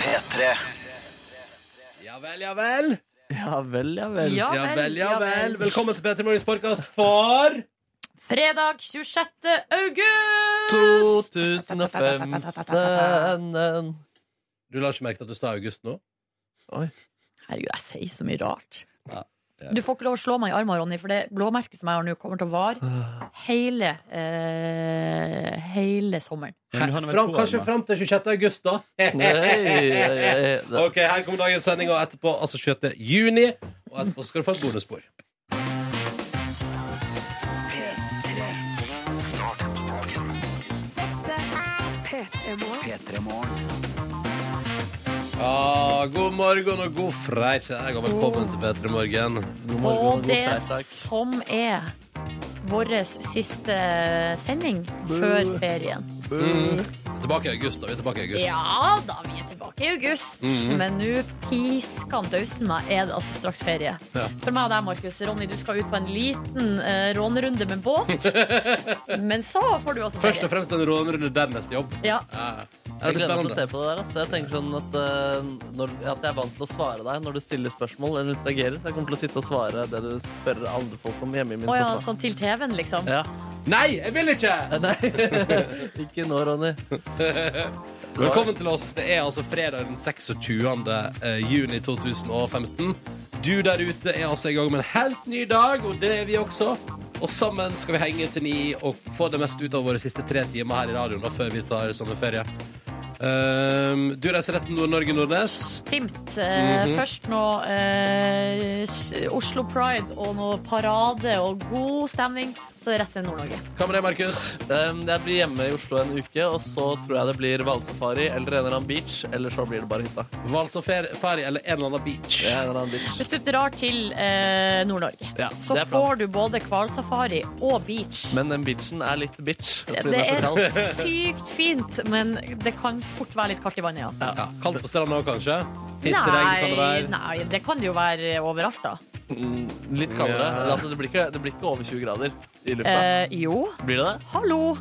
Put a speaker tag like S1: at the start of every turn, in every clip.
S1: P3
S2: Ja vel, ja vel.
S3: Ja vel, ja vel.
S4: Ja
S2: Ja vel, ja vel. Velkommen til Petter Morgens podkast for
S4: Fredag 26. august!
S3: 2015
S2: Du la ikke merke til at du sa august nå?
S4: Herregud, jeg sier så mye rart.
S2: Ja, det er-
S4: Du får ikke lov å slå meg i armen, Ronny, for det blåmerket som jeg har nå, kommer til å vare hele, eh, hele sommeren.
S2: Her, fram, kanskje fram til 26. august, da?
S3: Nei,
S2: OK, her kommer dagens sending, og etterpå altså 26. juni. Og etterpå skal du få et bonusspor.
S1: P3 Morgen
S2: Ja, god morgen og god fredag, og velkommen til P3 Morgen.
S4: Og det som er vår siste sending før ferien.
S3: Mm.
S2: Tilbake i august, da. Vi er tilbake i august.
S4: Ja da, vi er tilbake i august.
S3: Mhm.
S4: Men nå piskan dausen meg er det altså straks ferie.
S2: Ja.
S4: For meg og deg, Markus. Ronny, du skal ut på en liten uh, rånerunde med båt. men så får du altså ferie.
S2: Først og fremst en rånerunde, dernest jobb.
S4: Ja.
S2: Ja. Det
S3: Jeg
S2: blir
S3: gleder meg til å se
S2: spennende.
S3: på det der. ass. Jeg tenker sånn at, eh, når, at jeg er vant til å svare deg når du stiller spørsmål. Eller interagerer Så Jeg kommer til å sitte og svare det du spør andre folk om hjemme i min
S4: Å ja,
S3: sofa.
S4: sånn til TV-en, liksom.
S3: Ja.
S2: Nei, jeg vil ikke!
S3: Eh, Nei, ikke nå, Ronny.
S2: Velkommen til oss. Det er altså fredag den 26. eh, juni 2015. Du der ute er altså i gang med en helt ny dag, og det er vi også. Og sammen skal vi henge til ni og få det meste ut av våre siste tre timer her i radioen da, før vi tar sommerferie. Ehm, du reiser rett til Nord-Norge, Nordnes.
S4: Stimt. Eh,
S3: Mhm.
S4: Først noe eh, s- Oslo Pride og noe parade og god stemning. Så rett til Nord-Norge.
S2: Hva med deg, Markus?
S3: Um, jeg blir hjemme i Oslo en uke, og så tror jeg det blir hvalsafari eller en eller annen beach. Eller så blir det bare hytta.
S2: Vals og fer- ferie eller en eller annen beach?
S3: Det er En eller annen beach.
S4: Hvis du drar til eh, Nord-Norge,
S3: Ja,
S4: så
S3: det er planen.
S4: får du både hvalsafari og beach.
S3: Men den beachen er litt bitch. fordi
S4: Det
S3: den
S4: er
S3: for kald.
S4: sykt fint, men det kan fort være litt kaldt i vannet, ja.
S2: Ja, kaldt på stranda òg, kanskje? Pissregn kan det
S4: Nei,
S2: være.
S4: nei, det kan det jo være overalt, da.
S3: Mm, Litt kaldere.
S2: Ja.
S3: Altså, det, blir ikke, det blir ikke over 20 grader i lufta.
S4: Eh, jo,
S3: Blir det det?
S4: hallo!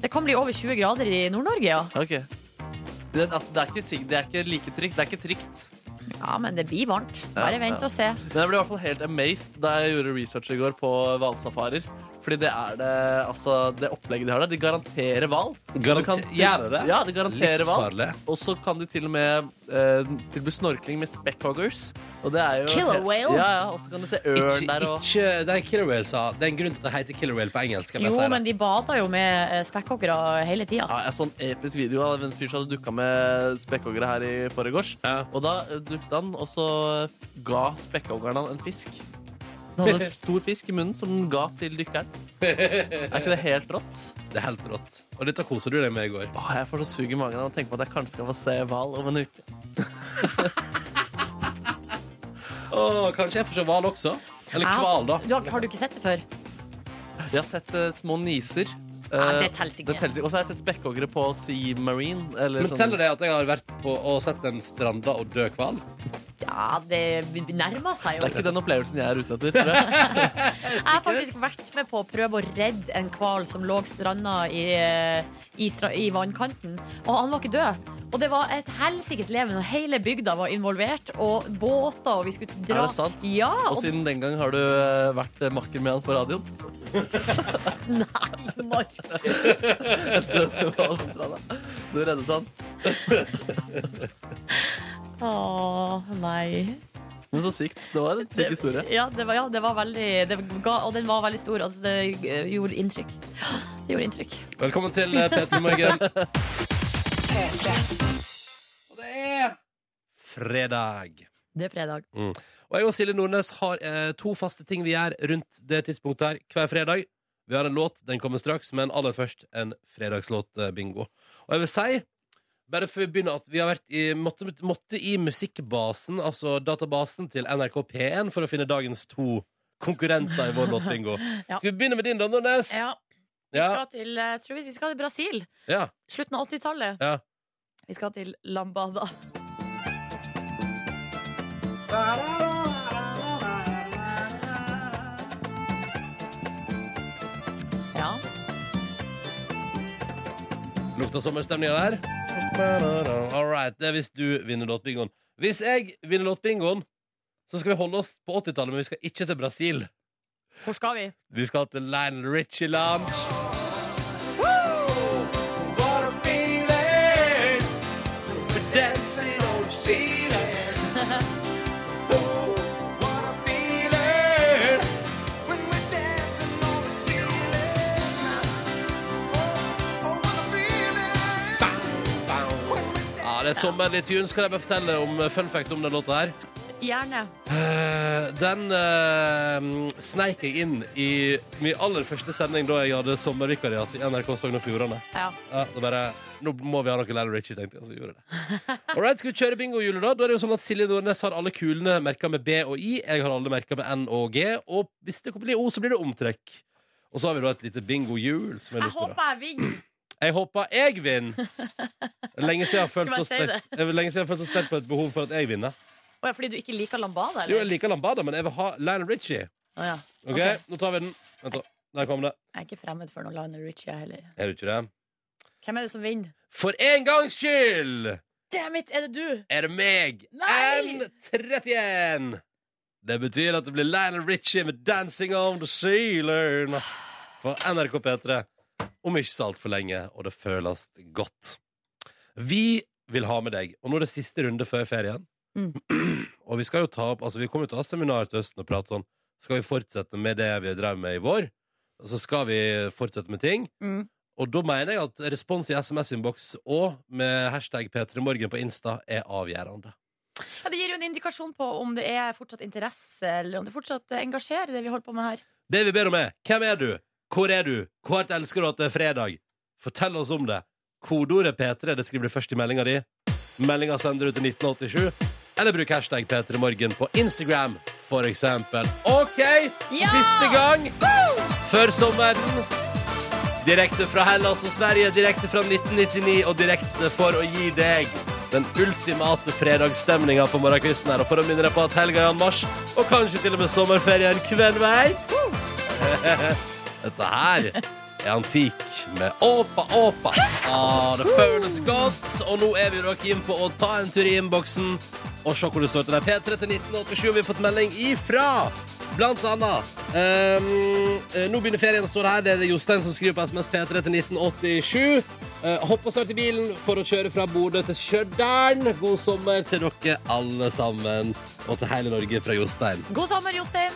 S4: Det kan bli over 20 grader i Nord-Norge, ja.
S3: Ok. Det, altså, det, er ikke, sig- det er ikke like trygt. Det er ikke trygt.
S4: Ja, Men det blir varmt.
S3: Ja,
S4: Bare vent
S3: ja.
S4: og se.
S3: Men jeg ble i hvert fall helt amazed da jeg gjorde research i går på hvalsafarier. Fordi det er det, altså, det opplegget de har der. De garanterer hval.
S2: Garanter-
S3: Du kan-
S2: Gjør det det?
S3: Ja, de garanterer hval.
S2: Livsfarlig.
S3: Og så kan de til og med eh, tilby snorkling med speckhoggers. Og det er jo
S4: Killer whale.
S3: Ja, ja, og så kan du se ørn der og
S2: Ikke, ikke, det er Killer Whale, sa. Det er en grunn til at det heter Killer Whale på engelsk. Kan
S4: Jo,
S2: jeg si
S4: men
S2: det.
S4: de bader jo med eh, spekkhoggere hele tida.
S3: ja, Jeg så en episk video av en fyr som hadde dukka med spekkhoggere her i forgårs.
S2: Ja.
S3: Og da eh, dukket han, og så eh, ga spekkhoggeren han en fisk. Han hadde en stor fisk i munnen som han ga til dykkeren. Er ikke det helt rått?
S2: Det er helt rått. Og dette koser du deg med i går.
S3: Åh, jeg får så sug i magen av å tenke på at jeg kanskje skal få se hval om en uke.
S2: Åh, kanskje jeg får se hval også? Eller
S4: Jeg
S2: hval, da.
S4: Du har, har du ikke sett altså, det før?
S3: Jeg har sett eh, små niser.
S4: Nei,
S3: Eh,
S4: det telles ikke.
S3: Og så har jeg sett spekkhoggere på Sea Marine. Eller
S4: sånn-
S3: sånn-
S2: Men teller det at jeg har vært på og sett en stranda og død hval?
S4: Ja, det nærmer
S3: Det
S4: seg jo.
S3: er ikke den opplevelsen jeg er ute etter. tror jeg.
S4: Jeg har faktisk vært med på å prøve å redde en hval som lå stranda i, eh, i, stra, i vannkanten. Og han var ikke død. Og det var et helsikes leven, og hele bygda var involvert. Og båter, og vi skulle dra
S3: Er det sant?
S4: Ja,
S3: Og
S4: og
S3: siden den gang har du eh, vært eh, makker med han på radioen.
S4: Nei, Mark.
S3: Det var alt fra deg. Du reddet han.
S4: Å, nei.
S3: Men så sykt. Det var en syk historie.
S4: Ja, det var, ja, det var veldig det ga, Og den var veldig stor. Altså, det eh, gjorde inntrykk. Det gjorde inntrykk.
S2: Velkommen til eh, P3 Morgen. Og det er fredag.
S4: Det er fredag.
S2: Og jeg og Silje Nordnes har eh, to faste ting vi gjør rundt det tidspunktet her hver fredag. Vi har en låt, den kommer straks, men aller først en fredagslåt-bingo. Og jeg vil si, bare før vi begynner, at vi har vært i, måtte, måtte i musikkbasen, altså databasen til NRK P1, for å finne dagens to konkurrenter i vår låtbingo.
S4: Ja.
S2: Skal vi begynne med din, da, Nordnes?
S4: Ja, vi
S2: Ja,
S4: skal til eh, Jeg tror vi skal til Brasil.
S2: ja.
S4: Slutten av 80-tallet.
S2: Ja.
S4: Vi skal til Lambada. Ja.
S2: Lukta sommerstemninga der? All right, det er hvis du vinner låtbingoen. Hvis jeg vinner låtbingoen, så skal vi holde oss på 80-tallet, men vi skal ikke til Brasil.
S4: Hvor skal vi?
S2: Vi skal til Lionel Richie Lounge. Ja, det er sommerlige tunes. Kan jeg bare fortelle om eh, fun fact om den låta her?
S4: Gjerne.
S2: Eh, Den eh, sneik jeg inn i min aller første sending da jeg hadde sommervikariat i NRK Sogn og Fjordane.
S4: Ja.
S2: Ja, da bare, nå må vi ha noe Lionel Richie, tenkte jeg. Så gjorde jeg det. All right, skal vi kjøre bingohjulet, da? Da er det jo sånn at Silje Nordnes har alle kulene merka med B og I. Jeg har alle merka med N og G. Og hvis det blir O, så blir det omtrekk. Og så har vi da et lite bingohjul. som jeg har
S4: Jeg
S2: lyst til å-
S4: håper jeg vinner.
S2: jeg håper jeg vinner! Lenge siden jeg har følt
S4: Skal
S2: så
S4: jeg si det?
S2: sterkt- Eh, lenge siden jeg har følt så sterkt på et behov for at jeg vinner.
S4: Å ja, fordi du ikke liker lambada,
S2: Jo, jeg
S4: eller?
S2: liker Lambada, men jeg vil ha Lionel Richie.
S4: Å ja.
S2: Ok, nå tar vi den. Vent da. Der kom det.
S4: Jeg er ikke fremmed for noe Lionel Richie, jeg heller.
S2: Er du ikke det?
S4: Hvem er det som vinner?
S2: For en gangs skyld
S4: Damn it, er det du?
S2: er det meg.
S4: Nei!
S2: N31. Det betyr at det blir Lionel Richie med 'Dancing on the Sealern' på NRK P3 om ikke så altfor lenge, og det føles godt. Vi vil ha med deg, og nå er det siste runde før ferien.
S4: Mm.
S2: Og vi skal jo ta opp, altså vi kommer jo til å ha seminar til høsten og prate sånn Skal vi fortsette med det vi drev med i vår? Så skal vi fortsette med ting.
S4: Mm.
S2: Og da mener jeg at respons i SMS-innboks og med hashtag P3morgen på Insta er avgjørende.
S4: Ja, det gir jo en indikasjon på om det er fortsatt interesse, eller om det fortsatt eh, engasjerer det vi holder på med her.
S2: Det vi ber om er Hvem er du? Hvor er du? Hvor hardt elsker du at det er fredag? Fortell oss om det. Kodeordet P3 det skriver du først i meldinga di. Meldinga sender du til 1987. Eller bruk hashtag P3morgen på Instagram, for eksempel. OK!
S4: Ja!
S2: Siste gang før sommeren. Direkte fra Hellas og Sverige, direkte fra 1999 og direkte for å gi deg den ultimate fredagsstemninga på morgenkvisten her. Og for å minne deg på at helga er anmarsj, og kanskje til og med sommerferien kveld vei. Dette her er antikk med Åpa Åpa. Ah, det føles godt. Og nå er vi da keen på å ta en tur i innboksen og se hvor det står til deg. P3 til 1987 vi har fått melding ifra. Blant annet. ehm, eh, nå begynner ferien, står det her. Det er det Jostein som skriver på SMS P3 til 1987. Uh, hopp og start i bilen for å kjøre fra Bodø til Stjørdal. God sommer til dere alle sammen. Og til hele Norge fra Jostein.
S4: God sommer, Jostein.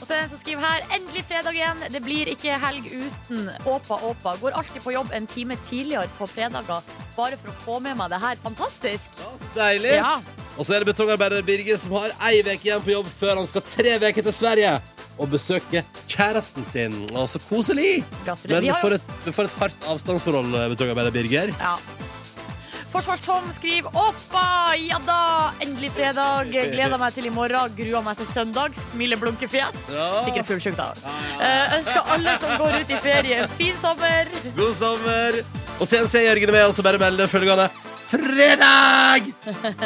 S4: Og så er det en som skriver her Endelig fredag igjen. Det blir ikke helg uten Åpa Åpa. Går alltid på jobb en time tidligere på fredager bare for å få med meg det her. Fantastisk.
S2: Ja, så deilig.
S4: Ja.
S2: Og så er det betongarbeider Birger som har ei uke igjen på jobb før han skal tre uker til Sverige og besøke kjæresten sin. Å, så koselig!
S4: Gratulerer.
S2: Men
S4: Vi
S2: vi
S4: har jo
S2: får, et, vi får et hardt avstandsforhold, eh, betongarbeider Birger.
S4: ja. Forsvars-Tom skriver Åpa, ja da! Endelig fredag. Gleder meg til i morgen. Gruer meg til søndag. Smiler blunkefjes.
S2: Ja.
S4: Sikkert fullsjuk, da. Eh, ønsker alle som går ut i ferie, en fin sommer.
S2: God sommer! Og CNC Jørgen er med, og så bare melder følgende Fredag!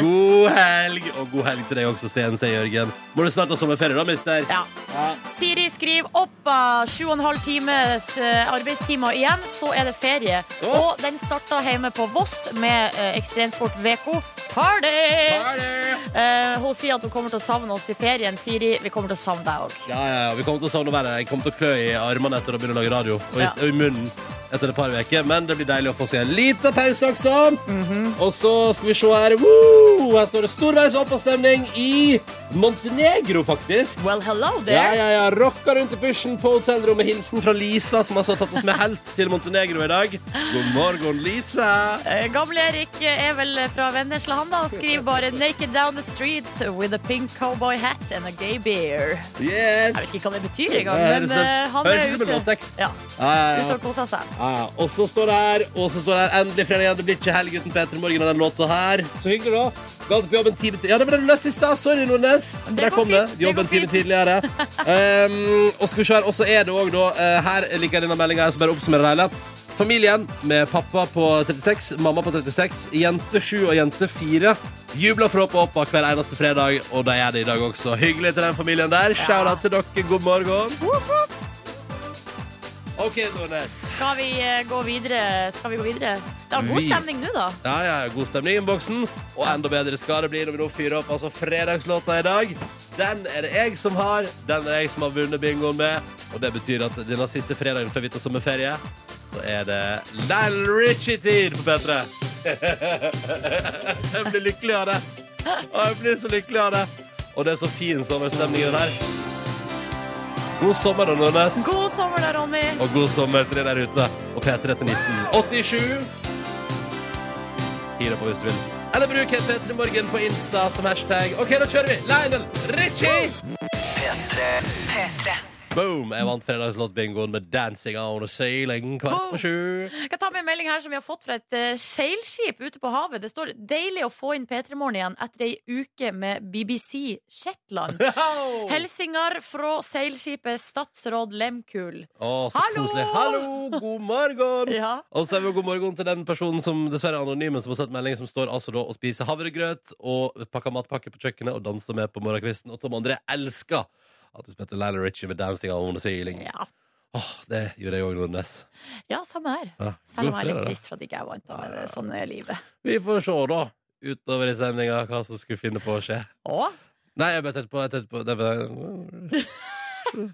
S2: God helg! Og god helg til deg også, CNC Jørgen. Må du snart ha sommerferie, da, mister?
S4: Ja. Siri skriver opp eh, sju og en halv times eh, arbeidstimer igjen, så er det ferie.
S2: Å.
S4: Og den starta hjemme på Voss med eh, Ekstremsport VK Party!
S2: Party!
S4: Eh, hun sier at hun kommer til å savne oss i ferien. Siri, vi kommer til å savne deg òg.
S2: Ja, ja, ja. Vi kommer til å savne været. Jeg kommer til å klø i armene etter å begynne å lage radio. Og i,
S4: Ja.
S2: og i munnen etter et par uker. Men det blir deilig å få seg en liten pause også.
S4: Mhm.
S2: Og så skal vi se her. Woo! Her står det storveis oppavstemning i Montenegro, faktisk.
S4: Well, hello
S2: Ja,
S4: there.
S2: ja, ja. Rocka rundt i pysjen på hotellrommet. Hilsen fra Lisa, som altså har tatt oss med helt til Montenegro i dag. God morgen, Lisa.
S4: Eh, Gamle Erik er vel fra Vennesla, han da, og skriver bare 'Naked down the street with a pink cowboy hat and a gay beer'.
S2: Yes.
S4: Jeg vet ikke hva det betyr engang,
S2: Det
S4: men
S2: høres ut-
S4: eh, han
S2: høres
S4: er
S2: ut som en
S4: ute,
S2: låttekst.
S4: ja,
S2: Ja, ja, ja.
S4: ute og koser seg.
S2: Ja, ja. Ah, Og så står det her, og så står det her endelig fredag igjen. Det blir ikke helg uten Peter Morgen og den låta her. Så hyggelig, da. Galt på jobb en time til. Ja, det ble løst i stad. Sorry, Nordnes.
S4: Det
S2: Der
S4: går
S2: kom det.
S4: fint, det
S2: Jobb
S4: går
S2: en time
S4: fint.
S2: tidligere. Um, og skal vi se her, og så er det òg, da eh, Her liker jeg denne meldinga, så bare oppsummerer det hele. Familien med pappa på 36, mamma på 36, jente 7 og jente 4 jubler for opp og opp hver eneste fredag, og de gjør det i dag også. Hyggelig til den familien der. Shout-out til dere. God morgen. OK, Nordnes.
S4: Skal vi eh, gå videre? Skal vi gå videre? Det var god
S2: Vi-
S4: stemning nå, da.
S2: Ja, ja, god stemning i innboksen. Og enda bedre skal det bli når vi nå fyrer opp altså fredagslåta i dag. Den er det jeg som har. Den er jeg som har vunnet bingoen med. Og det betyr at denne siste fredagen før vi tar sommerferie, så er det Lionel Richie-tid på P3. jeg blir lykkelig av det. Og jeg blir så lykkelig av det. Og det er så fin sommerstemning i den her. God sommer, da, Nordnes.
S4: God sommer da, Ronny.
S2: Og god sommer til deg der ute. Og P3 til 1987. Hiv deg på hvis du vil. Eller bruk P3 Morgen på Insta som hashtag. OK, da kjører vi! Lionel Richie! Boom! Jeg vant fredagslåtbingoen med 'Dancing on a Sailing' kvart
S4: Boom!
S2: på sju.
S4: Jeg kan ta med en melding her som vi har fått fra et eh, seilskip ute på havet. Det står 'Deilig å få inn P3 Morgen igjen etter ei uke med BBC Shetland'. Helsingar fra seilskipet Statsråd Lemkul.
S2: Å, så
S4: Hallo!
S2: koselig. Hallo, god morgen!
S4: Ja.
S2: Og så er vi jo god morgen til den personen som dessverre er anonym, men som har sett melding som står altså da og spiser havregrøt og pakker matpakke på kjøkkenet og danser med på morgenkvisten. Og Tom André elsker at det spilte Lionel Richie med 'Dancing on the Ceiling'.
S4: Ja.
S2: Åh, det gjorde jeg òg, Nordnes.
S4: ja, samme her.
S2: Ja.
S4: Selv
S2: god
S4: om jeg er
S2: fredag,
S4: litt
S2: da.
S4: trist for at ikke jeg vant. da, men Sånn er livet.
S2: Vi får se, da, utover i sendinga, hva som skulle finne på å skje.
S4: Å,
S2: Nei, jeg bare tenkte på, jeg tenkte på det var...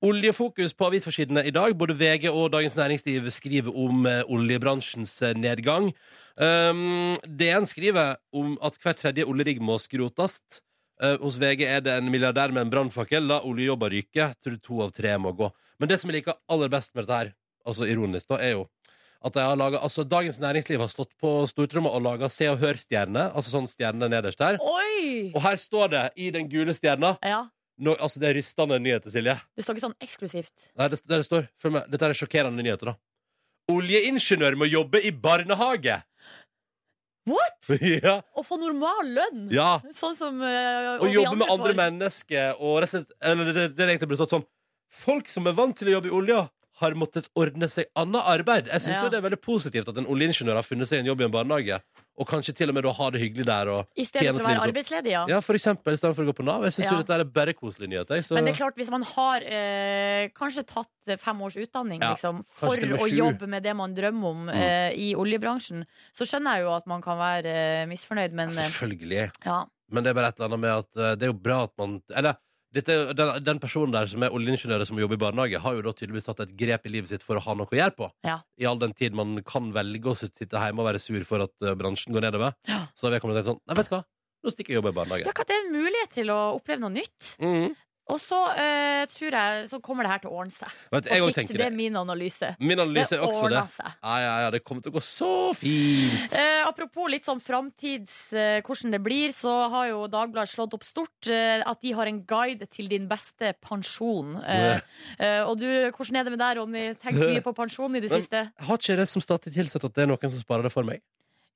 S2: Oljefokus på avisforsidene i dag. Både VG og Dagens Næringsliv skriver om eh, oljebransjens eh, nedgang. Um, DN skriver om at hver tredje oljerigg må skrotes. Eh, hos VG er det en milliardær med en brannfakkel. La oljejobber ryke. Tror to av tre må gå. Men det som jeg liker aller best med dette her, altså ironisk, da, er jo at de har laget, altså Dagens Næringsliv har stått på stortromma og laga Se og Hør-stjerne, altså sånn stjerne nederst der.
S4: Oi!
S2: Og her står det i den gule stjerna
S4: Ja.
S2: nå- Altså Det er rystende nyheter, Silje.
S4: Det står ikke sånn eksklusivt.
S2: Nei, det, der det står, følg med, Dette er sjokkerende nyheter, da. Oljeingeniør må jobbe i barnehage!
S4: What?!
S2: ja,
S4: Å få normal lønn!
S2: ja.
S4: Sånn som eh,
S2: Og
S4: vi
S2: jobbe med andre
S4: får.
S2: mennesker og rett og slett Eller det, det er egentlig blitt sånn Folk som er vant til å jobbe i olja, har måttet ordne seg annet arbeid. Jeg syns
S4: Ja.
S2: jo det er veldig positivt at en oljeingeniør har funnet seg en jobb i en barnehage, og kanskje til og med da ha det hyggelig der. Og,
S4: I stedet for å
S2: tjene til
S4: være
S2: livet.
S4: arbeidsledig, ja.
S2: ja, for eksempel, i stedet for å gå på Nav. Jeg syns
S4: Ja.
S2: jo dette er bare koselige nyheter. jeg, Så...
S4: Men det er klart, hvis man har eh, kanskje tatt eh, fem års utdanning
S2: Ja,
S4: liksom,
S2: kanskje
S4: for
S2: til og med
S4: å
S2: sju. Mm.
S4: jobbe med det man drømmer om eh, i oljebransjen, så skjønner jeg jo at man kan være eh, misfornøyd, men
S2: Altså,
S4: eh,
S2: Selvfølgelig.
S4: ja.
S2: Men det er bare et eller annet med at eh, det er jo bra at man Eller dette, er jo- den, den personen der som er oljeingeniør og som jobber i barnehage, har jo da tydeligvis tatt et grep i livet sitt for å ha noe å gjøre på.
S4: Ja.
S2: I all den tid man kan velge å sitte hjemme og være sur for at eh, bransjen går nedover.
S4: Ja.
S2: Så har vedkommende tenkt sånn Nei, vet du hva, nå stikker jeg og jobber i barnehage.
S4: Ja, hva- det er en mulighet til å oppleve noe nytt.
S2: Mhm.
S4: Og så eh, tror jeg så kommer det her til å ordne seg.
S2: Vet, du,
S4: På
S2: jeg òg
S4: sikt,
S2: tenker
S4: det
S2: det.
S4: er min analyse.
S2: Min analyse
S4: Det
S2: er også det.
S4: ordner seg.
S2: Ja, ja, ja, det kommer til å gå så fint.
S4: Eh, apropos litt sånn framtids eh, hvordan det blir, så har jo Dagbladet slått opp stort eh, at de har en guide til din beste pensjon. Eh, eh, og du, hvordan er det med deg, Ronny? Tenkt mye på pensjon i det
S2: Men-
S4: siste?
S2: Har ikke det som statlig tilsatt at det er noen som sparer det for meg?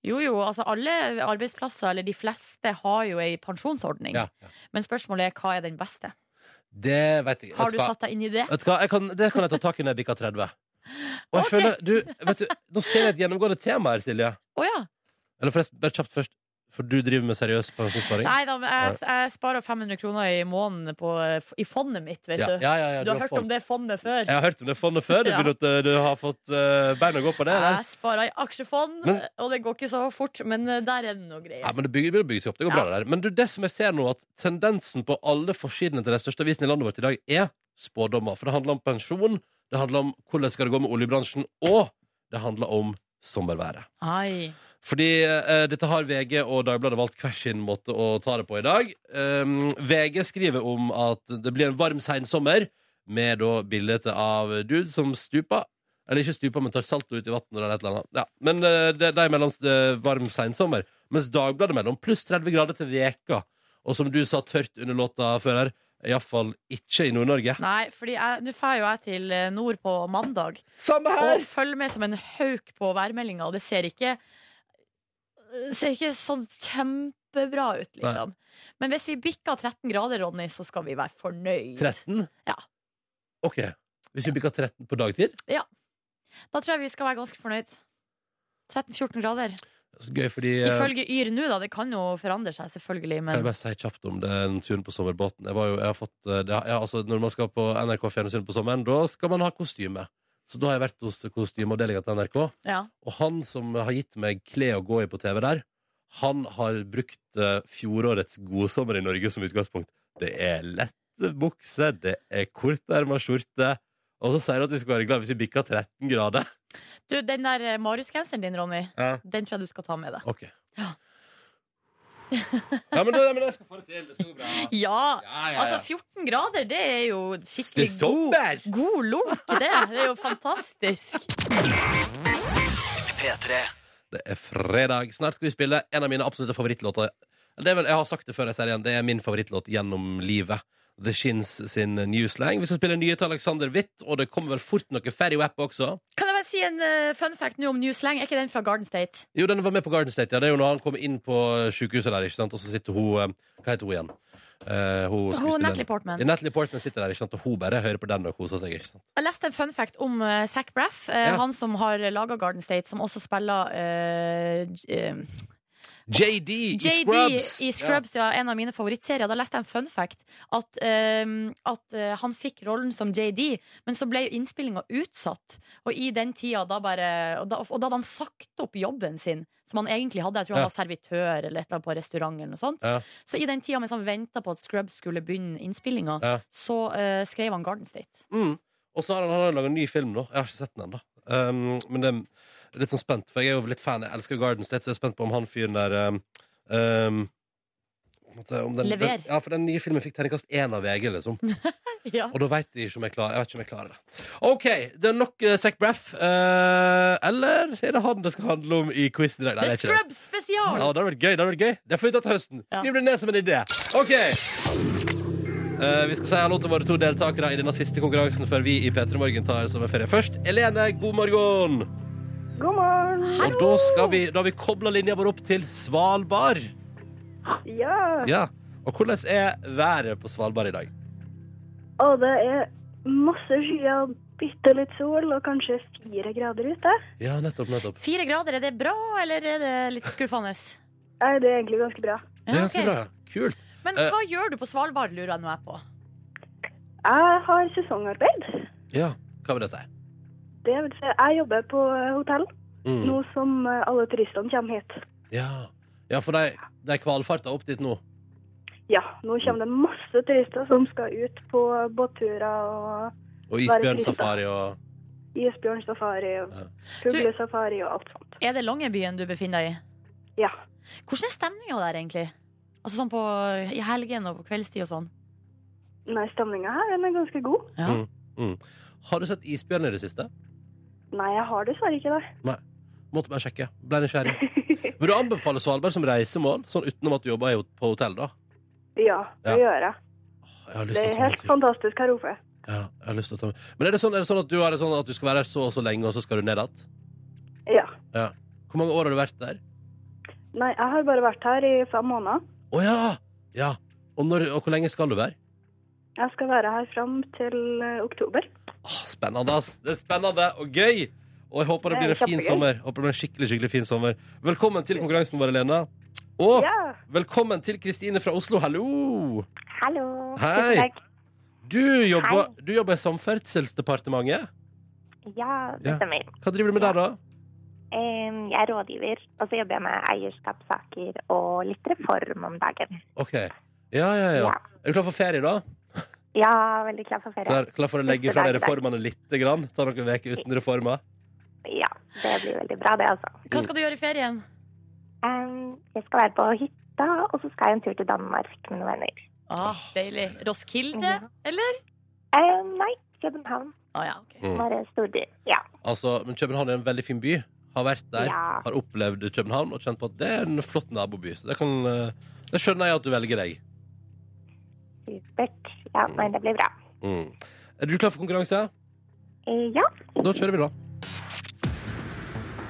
S4: Jo, jo, altså alle arbeidsplasser, eller de fleste, har jo ei pensjonsordning.
S2: Ja, ja.
S4: Men spørsmålet er hva er den beste?
S2: Det vet jeg.
S4: Har
S2: Vet
S4: du
S2: hva?
S4: satt deg inn i det?
S2: Vet du hva, jeg kan, Det kan jeg ta tak i når jeg bikker 30. Og jeg
S4: Ok.
S2: føler, du, vet du, Nå ser jeg et gjennomgående tema her, Silje.
S4: Å ja.
S2: Eller forresten, bare kjapt først. For du driver med seriøs pensjonssparing?
S4: Nei da, men jeg, jeg sparer 500 kroner i måneden på, i fondet mitt, vet
S2: ja,
S4: du.
S2: ja, ja, ja,
S4: Du har hørt om det fondet før?
S2: Jeg har hørt om det fondet før. Det
S4: Ja.
S2: betyr at eh, du har fått eh, bein å gå på det. eller?
S4: Jeg sparer i aksjefond,
S2: Men-
S4: og det går ikke så fort, men eh, der er det noe
S2: Ja,
S4: greier.
S2: men det bygger, begynner å bygge seg opp. Det går
S4: Ja.
S2: bra, det der. Men du, det som jeg ser nå, at tendensen på alle forsidene til de største avisene i landet vårt i dag, er spådommer. For det handler om pensjon, det handler om hvordan skal det gå med oljebransjen, og det handler om sommerværet.
S4: Ai.
S2: Fordi eh, dette har VG og Dagbladet valgt hver sin måte å ta det på i dag. Um, VG skriver om at det blir en varm seinsommer, med da bildet av dude som stuper. Eller ikke stuper, men tar salto ut i vannet eller et eller annet. Ja. Men eh, det, det er mellom eh, varm seinsommer. Mens Dagbladet mellom pluss 30 grader til veka. Og som du sa tørt under låta før her, iallfall ikke i Nord-Norge.
S4: Nei, fordi jeg- nå drar jo jeg til eh, nord på mandag,
S2: Samme
S4: og følger med som en hauk på værmeldinga, og det ser ikke det ser ikke sånn kjempebra ut, liksom. Men hvis vi bikker 13 grader, Ronny, så skal vi være fornøyd.
S2: 13?
S4: Ja.
S2: OK. Hvis vi bikker 13 på dagtid?
S4: Da tror jeg vi skal være ganske fornøyd. 13-14 grader.
S2: Så gøy, fordi eh,
S4: Ifølge Yr nå, da. Det kan jo forandre seg, selvfølgelig,
S2: Kan jeg
S4: men
S2: bare si kjapt om den turen på sommerbåten? Jeg var jo, jeg har fått, eh, det, ja, altså, når man skal på NRK Fjernsyn på sommeren, da skal man ha kostyme. Så da har jeg vært hos kostymeavdelinga til NRK,
S4: Ja.
S2: og han som har gitt meg klær å gå i på TV der, han har brukt eh, fjorårets godsommer i Norge som utgangspunkt. Det er lette bukser, det er korterma skjorte. Og så sier han at vi skal være glad hvis vi bikker 13 grader.
S4: Du, den der eh, Marius-genseren din, Ronny,
S2: Ja.
S4: den tror jeg du skal ta med deg.
S2: Ok.
S4: Ja.
S2: Ja, men, da, men jeg skal få det til. Det skal gå bra.
S4: Ja!
S2: Ja, ja,
S4: Altså,
S2: ja.
S4: 14 grader, det er jo
S2: Det
S4: skikkelig
S2: er
S4: god,
S2: sommer!
S4: god lunk, det. Det er jo fantastisk.
S2: Det er fredag. Snart skal vi spille en av mine absolutte favorittlåter. Det er vel, jeg har sagt det før, jeg sier det igjen. Det er min favorittlåt gjennom livet. The Shins sin New Slang. Vi skal spille nye til Alexander Witt, og det kommer vel fort noe Ferry Wap også.
S4: Kan jeg bare si en eh, fun fact nå om New Slang? Er ikke den fra Garden State?
S2: Jo, den var med på Garden State, ja. Det er jo når han kommer inn på sykehuset der, ikke sant, og så sitter hun eh, Hva heter hun igjen? Eh, hun
S4: Hun,
S2: skuespilleren.
S4: Natalie Portman.
S2: Ja, Natalie Portman sitter der, ikke sant, og hun bare hører på den og koser seg, ikke sant.
S4: Jeg leste en fun fact om eh, Zach Braff, eh,
S2: Ja.
S4: han som har laga Garden State, som også spiller eh, J- eh,
S2: JD, i
S4: JD
S2: Scrubs!
S4: i Scrubs, ja. en av mine favorittserier. Da leste jeg en fun fact at, eh, at eh, han fikk rollen som JD, men så ble jo innspillinga utsatt. Og i den tida da bare og da, og da hadde han sagt opp jobben sin, som han egentlig hadde. Jeg tror
S2: Ja.
S4: han var servitør eller et eller annet på restaurant eller noe sånt.
S2: Ja.
S4: Så i den tida mens han venta på at Scrubs skulle begynne innspillinga,
S2: Ja.
S4: så eh, skrev han Garden State.
S2: Mm. Og så har han, han har laga en ny film nå. Jeg har ikke sett den ennå. Um, men det er litt sånn spent, for jeg er jo litt fan. Jeg elsker Garden State, så jeg er spent på om han fyren der um, um, på en måte, om den,
S4: Lever.
S2: Ja, for den nye filmen fikk terningkast én av VG, liksom.
S4: Ja.
S2: Og da veit de ikke om jeg klarer Jeg vet ikke om jeg klarer det. OK, det er nok uh, Zac Braff. eh, eller er det han det skal handle om i quizen i dag? Nei,
S4: The
S2: det er ikke det.
S4: Scrubs spesial!
S2: Ja, det hadde vært gøy. Det hadde vært gøy Det får vi ta til høsten. Skriv det ned som en idé. OK. Eh, vi skal si hallo til våre to deltakere i denne siste konkurransen før vi i P3 Morgen tar sommerferie. Først Elene, god morgen.
S1: God morgen.
S2: Og da, skal vi, da har vi kobla linja vår opp til Svalbard.
S1: Ja.
S2: Ja. Og hvordan er været på Svalbard i dag?
S1: Og det er masse skyer, bitte litt sol og kanskje fire grader ute.
S2: Ja, nettopp, nettopp.
S4: Fire grader, er det bra, eller er det litt skuffende?
S1: Nei, det er egentlig ganske bra.
S2: Det er ganske
S4: ok.
S2: bra. ja. Kult.
S4: Men
S2: Eh.
S4: hva gjør du på Svalbard, lurer jeg nå jeg på.
S1: Jeg har sesongarbeid.
S2: Ja, hva vil det si?
S1: Det vil si, jeg jobber på eh, hotell
S2: Mm.
S1: nå som eh, alle turistene kommer hit.
S2: Ja. ja, for de, de kvalfarta opp dit nå.
S1: Ja, nå kommer det masse turister som skal ut på båtturer og
S2: Og isbjørnsafari og
S1: isbjørnsafari og
S2: Ja.
S1: fuglesafari og alt sånt.
S4: Er det Longyearbyen du befinner deg i?
S1: Ja.
S4: Hvordan er stemninga der, egentlig? Altså sånn på i helgen og på kveldstid og sånn.
S1: Nei, stemninga her den er ganske god.
S4: Ja.
S2: Mm. Har du sett isbjørn i det siste?
S1: Nei, jeg har dessverre ikke det.
S2: Måtte bare sjekke. Ble nysgjerrig. Vil du anbefale Svalbard som reisemål, sånn utenom at du jobber i hot- på hotell, da?
S1: Ja, det
S2: Ja.
S1: gjør jeg.
S2: Åh, Jeg har lyst
S1: Det
S2: til å ta meg
S1: er
S2: en
S1: helt
S2: tur.
S1: fantastisk her oppe.
S2: Ja, jeg har lyst til å ta meg. Men er det sånn, er det sånn at du er sånn at du skal være her så og så lenge, og så skal du ned igjen?
S1: Ja.
S2: Hvor mange år har du vært der?
S1: Nei, jeg har bare vært her i fem måneder.
S2: Å ja! Ja. Og, når, og hvor lenge skal du være?
S1: Jeg skal være her fram til eh, oktober.
S2: Åh, spennende, ass. Det er spennende og gøy! Og jeg håper det
S1: Det
S2: blir
S1: er
S2: en fin
S1: kjempegøy.
S2: sommer. Håper det blir en skikkelig, skikkelig fin sommer. Velkommen til konkurransen vår, Helena. Og
S1: Ja,
S2: velkommen til Kristine fra Oslo. Hallo!
S1: hallo.
S2: Hei. Tusen takk. Du jobber, du jobber i Samferdselsdepartementet.
S5: Ja, det
S2: Ja.
S5: stemmer.
S2: Hva driver du med der, da?
S5: Em, Jeg er rådgiver, og så jobber jeg med eierskapssaker og litt reform om dagen.
S2: Ok. Ja, ja, ja.
S5: Ja.
S2: Er du klar for ferie, da?
S5: Ja, veldig klar for ferie.
S2: Klar, klar for å legge
S5: Neste
S2: fra deg
S5: dag, da.
S2: reformene lite grann? Ta noen uker uten reformer?
S5: Ja, det blir veldig bra, det altså.
S4: Hva skal du gjøre i ferien?
S5: Em, Jeg skal være på hytta, og så skal jeg en tur til Danmark med noen venner.
S4: Ah, deilig. Roskilde,
S5: Ja.
S4: eller?
S5: Em, Nei, København.
S4: Ah, ja, ok.
S2: Mm.
S5: Bare storby. Ja.
S2: Altså, men København er en veldig fin by. Har vært der,
S5: Ja.
S2: har opplevd København og kjent på at det er en flott naboby. Så det, kan, eh, det skjønner jeg at du velger deg.
S5: Supert. Ja, nei, det blir bra.
S2: Mm. Er du klar for konkurranse?
S5: Eh, Ja.
S2: Da kjører vi, da.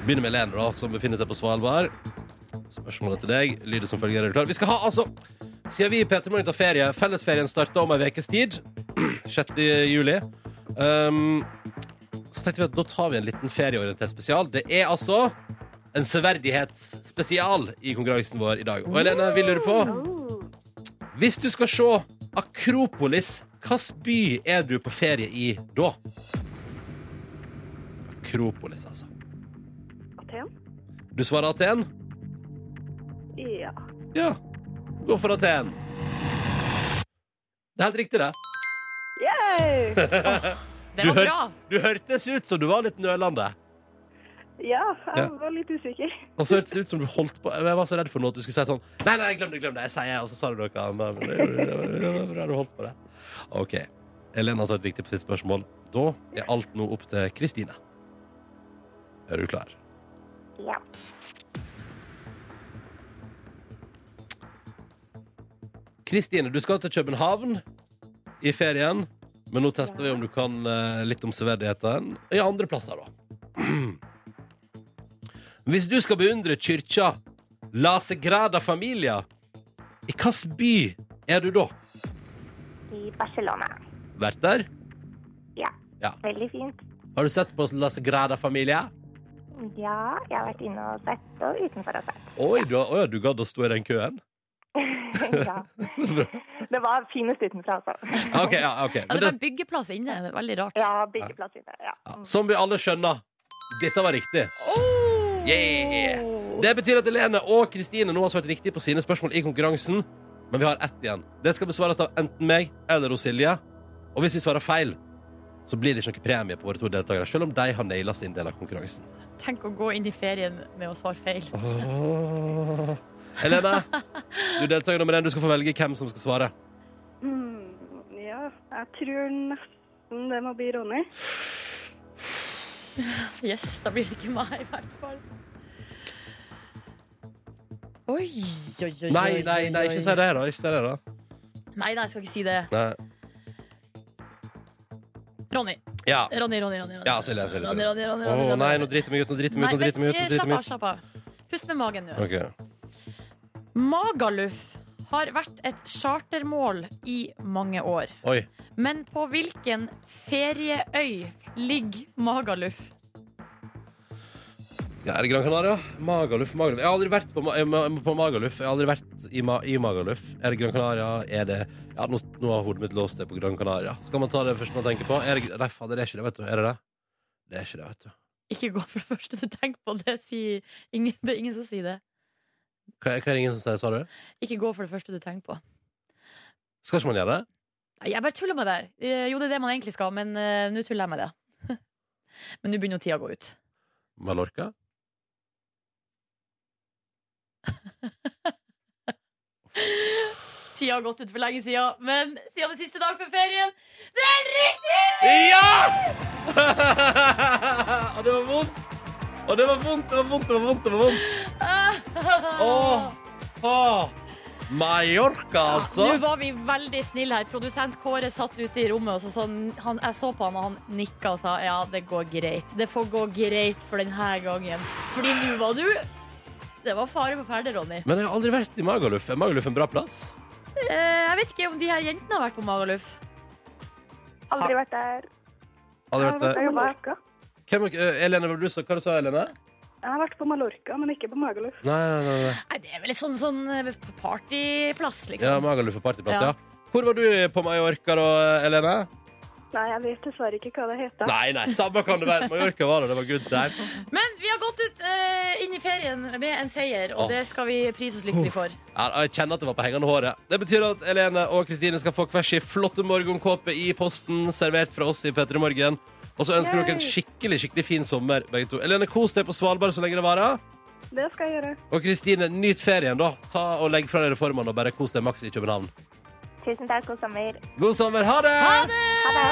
S2: Begynner med Lene, da, som befinner seg på Svalbard. Spørsmålet til deg lyder som følger. Er du klar? Vi skal ha, altså Siden vi i P3 Morgen tar ferie, fellesferien starter om ei ukes tid, 6. juli, um, så tenkte vi at da tar vi en liten ferieorientert spesial. Det er altså en severdighetsspesial i konkurransen vår i dag. Og Helene, vi lurer på Hvis du skal se Akropolis, hvilken by er du på ferie i da? Akropolis, altså.
S1: Aten?
S2: Du svarer Aten?
S1: Ja.
S2: Ja. Gå for Aten. Det er helt riktig, det.
S1: Yay!
S4: Det
S2: Du
S4: var
S2: hør-
S4: bra.
S2: Du hørtes ut som du var litt nølende.
S1: Ja,
S2: Ja.
S1: jeg var litt usikker.
S2: Og så hørtes det ut som du holdt på Jeg var så redd for noe at du skulle si sånn Nei, nei, glem det, glem det. Jeg sier det, og så sa du noe annet. Men det- det var- det var bra du holdt på det. OK. Elena har svart riktig på sitt spørsmål. Da er alt nå opp til Kristine. Er du klar?
S5: Ja.
S2: Kristine, du skal til København i ferien. Men nå tester vi om du kan eh, litt om severdigheten i andre plasser, da. Hvis du skal beundre kyrkja La Segrada Familia, i hvilken by er du da?
S5: I Barcelona.
S2: Vært der?
S5: Ja.
S2: Ja.
S5: Veldig fint.
S2: Har du sett på La Sagrada Familia?
S5: Ja, jeg har vært inne og sett, og utenfor og sett.
S2: Oi, du, oi, du gadd å stå i den køen?
S5: ja. Det var finest utenfor, altså.
S2: Ok, ja, ok.
S4: Ja,
S2: Men
S4: det var
S2: det,
S4: en byggeplass inne. Det er veldig rart.
S5: Ja, byggeplass inne. Ja.
S2: ja, som vi alle skjønner, dette var riktig.
S4: Oh!
S2: Yeah! Det betyr at Helene og Kristine nå har svart riktig på sine spørsmål i konkurransen. Men vi har ett igjen. Det skal besvares av enten meg eller hos Silje. Og hvis vi svarer feil, så blir det ikke noe premie på våre to deltakere, selv om de har naila sin del av konkurransen.
S4: Tenk å gå inn i ferien med å svare feil.
S2: Åh. Helene, du er deltaker nummer én. Du skal få velge hvem som skal svare.
S1: Hmm, ja, jeg tror nesten det må bli Ronny.
S4: Yes, da blir det ikke meg, i hvert fall. Oi, oi, oi.
S2: Nei, nei, nei, ikke si det, da. Ikke si det, da.
S4: Nei, nei, jeg skal ikke si det.
S2: Nei.
S4: Ronny.
S2: Ja.
S4: Ronny, Ronny, Ronny. Ronny.
S2: Ja, Silje, Silje,
S4: Ronny,
S2: Silje.
S4: Ronny, Ronny,
S2: Å
S4: Ronny, Ronny.
S2: nei, nå driter vi meg ut, nå driter vi meg ut, nå driter vi meg ut. Nå driter vi
S4: slapp av,
S2: ut.
S4: slapp av. Pust med magen nå.
S2: Ok.
S4: Magaluf har vært et chartermål i mange år.
S2: Oi.
S4: Men på hvilken ferieøy ligger Magaluf?
S2: Ja, er det Gran Canaria? Magaluf, Magaluf. Jeg har aldri vært på, Ma eh, Ma- på Magaluf. Jeg har aldri vært i, Ma i Magaluf. Er det Gran Canaria? Er det Ja, nå, nå har hodet mitt låst det på Gran Canaria. Skal man ta det første man tenker på? Er det Nei, fader, det er ikke det, vet du. Er det det? Det er ikke det, vet du.
S4: Ikke gå for det første du tenker på, det, sier ingen, det er ingen som sier det.
S2: Hva, hva er det ingen som sier, sa du?
S4: Ikke gå for det første du tenker på.
S2: Skal ikke man gjøre det?
S4: Nei, Jeg bare tuller med deg. Eh, Jo, det er det man egentlig skal, men eh, nå tuller jeg med det. men nå begynner jo tida å gå ut.
S2: Mallorca?
S4: Tida har gått ut for lenge sida, men siden det er siste dag før ferien Det er riktig!
S2: Ja! Og det var vondt. Og det var vondt, det var vondt, det var vondt. det var vondt Åh, åh. Mallorca, altså.
S4: Nå var vi veldig snille her. Produsent Kåre satt ute i rommet, og så sånn, han, jeg så på han, og han nikka og sa ja, det går greit. Det får gå greit for denne gangen. Fordi nå var du Det var fare på ferde, Ronny.
S2: Men jeg har aldri vært i Magaluf. Er Magaluf en bra plass?
S4: Eh, jeg vet ikke om de her jentene har vært på Magaluf.
S5: Aldri vært der.
S2: Aldri
S1: Jeg har
S2: vært
S1: vært
S2: der.
S1: på Mallorca.
S2: Hvem, eh, Elene, hva du sa hva du? sa, Elene?
S1: Jeg har vært på Mallorca, men ikke på Magaluf.
S2: Nei, nei, nei, nei.
S4: Nei, det er vel en sånn, sånn eh, partyplass,
S2: Ja,
S4: liksom.
S2: Magaluf er partyplass, ja.
S4: Ja.
S2: Hvor var du på Mallorca da, Elene?
S1: Nei, jeg vet dessverre ikke hva det heter.
S2: Nei, nei, samme kan det være. Mallorca var det. Det var good times.
S4: Men vi har gått ut eh, inn i ferien med en seier, og
S2: Åh.
S4: det skal vi prise oss lykkelig for.
S2: Ja, jeg kjenner at det var på hengende håret. Det betyr at Elene og Kristine skal få hver sin flotte morgenkåpe i posten servert fra oss i P3 Morgen. Og så ønsker dere en skikkelig skikkelig fin sommer, begge to. Elene, kos deg på Svalbard så lenge det varer.
S1: Det skal jeg gjøre.
S2: Og Kristine, nyt ferien, da. Ta og Legg fra dere formen og bare kos deg maks i København.
S5: Tusen takk, god sommer.
S2: God sommer. Ha det!
S4: Ha det!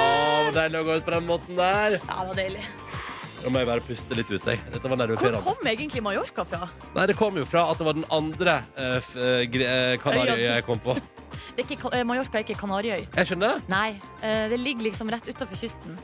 S2: Å, deilig å gå ut på den måten der.
S4: Ja, det var deilig.
S2: Nå må jeg bare puste litt ut, jeg. Dette var
S4: Hvor
S2: nerveferende.
S4: kom egentlig Mallorca fra?
S2: Nei, det kom jo fra at det var den andre eh, f- eh, gre- eh, Kanariøya jeg kom på.
S4: Det er ikke, Ka- eh, Mallorca er ikke Kanariøy.
S2: Jeg skjønner.
S4: Nei, eh, det ligger liksom rett utafor kysten.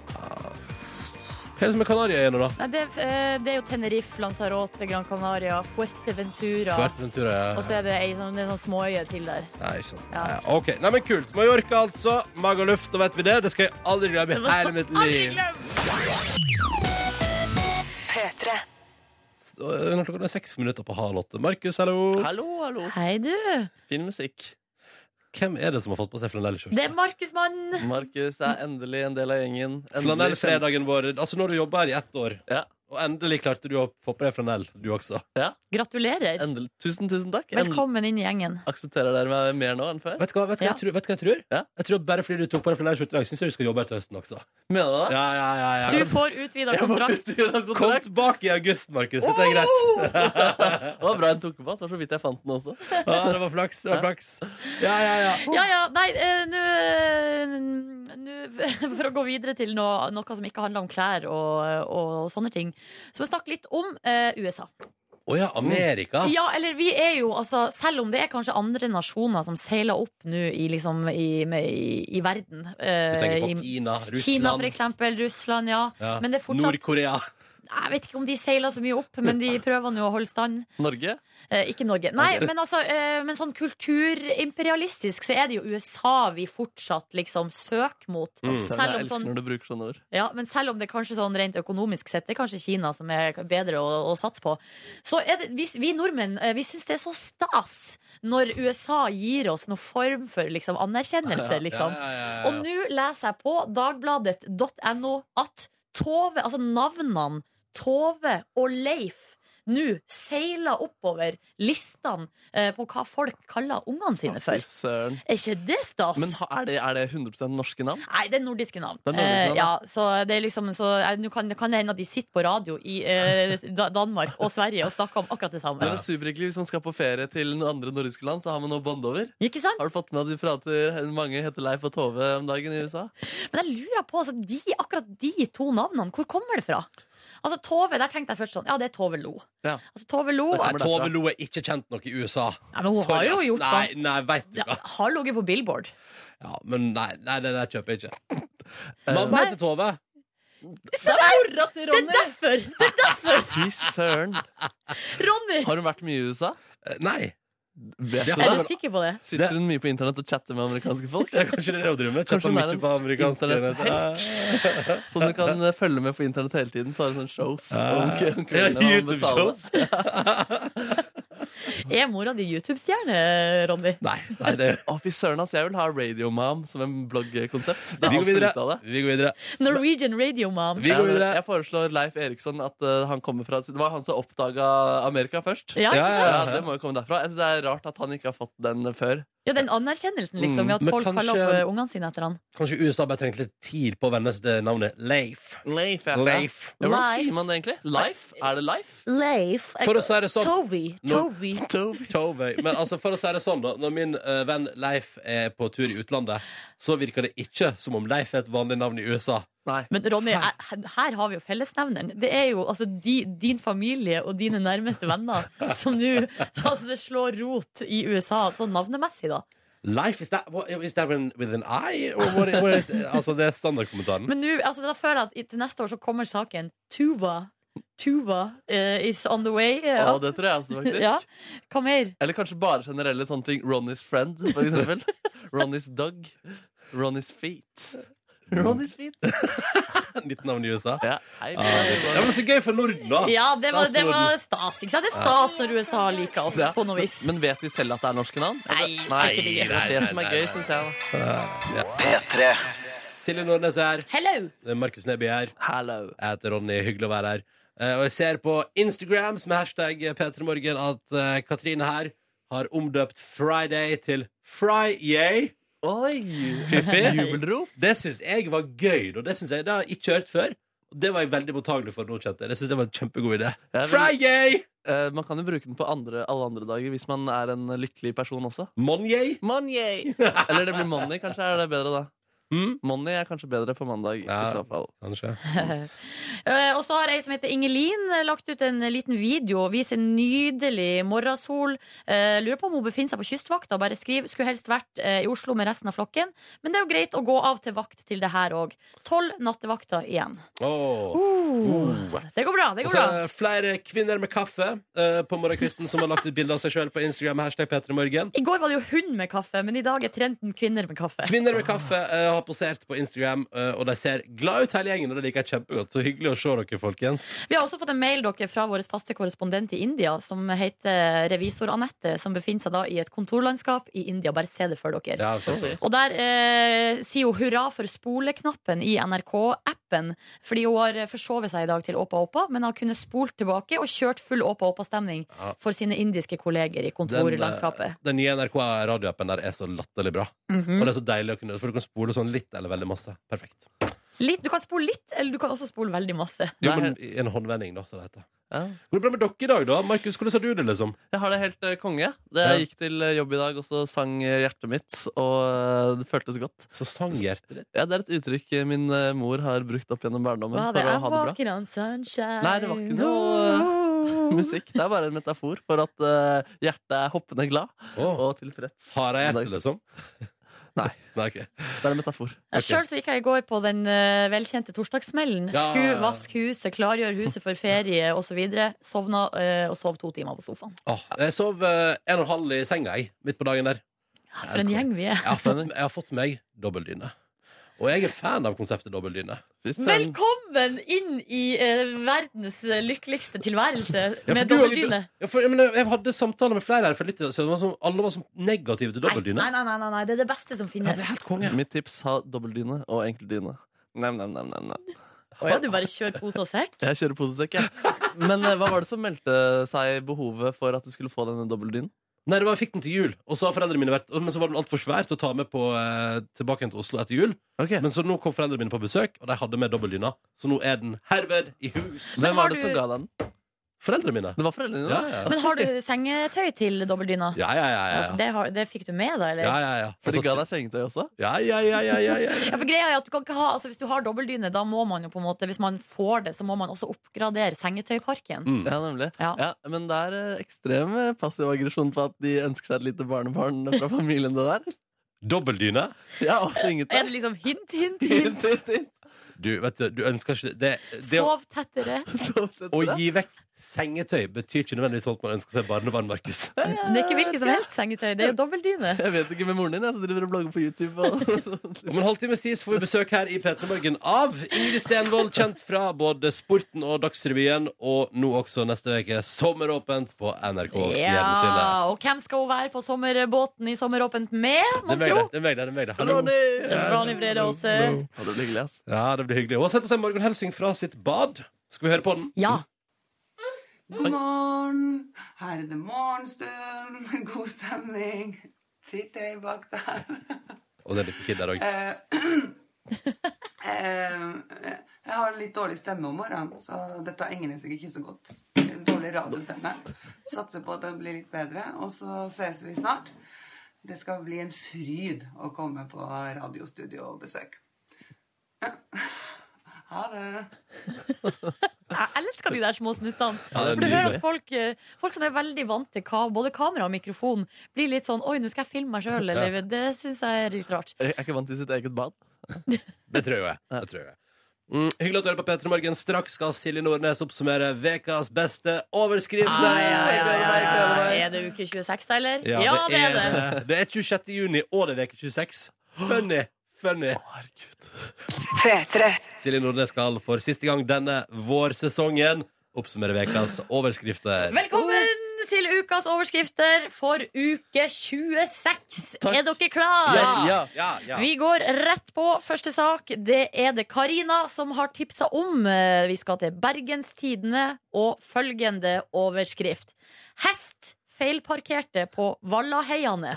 S2: Hva er det som er Kanariøyene, da?
S4: Nei, det, er, eh, det er jo Tenerife, Lanzarote, Gran Canaria, Fuerteventura.
S2: Fuerteventura.
S4: Og så er det ei sånn, det er noen småøyer til der.
S2: Nei, ikke sant.
S4: Ja.
S2: Nei, OK. Nei, men kult. Mallorca, altså. Magaluf, da vet vi det. Det skal jeg aldri glemme i hele mitt liv. Og eh, Når klokka er seks minutter på halv åtte. Markus, hallo.
S3: Hallo, hallo.
S4: Hei, du.
S3: Fin musikk.
S2: Hvem er det som har fått på seg flanellskjorte?
S4: Det er Markusmann!
S3: Markus er endelig en del av gjengen. Endelig kjent-
S2: Flanellfredagen vår. Altså, nå har du jobba her i ett år,
S3: Ja.
S2: og endelig klarte du å få på deg flanell, du også.
S4: Gratulerer.
S3: Endelig. Tusen, tusen takk. Endelig
S4: Velkommen inn i gjengen.
S3: aksepterer dere meg mer nå enn før.
S2: Vet du hva, vet du hva,
S4: Ja.
S2: jeg, tror, vet du hva jeg tror?
S3: Ja.
S2: Jeg tror bare fordi du tok på deg flanellskjorte i dag, syns jeg du skal jobbe her til høsten også.
S3: Mener du det?
S2: Ja, ja, ja, ja.
S4: Du får utvida
S3: Jeg må
S4: kontrakt.
S3: utvide den
S2: Kom
S3: kontrakt.
S2: tilbake i august, Markus. Dette er greit.
S3: Det var bra hun tok den på. Det var så vidt jeg fant den også.
S2: Ja, det var flaks. det var flaks Ja, ja, ja.
S4: Ja, ja. Nei, eh, nå eh, nå- For å gå videre til noe, noe som ikke handler om klær og, og sånne ting, så må jeg snakke litt om eh, USA.
S2: Å ja, Amerika.
S4: Ja, eller vi er jo altså Selv om det er kanskje andre nasjoner som seiler opp nå i, liksom, i, med, i, i verden eh,
S2: Du tenker på
S4: i-
S2: Kina,
S4: Kina,
S2: Russland,
S4: for eksempel. Russland, ja.
S2: ja.
S4: Men det er fortsatt
S2: Nord-Korea.
S4: Jeg vet ikke om de seiler så mye opp, men de prøver nå å holde stand.
S3: Norge.
S4: Eh, ikke Norge. Nei, men, altså, eh, men sånn kulturimperialistisk så er det jo USA vi fortsatt liksom søker mot.
S2: Mm.
S3: jeg
S4: Selv om
S3: elsker
S4: sånn,
S3: når du bruker sånne ord.
S4: ja, men selv om det kanskje sånn rent økonomisk sett det er kanskje Kina som er bedre å, å satse på, så er det, vi, vi nordmenn eh, vi syns det er så stas når USA gir oss noen form for liksom, anerkjennelse, liksom.
S2: Ja, ja, ja, ja.
S4: Og nå leser jeg på dagbladet.no at Tove, altså navnene Tove og Leif nå seiler oppover listene eh, på hva folk kaller ungene sine
S3: Fy
S4: for.
S3: søren.
S4: Er ikke det stas?
S3: Men ha- er det, er det 100 norske navn?
S4: Nei, det er nordiske navn.
S3: Det er nordiske navn,
S4: eh, ja, så det er liksom så, eh, nå kan, kan det hende at de sitter på radio i eh, Da- Danmark og Sverige og snakker om akkurat det samme.
S3: Det er jo superhyggelig Hvis man skal på ferie til noen andre nordiske land, så har man noe å bonde over.
S4: Ikke sant?
S3: Har du fått med at de prater mange heter Leif og Tove om dagen i USA?
S4: Men jeg lurer på altså, de, akkurat de to navnene. Hvor kommer det fra? Altså Tove, Der tenkte jeg først sånn Ja, det er Tove Lo.
S3: Ja.
S4: Altså, Tove Lo
S3: Det
S4: er
S3: kommer derfra.
S2: Tove Lo er ikke kjent nok i USA.
S4: Nei, men hun
S2: Sorry,
S4: har jo
S2: ass.
S4: gjort det.
S2: Nei, nei, vet du
S4: Ja,
S2: hva.
S4: har ligget på Billboard.
S2: Ja, men nei, nei, nei, nei kjøper jeg ikke.
S4: Eh,
S2: Mamma heter Tove.
S4: Så det, Sånn er, det er derfor! Det er
S3: Fy søren.
S4: derfor, Ronny!
S3: Har hun vært mye i USA?
S2: Eh, Nei.
S3: Vet
S2: Ja.
S3: du
S4: Er
S3: det?
S4: du sikker på det?
S3: Sitter hun mye på internett og chatter med amerikanske folk?
S2: Ja, kanskje det er det hun driver med? Kjøper
S3: Kanskje hun er
S2: mye
S3: en
S2: på amerikanske
S3: internett-
S2: netter. Ja,
S3: Så du kan eh, følge med på internett hele tiden. Så har hun sånne shows. om
S2: Ja.
S3: om kvinnene,
S2: Ah. Ja,
S3: og om betaler.
S2: YouTube-shows.
S4: Er mora di YouTube-stjerne, Ronny?
S2: Nei, nei, det
S3: Å, fy søren, ass. Jeg vil ha Radio Mom som en bloggkonsept. Det er
S2: Vi går
S3: alt for
S2: videre.
S3: lite av det.
S2: Vi går videre.
S4: Norwegian Radio Moms.
S2: Vi
S3: Ja,
S2: går
S3: men
S2: videre.
S3: Jeg foreslår Leif Eriksson at eh, han kommer fra Det var han som oppdaga Amerika først.
S4: Ja, ikke sant?
S3: Ja, det må jo komme derfra. Jeg synes det er rart at han ikke har fått den før.
S4: Ja, den anerkjennelsen, liksom,
S3: Mm,
S4: ved at
S2: men
S4: folk
S2: kanskje-
S4: kaller opp eh, ungene sine etter han.
S2: Kanskje USA bare trengte litt tid på å venne seg til navnet Leif.
S3: Leif,
S2: Leif.
S3: Ja, hvordan
S4: Leif.
S3: sier man det egentlig? Life? Er det life?
S4: Leif
S2: For å si det sånn
S4: Tovi. Tovi.
S2: Tove. Men altså, for å si det sånn, da. Når min eh, venn Leif er på tur i utlandet, så virker det ikke som om Leif er et vanlig navn i USA.
S3: Nei.
S4: Men Ronny, jeg- her har vi jo fellesnevneren. Det er jo altså di, din familie og dine nærmeste venner som nå altså, Det slår rot i USA, sånn navnemessig, da.
S2: Leif, is that, what, is that an- with an I? Or what, what is, altså, det er standardkommentaren.
S4: Men nå, altså, da føler jeg at i- til neste år så kommer saken Tuva. Tuva eh, is on the way. eh,
S3: Å,
S4: opp.
S3: det tror jeg også, faktisk.
S4: ja. Hva mer?
S3: Eller kanskje bare generelle sånne ting. Ronny's friend, for eksempel. Ronny's dog. Ronny's feet. Ronny's feet.
S2: Nytt navn i USA.
S3: Ja, hei,
S4: Ah,
S2: Ja, det var så gøy for Norden, da!
S4: Ja, det var, det
S2: Statsråden.
S4: var stas. Ikke sant? Det er stas når USA liker oss
S3: Ja.
S4: på noe vis.
S3: Men vet de selv at det er norske navn?
S4: Nei, sikkert
S3: det
S4: ikke.
S3: er det som er gøy, syns jeg. da
S2: Silje Nordnes er her.
S4: Hello!
S2: Det er Markus Neby her.
S3: Hello.
S2: Jeg heter Ronny. Hyggelig å være her. Eh, og jeg ser på Instagram som er hashtag P3morgen at eh, Katrine her har omdøpt Friday til Fry-yay.
S3: Oi!
S2: Fiffi.
S3: Jubelrop.
S2: Det syns jeg var gøy. Og det synes jeg, det har jeg ikke hørt før. Og det var jeg veldig mottagelig for. nå, kjente jeg. Det synes jeg var en kjempegod idé.
S3: Ja, men-
S2: Fry-yay!
S3: Eh, man kan jo bruke den på andre, alle andre dager hvis man er en lykkelig person også.
S2: Mon-yay.
S3: Money! Eller det blir money, kanskje er det bedre da.
S2: Mm.
S3: Money er kanskje bedre på mandag.
S2: Ja.
S3: I så fall.
S2: Kanskje.
S4: Eh, Og så har ei som heter Ingelin eh, lagt ut en liten video og viser en nydelig morgensol. Eh, Lurer på om hun befinner seg på kystvakta og bare skriver skulle helst vært eh, i Oslo med resten av flokken. Men det er jo greit å gå av til vakt til det her òg. Tolv nattevakter igjen.
S2: Åh.
S3: Uh,
S4: Det går bra. det
S2: Og
S4: går
S2: så
S4: bra
S2: er det flere kvinner med kaffe eh, på morgenkvisten som har lagt ut bilde av seg sjøl på Instagram. med Hashtag P3morgen.
S4: I går var det jo hund med kaffe, men i dag er trenden kvinner med kaffe.
S2: Kvinner med kaffe eh, har har posert på Instagram, eh, og de ser glad ut hele gjengen. Og det liker jeg kjempegodt. Så hyggelig å se dere, folkens.
S4: Vi har også fått en mail dere fra vår faste korrespondent i India, som heter revisor Anette, som befinner seg da i et kontorlandskap i India. Bare se det for dere.
S2: Ja, så-
S4: Og der eh, sier hun hurra for spoleknappen i NRK-appen. Fordi hun har eh, forsovet seg i dag til Åpa Åpa, men har kunnet spolt tilbake og kjørt full Åpa Åpa-stemning
S2: Ja.
S4: for sine indiske kolleger i
S2: Den, eh,
S4: kontorlandskapet.
S2: den nye NRK-radioappen der er så latterlig bra.
S4: Mhm.
S2: Og det er så deilig å kunne For du kan spole sånn litt eller veldig masse. Perfekt.
S4: litt, du kan spole litt, eller du kan også spole veldig masse.
S2: Jo,
S3: Nei.
S2: men i en håndvending, da, så det heter.
S3: Ja.
S2: Går det bra med dere i dag, da? Markus, hvordan har du det, liksom?
S3: Jeg har det helt eh, konge. Det
S2: Ja.
S3: jeg gikk til eh, jobb i dag, og så sang eh, hjertet mitt, og eh, det føltes godt.
S2: Så sanghjertet ditt.
S3: Ja, Det er et uttrykk eh, min eh, mor har brukt opp gjennom barndommen
S4: Hva er det?
S3: for å
S4: I'm
S3: ha det bra.
S4: walking on sunshine.
S3: Nei, det var ikke noe- eh, Musikk det er bare en metafor for at eh, hjertet er hoppende glad
S2: Oh.
S3: og tilfreds.
S2: Har jeg hjertet, liksom?
S3: Nei.
S2: Nei, ok.
S3: Det er en metafor.
S2: Ok.
S4: Sjøl gikk jeg i går på den eh, velkjente torsdagssmellen.
S2: Ja.
S4: Sku, vask huset, klargjør huset for ferie osv. Sovna eh, og sov to timer på sofaen.
S2: Åh, jeg sov eh, en og en halv i senga, jeg, midt på dagen der.
S4: Ja, For en gjeng vi er.
S2: Jeg har fått, jeg har fått meg dobbeldyne. Og jeg er fan av konseptet dobbeldyne.
S3: Fy søren.
S4: Velkommen inn i eh, verdens lykkeligste tilværelse
S2: Ja, for
S4: med
S2: du har jo-
S4: dobbeltdyne.
S2: Ja, for, jeg, mener, jeg hadde samtaler med flere her for litt siden, så det var sånn- alle var sånn negative til
S4: Nei,
S2: dobbeldyne.
S4: nei, nei, nei, nei, det er det beste
S2: Ja,
S4: som finnes.
S2: det er helt konge.
S3: Mitt tips ha dobbeltdyne og enkeltdyne. Nem, nem, nem, nem, nem.
S4: Å ja, du bare kjører pose og sekk?
S3: Jeg kjører posesekk, jeg. Men eh, hva var det som meldte seg behovet for at du skulle få denne dobbeltdynen?
S2: Nei, det var Jeg fikk den til jul, og så har foreldrene mine vært og- Men så var den altfor svær til å ta med på, eh, tilbake igjen til Oslo etter jul.
S3: Okay.
S2: Men så nå kom foreldrene mine på besøk, og de hadde med dobbeldyna. Så nå er den herved i hus.
S3: Hvem
S4: har
S3: var det
S4: du-
S3: som ga deg den?
S2: Foreldrene mine.
S3: Det var foreldrene dine?
S2: Ja, ja, ja.
S4: Men har du sengetøy til dobbeltdyna?
S2: Ja, ja, ja.
S4: Ja,
S2: ja,
S4: for
S2: ja.
S4: det, har, det fikk du med, da? eller?
S2: ja, ja, ja.
S3: For de ga deg sengetøy også?
S2: Ja, ja, ja, ja, ja, ja.
S4: Ja, for greia er at du kan ikke ha, altså Hvis du har dobbeltdyne, da må man jo på en måte Hvis man får det, så må man også oppgradere sengetøyparken.
S2: Mm.
S3: Ja, nemlig.
S4: Ja.
S3: Ja, men det er eh, ekstrem eh, passiv aggresjon på at de ønsker seg et lite barnebarn fra familien. det der
S2: Dobbeldyne?
S3: Ja, også inget
S4: Er det liksom hint, hint,
S3: Hint,
S4: hint?
S3: hint, hint.
S2: Du, vet du, du ønsker ikke det Det, det å,
S4: Sov tettere.
S3: Så tett
S2: å
S3: det.
S2: gi vekk sengetøy betyr ikke nødvendigvis at man ønsker seg barnebarn, Markus.
S4: Det er ikke hvilket som helst sengetøy, det er jo dobbeltdyne.
S3: Jeg vet ikke med moren din, jeg som driver og blogger på YouTube. Og
S2: Om en halvtime stis får vi besøk her i P3 Morgen av Ingrid Stenvold, kjent fra både Sporten og Dagsrevyen, og nå også neste uke Sommeråpent på NRK. Fjernsynet.
S4: Ja, Og hvem skal hun være på sommerbåten i Sommeråpent med,
S2: Det
S4: mon
S2: er meg,
S4: tro?
S2: det. Det er meg, det. det er meg, det. Hallo.
S3: Ronny!
S4: Ronny Brede Aase.
S3: Ja, det blir hyggelig, ass.
S2: Ja, det blir hyggelig. Og sett oss en Morgan Helsing fra sitt bad. Skal vi høre på den?
S4: Ja.
S6: God morgen. Her er det morgenstund. God stemning. Sitter jeg bak der.
S2: Og det er litt kid der òg.
S6: Eh, eh, jeg har litt dårlig stemme om morgenen, så dette egner seg ikke så godt. Dårlig radiostemme. Satser på at den blir litt bedre, og så ses vi snart. Det skal bli en fryd å komme på radiostudio og besøk. Ha det.
S4: Jeg elsker de der små snuttene.
S2: Ja, det er
S4: For du hører
S2: nydelig.
S4: at folk, eh, folk som er veldig vant til ka både kamera og mikrofon, blir litt sånn Oi, nå skal jeg filme meg sjøl. Eller det syns jeg er litt rart.
S3: Jeg er ikke vant til sitt eget bad.
S2: Det tror jeg. Det tror jeg. Mm, hyggelig at du hører på P3 Morgen. Straks skal Silje Nordnes oppsummere ukas beste overskrifter.
S4: Ja, ja, ja, ja, ja. Er det uke 26, da, eller? Ja, det er det.
S2: Det er 26. juni, og det er veke 26. Funny. Funny. Silje Nordnes skal for siste gang denne vårsesongen oppsummere ukas overskrifter.
S4: Velkommen til ukas overskrifter for uke 26.
S3: Takk.
S4: Er dere klare?
S3: Ja.
S2: ja, ja.
S4: Vi går rett på første sak. Det er det Karina som har tipsa om. Eh, Vi skal til Bergenstidene og følgende overskrift. Hest feilparkerte på Vallaheiane.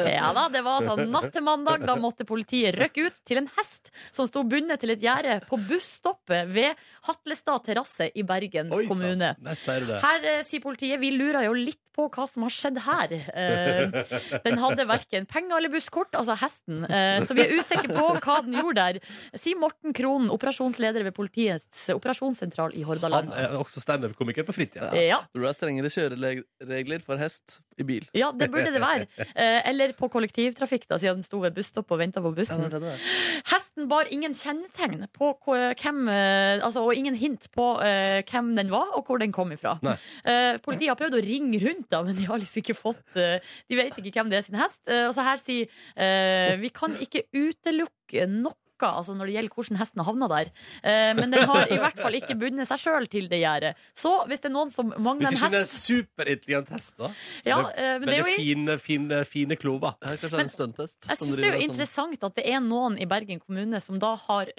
S4: Ja da, det var sånn natt til mandag. Da måtte politiet røkke ut til en hest som sto bundet til et gjerde på busstoppet ved Hatlestad terrasse i Bergen
S2: Oi, sann.
S4: kommune.
S2: Nei, sier du det.
S4: Her eh, sier politiet vi lurer jo litt på hva som har skjedd her. Eh, den hadde verken penger eller busskort, altså hesten. Eh, så vi er usikre på hva den gjorde der. Sier Morten Krohn, operasjonsleder ved politiets operasjonssentral i
S2: Han
S4: Hordaland.
S2: er også standup-komiker på fritida.
S4: Ja,
S3: Tror du det er strengere kjørele- regler for hest i bil.
S4: Ja, det burde det være. Eh, Eller på kollektivtrafikk, da, siden den sto ved busstopp og venta på bussen. Hesten bar ingen kjennetegn på hva- hvem, eh, altså, og ingen hint på eh, hvem den var, og hvor den kom ifra.
S2: Nei.
S4: Eh, politiet har prøvd å ringe rundt, da, men de har liksom ikke fått eh, De vet ikke hvem det er sin hest. Eh, og så her sier eh, Vi kan ikke utelukke noe. Altså når det gjelder hvordan hesten har havna der. Eh, men den har i hvert fall ikke bundet seg sjøl til det gjerdet. Så hvis det er noen som mangler
S2: Hvis
S4: en
S2: ikke det er en
S4: hest
S2: superintelligent hest, da.
S4: ja,
S2: det
S4: eh, men det er jo
S2: Veldig fine, fine, fine klover.
S3: Ja, kanskje det er
S4: Men-
S3: en stunttest.
S4: Jeg
S3: som
S4: syns det er
S3: driver
S4: jo
S3: sånn-
S4: interessant at det er noen i Bergen kommune som da har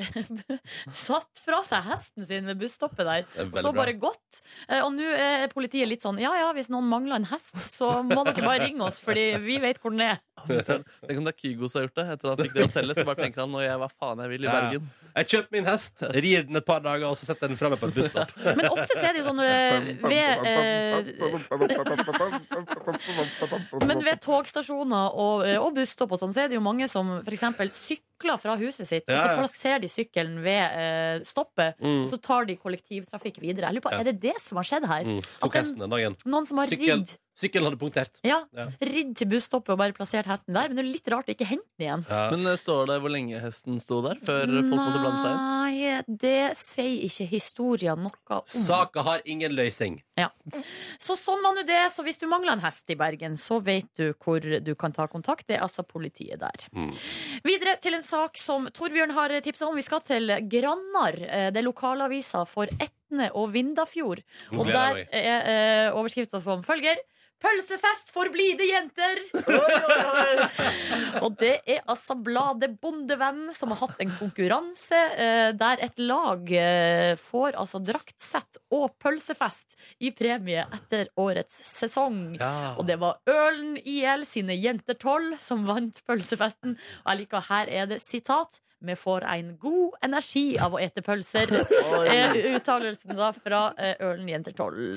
S4: satt fra seg hesten sin ved busstoppet der,
S2: Det er
S4: og så
S2: veldig bra.
S4: bare gått. Eh, Og nå er politiet litt sånn ja ja, hvis noen mangler en hest, så må dere bare ringe oss, fordi vi vet hvor den er.
S3: Å, fy søren. Tenk om det er Kygo som har gjort det. Etter at han fikk det hotellet, så bare tenker han nå gjør jeg hva faen jeg vil i
S2: Ja.
S3: Bergen.
S2: Jeg kjøper min hest, rir den et par dager, og så setter jeg den fra meg på et busstopp.
S4: Men ofte så er det jo sånn når det ved, eh, Men ved togstasjoner og, eh, og busstopp og sånn, så er det jo mange som f.eks. sykler fra huset sitt, og
S2: Ja,
S4: så
S2: ja.
S4: plasserer de sykkelen ved eh, stoppet, og så tar de kollektivtrafikk videre. Jeg lurer på,
S2: Mm. Ja.
S4: Er det det som har skjedd her?
S2: Mm,
S4: At
S2: tok
S4: den-
S2: hesten den dagen.
S4: Noen som har
S2: Sykkel.
S4: ridd
S2: Sykkelen hadde punktert.
S4: Ja,
S2: Ja.
S4: ridd til busstoppet og bare plassert hesten der. Men det er jo litt rart å ikke hente den igjen.
S2: Ja.
S3: Men eh, står det hvor lenge hesten sto der før folk måtte blande seg inn?
S4: Nei, det sier ikke historien noe om.
S2: Saka har ingen løsning.
S4: Så sånn var nå det. Så hvis du mangler en hest i Bergen, så vet du hvor du kan ta kontakt. Det er altså politiet der.
S2: Mm.
S4: Videre til en sak som Torbjørn har tipsa om. Vi skal til Grannar. eh, Det er lokalavisa for Etne og Vindafjord.
S2: Nå
S4: Og
S2: gleder
S4: der
S2: jeg meg.
S4: er eh, overskrifta som følger. Pølsefest for blide jenter! og det er altså bladet Bondevenn som har hatt en konkurranse eh, der et lag eh, får altså draktsett og pølsefest i premie etter årets sesong.
S3: Ja.
S4: Og det var Ølen IL sine Jenter 12 som vant pølsefesten. Og jeg liker her er det sitat. Vi får en god energi av å ete pølser. Eh, Uttalelsen da fra eh, Ølen Jenter 12.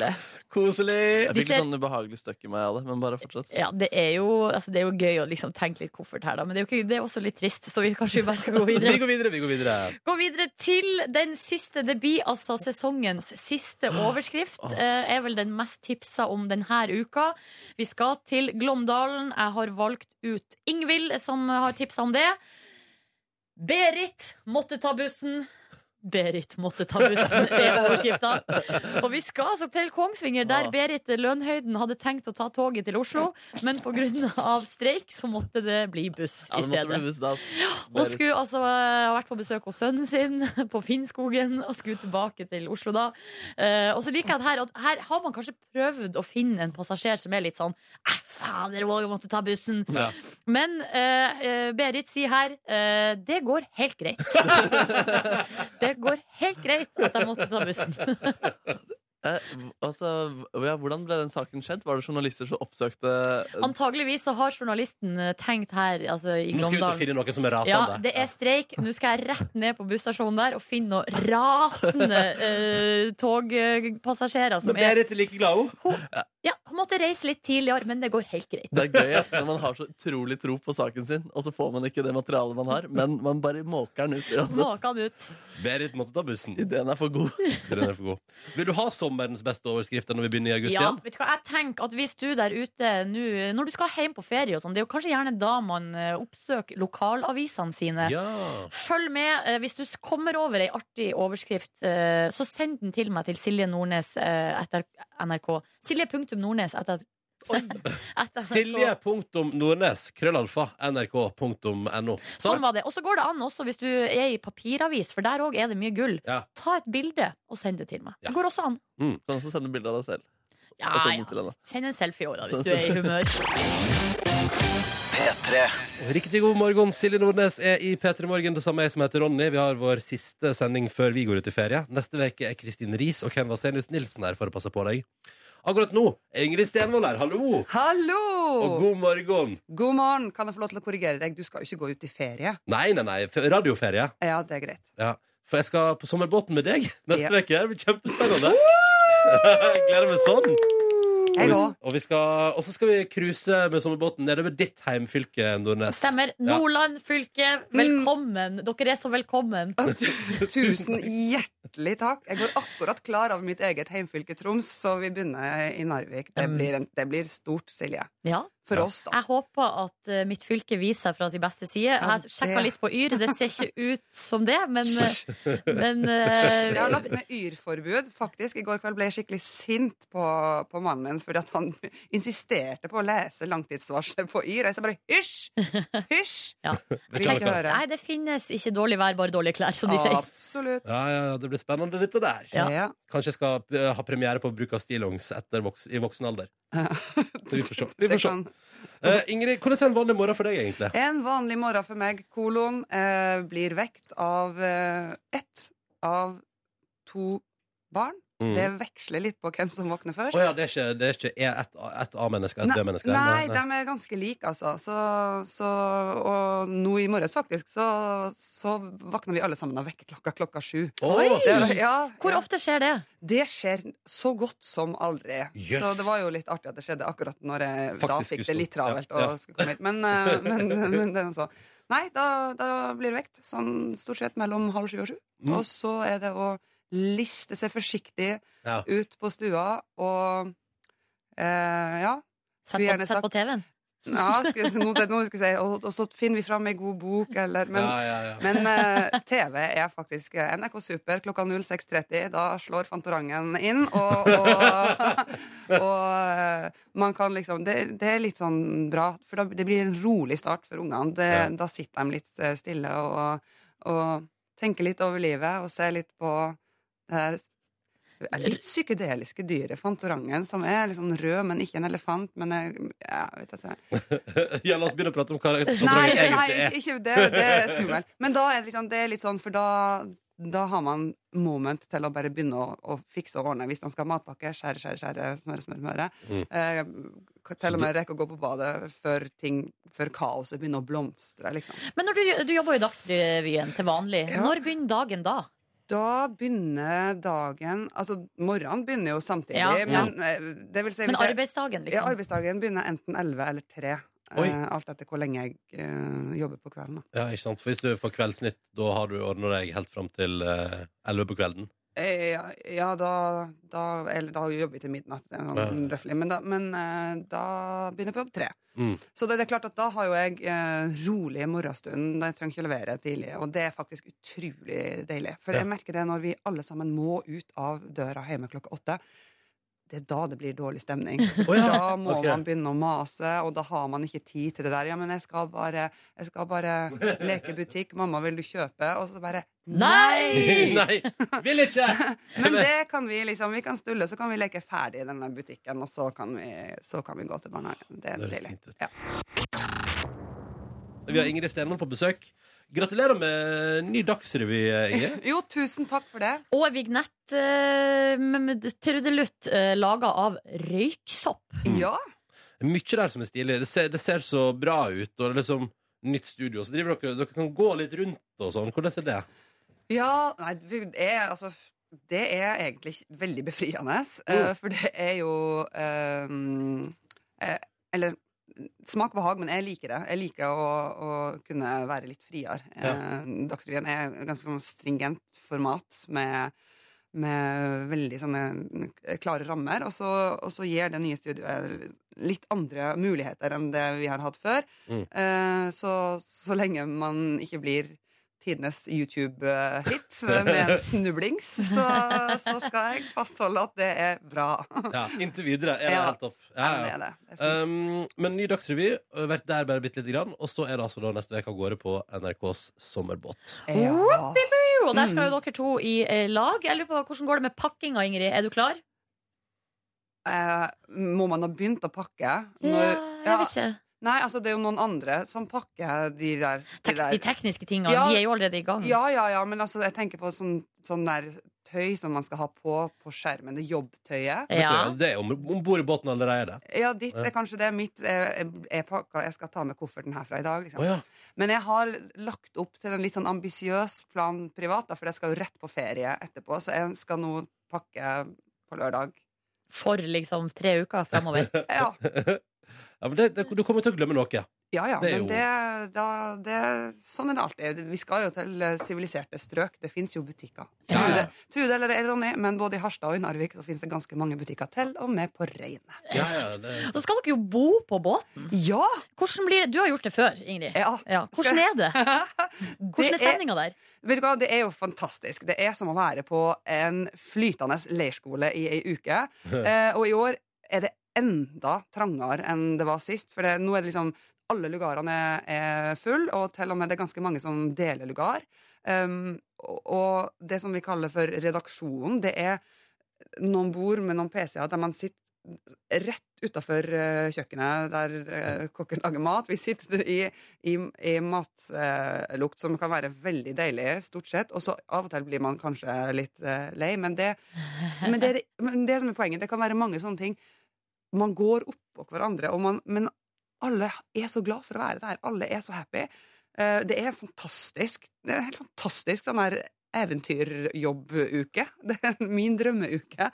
S2: Koselig.
S3: Jeg
S4: Vi
S3: fikk litt
S4: ser-
S3: sånn ubehagelig støkk i meg av det, men bare fortsett.
S4: Ja, det er jo, altså, det er jo gøy å liksom tenke litt koffert her, da. Men det er jo ikke, det er også litt trist, så vi kanskje vi bare skal gå videre.
S2: Vi går videre, vi går videre.
S4: Gå videre til den siste. Det blir altså sesongens siste overskrift.
S3: Ah.
S4: Eh, er vel den mest tipsa om denne uka. Vi skal til Glåmdalen. Jeg har valgt ut Ingvild, som har tipsa om det. Berit måtte ta bussen. Berit måtte ta bussen, er overskrifta. Og vi skal altså til Kongsvinger, der
S3: Ah.
S4: Berit Lønhøyden hadde tenkt å ta toget til Oslo, men pga. streik så måtte det bli buss
S3: Ja,
S4: i
S3: det måtte
S4: stedet.
S3: bli buss, da, ass.
S4: Hun
S3: Berit.
S4: skulle altså eh, ha vært på besøk hos sønnen sin på Finnskogen og skulle tilbake til Oslo da. Eh, og så liker jeg at her, at her har man kanskje prøvd å finne en passasjer som er litt sånn «Eh, Fader, jeg måtte ta bussen.
S2: Ja.
S4: Men eh, eh, Berit sier her eh, det går helt greit. det går helt greit at jeg måtte ta bussen.
S3: Eh, v- altså, v- ja, hvordan ble den saken skjedd? Var det journalister som oppsøkte eh,
S4: Antageligvis så har journalisten eh, tenkt her altså, i
S2: Nå skal vi ut og
S4: Glåmdalen
S2: finne noen som er
S4: Ja,
S2: rasende.
S4: det er streik. Nå skal jeg rett ned på busstasjonen der og finne noen rasende eh, togpassasjerer som
S2: Men
S4: er
S2: Berit er like glad, hun.
S4: Ja, hun måtte reise litt tidligere, men det går helt greit.
S3: Det er gøy ass, når man har så utrolig tro på saken sin, og så får man ikke det materialet man har, men man bare måker den ut. Altså.
S4: Måka han ut.
S2: Berit måtte ta bussen.
S3: Ideen er for god.
S2: Den er for god. Vil du ha sommerens beste overskrifter når vi begynner i august
S4: Ja,
S2: igjen?
S4: vet du hva, jeg tenker at Hvis du der ute nå Når du skal hjem på ferie, og sånn, det er jo kanskje gjerne da man eh, oppsøker lokalavisene sine.
S2: Ja.
S4: Følg med. eh, Hvis du s- kommer over ei artig overskrift, eh, så send den til meg til Silje Nordnes eh, etter NRK. Silje.nordnes etter, etter
S2: Silje punktum Nordnes, krøllalfa, nrk.no.
S4: Sånn var det. Og så går det an også hvis du er i papiravis, for der òg er det mye gull.
S2: Ja.
S4: Ta et bilde og send det til meg. Det går også an.
S3: Sånn som sender bilde av deg selv.
S4: Ja,
S3: Og send den til
S4: ja.
S3: henne.
S4: Send en selfie i år, da,
S3: Send
S4: hvis du er i humør.
S2: Riktig god morgen, Silje Nordnes er i P3 Morgen. Det samme er jeg som heter Ronny. Vi har vår siste sending før vi går ut i ferie. Neste uke er Kristin Riis og Ken Vasenius Nilsen her for å passe på deg. Akkurat nå er Ingrid Stenvold her. Hallo! Og
S6: Hallo!
S2: god morgen.
S6: God morgen. Kan jeg få lov til å korrigere deg? Du skal jo ikke gå ut i ferie.
S2: Nei, nei, nei. f- Radioferie.
S6: Ja, det er greit.
S2: Ja. For jeg skal på sommerbåten med deg neste
S6: Ja.
S2: uke. Det blir kjempespennende. Gleder meg sånn. Og
S6: Jeg
S2: vi-
S6: òg.
S2: og vi skal- og så skal vi cruise med sommerbåten nedover ditt heimfylke, Nordnes.
S4: Stemmer. Nordland fylke, velkommen. Dere er så velkommen.
S6: Tusen hjertelig takk. Jeg går akkurat klar over mitt eget heimfylke Troms, så vi begynner i Narvik. Det
S4: Mm.
S6: blir, en, det blir stort, Silje.
S4: Ja.
S6: For
S2: Ja.
S6: oss, da.
S4: Jeg håper at eh, mitt fylke viser seg fra sin beste side. Jeg har
S6: det-
S4: sjekka litt på Yr, det ser ikke ut som det, men, eh, men eh,
S6: Jeg har lagt ned yr-forbud, faktisk. I går kveld ble jeg skikkelig sint på, på mannen min fordi at han insisterte på å lese langtidsvarselet på yr. Og jeg sa bare hysj! Hysj!
S2: Vet
S6: Vil jeg
S2: alle hva-
S6: ikke høre.
S4: Nei, det finnes ikke dårlig vær, bare dårlige klær,
S6: Ah.
S4: som de sier.
S6: Absolutt.
S2: Ja, ja, ja, det blir spennende, dette der.
S4: Ja.
S6: Ja.
S2: Kanskje jeg skal eh, ha premiere på bruk av stillongs etter voks, i voksen alder. Vi får se. Vi får
S6: Det
S2: se.
S6: kan.
S2: Eh, Ingrid, hvordan er en vanlig morgen for deg, egentlig?
S6: En vanlig morgen for meg, kolon, eh, blir vekt av eh, ett av to barn.
S2: Mm.
S6: Det veksler litt på hvem som våkner først.
S2: Å ja, det er ikke, det er ikke er ett et A-menneske og et
S6: Nei,
S2: B-menneske?
S6: nei, de er ganske like, altså. Så, så, og nå i morges, faktisk, så, så våkner vi alle sammen av vekkerklokka klokka sju.
S2: Oi!
S6: Det, ja,
S4: Hvor
S6: ja.
S4: ofte skjer det?
S6: det skjer så godt som aldri.
S2: Jøss.
S6: Så det var jo litt artig at det skjedde akkurat når jeg da
S2: Faktisk
S6: fikk det litt
S2: skulle stå.
S6: travelt og
S2: Ja, ja.
S6: skulle komme hit. Men, eh, men, men det er så. Nei, da, da blir det vekt. Sånn stort sett mellom halv sju og sju.
S2: Mm.
S6: Og så er det å liste seg forsiktig
S2: Ja.
S6: ut på stua og eh, ja,
S4: Sett
S6: Skulle
S4: på,
S6: gjerne
S4: sett på
S6: sagt-
S4: TV-en.
S6: ja, skulle, noe, det, noe skulle jeg si. Og, og så finner vi fram ei god bok, eller Men,
S2: ja, ja, ja.
S6: men eh, TV er faktisk eh, NRK Super klokka 06.30. Da slår Fantorangen inn, og, og, og eh, man kan liksom det, det er litt sånn bra, for da, det blir en rolig start for ungene. Det,
S2: Ja.
S6: Da sitter de litt eh, stille og, og tenker litt over livet og ser litt på det her Litt psykedeliske dyret, fantorangen, som er liksom rød, men ikke en elefant. Men jeg, ja, vet jeg, så-
S2: ja, la oss begynne å prate om hva
S6: Nei,
S2: Fantorangen egentlig
S6: nei
S2: er.
S6: ikke det. Det er skummelt. Men da er det, liksom, det er litt sånn, for da, da har man moment til å bare begynne å, å fikse og ordne hvis man skal ha matpakke. Skjære, skjære, skjære, smøre, smøre, smøre. Eh, til og med rekke å gå på badet før, ting, før kaoset begynner å blomstre, liksom.
S4: Men når du, du jobber jo i Dagsrevyen til vanlig.
S6: Ja.
S4: Når begynner dagen da?
S6: Da begynner dagen Altså, morgenen begynner jo samtidig,
S4: Ja, ja.
S6: men eh, det vil si
S4: Men
S6: hvis jeg-
S4: arbeidsdagen,
S6: ja,
S4: liksom.
S6: arbeidsdagen begynner enten 11 eller 3.
S2: Oi.
S6: eh, alt etter hvor lenge jeg eh, jobber på kvelden. Da.
S2: Ja, ikke sant? For hvis du får Kveldsnytt, da har du ordna deg helt fram til eh, 11 på kvelden.
S6: Eh, Ja, ja da, da Eller da jobber vi til midnatt, det er sånn røffelig. Men, da, men eh, da begynner jeg på jobb tre.
S2: Mm.
S6: Så det, det er klart at da har jo jeg eh, rolig morgenstund. Da jeg trenger ikke å levere tidlig. Og det er faktisk utrolig deilig. For
S2: Ja.
S6: jeg merker det når vi alle sammen må ut av døra hjemme klokka åtte. Det er da det blir dårlig stemning. Da må
S2: Ok.
S6: man begynne å mase, og da har man ikke tid til det der. Ja, men jeg skal bare, jeg skal bare leke butikk. Mamma, vil du kjøpe? Og så bare
S4: Nei!
S2: Nei! Vil ikke!
S6: men det kan vi liksom, vi kan stulle, så kan vi leke ferdig i denne butikken, og så kan vi, så kan vi gå til barnehagen. Det er
S2: Det høres
S6: deilig.
S2: fint ut.
S6: Ja.
S2: Vi har Ingrid Stenvold på besøk. Gratulerer med ny Dagsrevy, Ingrid.
S6: Jo, tusen takk for det.
S4: Og vignett eh, med- med trudelutt eh, laga av røyksopp.
S6: Ja.
S2: Mye der som er stilig. Det ser, det ser så bra ut. Og det er liksom nytt studio. Så driver dere Dere kan gå litt rundt og sånn. Hvordan er det?
S6: Ja, nei, vi- det er altså Det er egentlig ikke- veldig befriende, eh, for det er jo eh, eh, Eller smak behag, men jeg liker det. Jeg liker å, å kunne være litt friere. Eh, Dagsrevyen er et ganske sånn stringent format med med veldig sånne klare rammer, og så, og så gir det nye studioet litt andre muligheter enn det vi har hatt før.
S2: Mm.
S6: Eh, så, så lenge man ikke blir tidenes YouTube-hit med en snublings, så, så skal jeg fastholde at det er bra.
S2: Ja, Inntil videre er det
S6: Ja.
S2: helt topp. Ja,
S6: Men det
S2: ja.
S6: er det. det er fint.
S2: Um, men ny Dagsrevy. har Vært der bare bitte lite grann. Og så er det altså da neste uke av gårde på NRKs sommerbåt.
S6: ja.
S4: Jo, Og der
S6: Mm.
S4: skal jo dere to i eh, lag. Jeg lurer på Hvordan går det med pakkinga, Ingrid? Er du klar?
S6: Eh, må man ha begynt å pakke? Når,
S4: jeg
S6: ja,
S4: vet ikke.
S6: nei, altså det er jo noen andre som pakker de der. De
S4: Tek de
S6: der.
S4: tekniske tinga.
S6: Ja.
S4: de er jo allerede i gang.
S6: Ja, ja, ja, men altså jeg tenker på sånn, sånn der tøy som man skal ha på på skjermen, det jobbtøyet.
S2: Vet
S4: Ja.
S2: du, Det er om om bord i båten allerede.
S6: Ja, ditt er kanskje det, mitt er, er, er pakka, jeg skal ta med kofferten herfra i dag, liksom.
S2: Å ja.
S6: Men jeg har lagt opp til en litt sånn ambisiøs plan privat, da, for jeg skal jo rett på ferie etterpå, så jeg skal nå pakke på lørdag.
S4: for liksom tre uker framover.
S6: Ja,
S2: Ja, men det, det, du kommer til å glemme noe.
S6: ja, ja
S2: Det er
S6: men det, da, det Sånn er det alltid. Vi skal jo til eh, siviliserte strøk. Det fins jo butikker.
S2: Ja,
S6: Tro
S2: ja.
S6: det- Tro det eller ei, Ronny, men både i Harstad og i Narvik så fins det ganske mange butikker til, og med på Reinet.
S2: Ja, ja, det,
S4: Så skal dere jo bo på båten.
S6: Ja!
S4: Hvordan blir det? Du har gjort det før, Ingrid.
S6: ja.
S4: Ja. Hvordan er det?
S6: Det
S4: Hvordan er stemninga der?
S6: Vet du hva, Det er jo fantastisk. Det er som å være på en flytende leirskole i ei uke. Eh, og i år er det enda trangere enn det var sist. For det, nå er det liksom alle lugarene er full, og til og med det er ganske mange som deler lugar. Um, og, og det som vi kaller for redaksjonen, det er noen bord med noen PC-er der man sitter rett utafor kjøkkenet der eh, kokken lager mat. Vi sitter i i, i matlukt som kan være veldig deilig, stort sett. Og så av og til blir man kanskje litt eh, lei, men det, men, det, er det- men det som er poenget, det kan være mange sånne ting. Man går oppå hverandre, og man, men alle er så glad for å være der. Alle er så happy. Eh, Det er fantastisk. Det er helt fantastisk sånn her eventyrjobbuke. Det er min drømmeuke.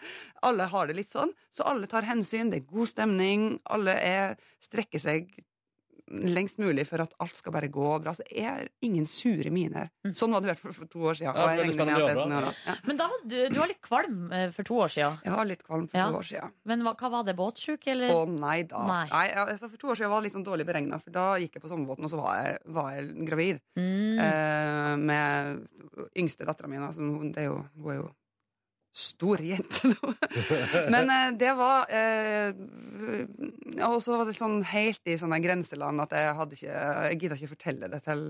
S6: Alle har det litt sånn, så alle tar hensyn. Det er god stemning. Alle er, strekker seg lengst mulig for at alt skal bare gå bra. Så det er ingen sure miner.
S4: Mm.
S6: Sånn var det i hvert fall for to år siden.
S2: Ja,
S6: og jeg
S2: veldig
S6: regner med at det
S2: spennende
S6: er sånn
S2: å
S6: nå, da. Ja.
S4: Men da var du, du var litt kvalm eh, for to år siden.
S6: Jeg var litt kvalm for
S4: Ja.
S6: to år siden.
S4: Men hva, hva var det? Båtsjuke,
S6: Å
S4: eller?
S6: nei da.
S4: Nei.
S6: ja, altså, for to år siden var jeg litt sånn dårlig beregna, for da gikk jeg på sommerbåten, og så var jeg, var jeg gravid.
S4: Mm.
S6: Eh, med yngste dattera mi. da, som hun- det er jo- Hun er jo stor jente nå. Men eh, det var eh, Og så var det sånn helt i sånne grenseland at jeg hadde ikke Jeg gidda ikke fortelle det til,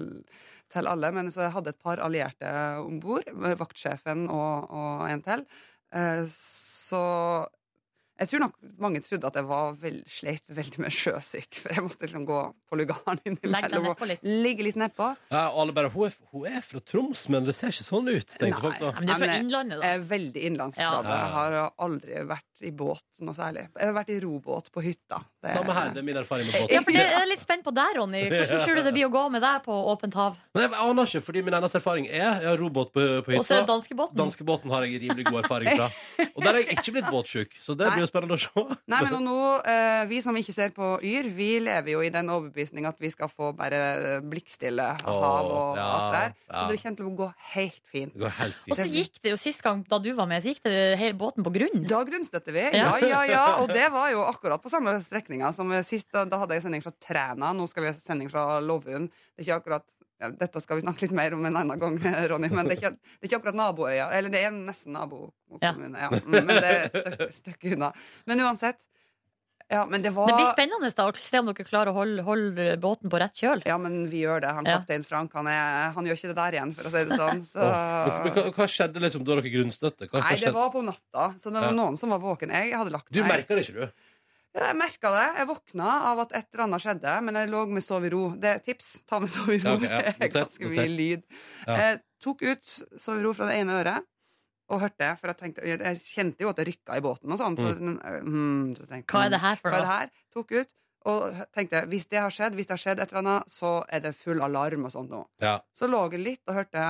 S6: til alle, men så jeg hadde et par allierte om bord, eh, vaktsjefen og, og en til. Eh, Så jeg tror nok mange trodde at jeg var vel, sleit veldig med sjøsyk, for jeg måtte liksom gå på lugaren
S4: Legg deg
S6: innimellom og
S4: nedpå litt.
S6: ligge litt nedpå.
S2: ja, og alle bare, hun er, hun er fra Troms, men det ser ikke sånn ut, tenkte
S6: Nei.
S2: folk da.
S4: Ja, Men du er fra
S6: Nei, men-
S4: Innlandet, da.
S6: Jeg er veldig
S4: Ja.
S6: innlandsgrav.
S2: Ja.
S6: Jeg har aldri vært i båt noe særlig. Jeg har vært i robåt på hytta. Det-
S2: Samme her, det er min erfaring med båt.
S4: Eh, Ja, for det er jeg litt spent på deg, Ronny. Hvordan tror du det blir å gå med deg på åpent hav?
S2: Nei, jeg aner ikke, fordi min eneste erfaring er Jeg har robåt på, på
S4: Og så er det
S2: hytta.
S4: danskebåten.
S2: Danskebåten har jeg rimelig god erfaring fra. Og der er jeg ikke blitt båtsjuk, så det blir jo spennende å se.
S6: Nei, men og nå, eh, Vi som ikke ser på Yr, vi lever jo i den overbevisning at vi skal få bare blikkstille hav og
S2: ja,
S6: alt der.
S2: ja.
S6: Så det kommer til å gå helt fint.
S2: Det går helt
S4: Og
S2: fint.
S4: så gikk det jo sist gang da du var med, så gikk det hele båten på grunn.
S6: Da grunnstøtter vi. Ja, ja, ja. Og det var jo akkurat på samme strekninga som sist. Da, da hadde jeg sending fra Træna. Nå skal vi ha sending fra Lovund. Det er ikke akkurat ja, dette skal vi snakke litt mer om en annen gang, Ronny, men det er ikke, det er ikke akkurat naboøya. Eller det er nesten nabokommune, ja. Mm, men det er et stykke, stykke unna. Men uansett. Ja, men det var
S4: Det blir spennende da, å se om dere klarer å holde, holde båten på rett kjøl.
S6: Ja, men vi gjør det. Han
S4: Ja.
S6: kaptein Frank, han, er, han gjør ikke det der igjen, for å si det sånn. Så
S2: Men hva, hva skjedde liksom da dere grunnstøtte? Hva, hva
S6: Nei, det
S2: skjedde?
S6: var på natta, så det
S2: Ja.
S6: var noen som var våken. Jeg hadde lagt
S2: Du merka det ikke, du?
S6: Ja, Jeg merka det. Jeg våkna av at et eller annet skjedde, men jeg lå med sov i ro. Det er et tips. Ta med sov i
S2: Ja,
S6: ro.
S2: ok, ja.
S6: Det er
S2: Notert,
S6: ganske mye
S2: notert.
S6: lyd.
S2: Ja.
S6: Jeg tok ut sov i ro fra det ene øret og hørte, for jeg, tenkte, jeg kjente jo at det rykka i båten og sånn. Så, mm, så tenkte,
S4: Hva er det her for
S6: hva er det
S4: noe?
S6: her? Tok ut og tenkte hvis det har skjedd, hvis det har skjedd et eller annet, så er det full alarm og sånt nå.
S2: Ja.
S6: Så lå jeg litt og hørte,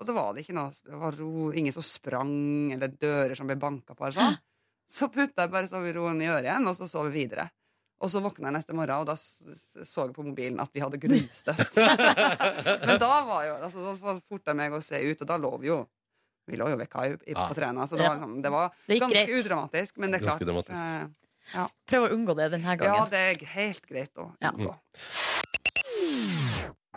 S6: og så var det ikke noe Det var ro, ingen som sprang, eller dører som ble banka på, eller sånn. Så putta jeg bare soveroen i øret igjen, og så sov jeg videre. Og så våkna jeg neste morgen, og da s- s- så jeg på mobilen at vi hadde grunnstøtt. Men da var jo altså, Da så forta jeg meg å se ut, og da lå vi jo Vi lå jo ved kai i-
S2: Ja.
S6: på Træna, så det
S4: Ja.
S6: var, liksom, det var
S4: Det gikk
S6: ganske
S4: greit.
S6: udramatisk, men det er
S2: Ganske
S6: klart
S2: dramatisk.
S6: eh,
S4: Prøv å unngå det denne
S6: Ja,
S4: gangen.
S6: det er helt greit å
S4: Ja.
S6: unngå.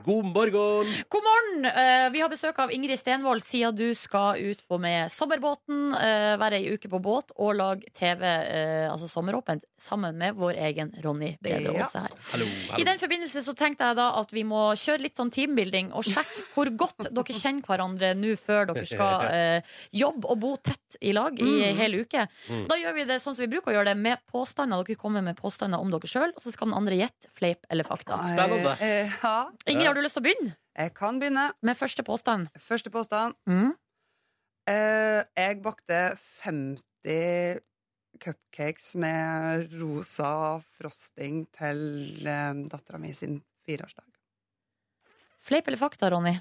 S2: God morgen!
S4: God morgen! Eh, vi har besøk av Ingrid Stenvold, siden du skal ut på med sommerbåten, eh, være ei uke på båt og lage TV, eh, altså sommeråpent, sammen med vår egen Ronny Brede
S6: Ja.
S4: Aase her.
S2: Hallo,
S4: I
S2: hallo.
S4: den forbindelse så tenkte jeg da at vi må kjøre litt sånn teambuilding og sjekke hvor godt dere kjenner hverandre nå før dere skal eh, jobbe og bo tett i lag i en hel uke.
S2: Mm.
S4: Da gjør vi det sånn som vi bruker å gjøre det, med påstander. Dere kommer med påstander om dere sjøl, og så skal den andre gjette fleip eller fakta.
S2: Spennende.
S6: Eh, eh, Ja,
S4: Ingrid, har du lyst til å begynne
S6: jeg kan begynne.
S4: med første påstand?
S6: Første påstand.
S4: Mm.
S6: Eh, jeg bakte 50 cupcakes med rosa frosting til eh, dattera mi sin fireårsdag.
S4: Fleip eller fakta, Ronny?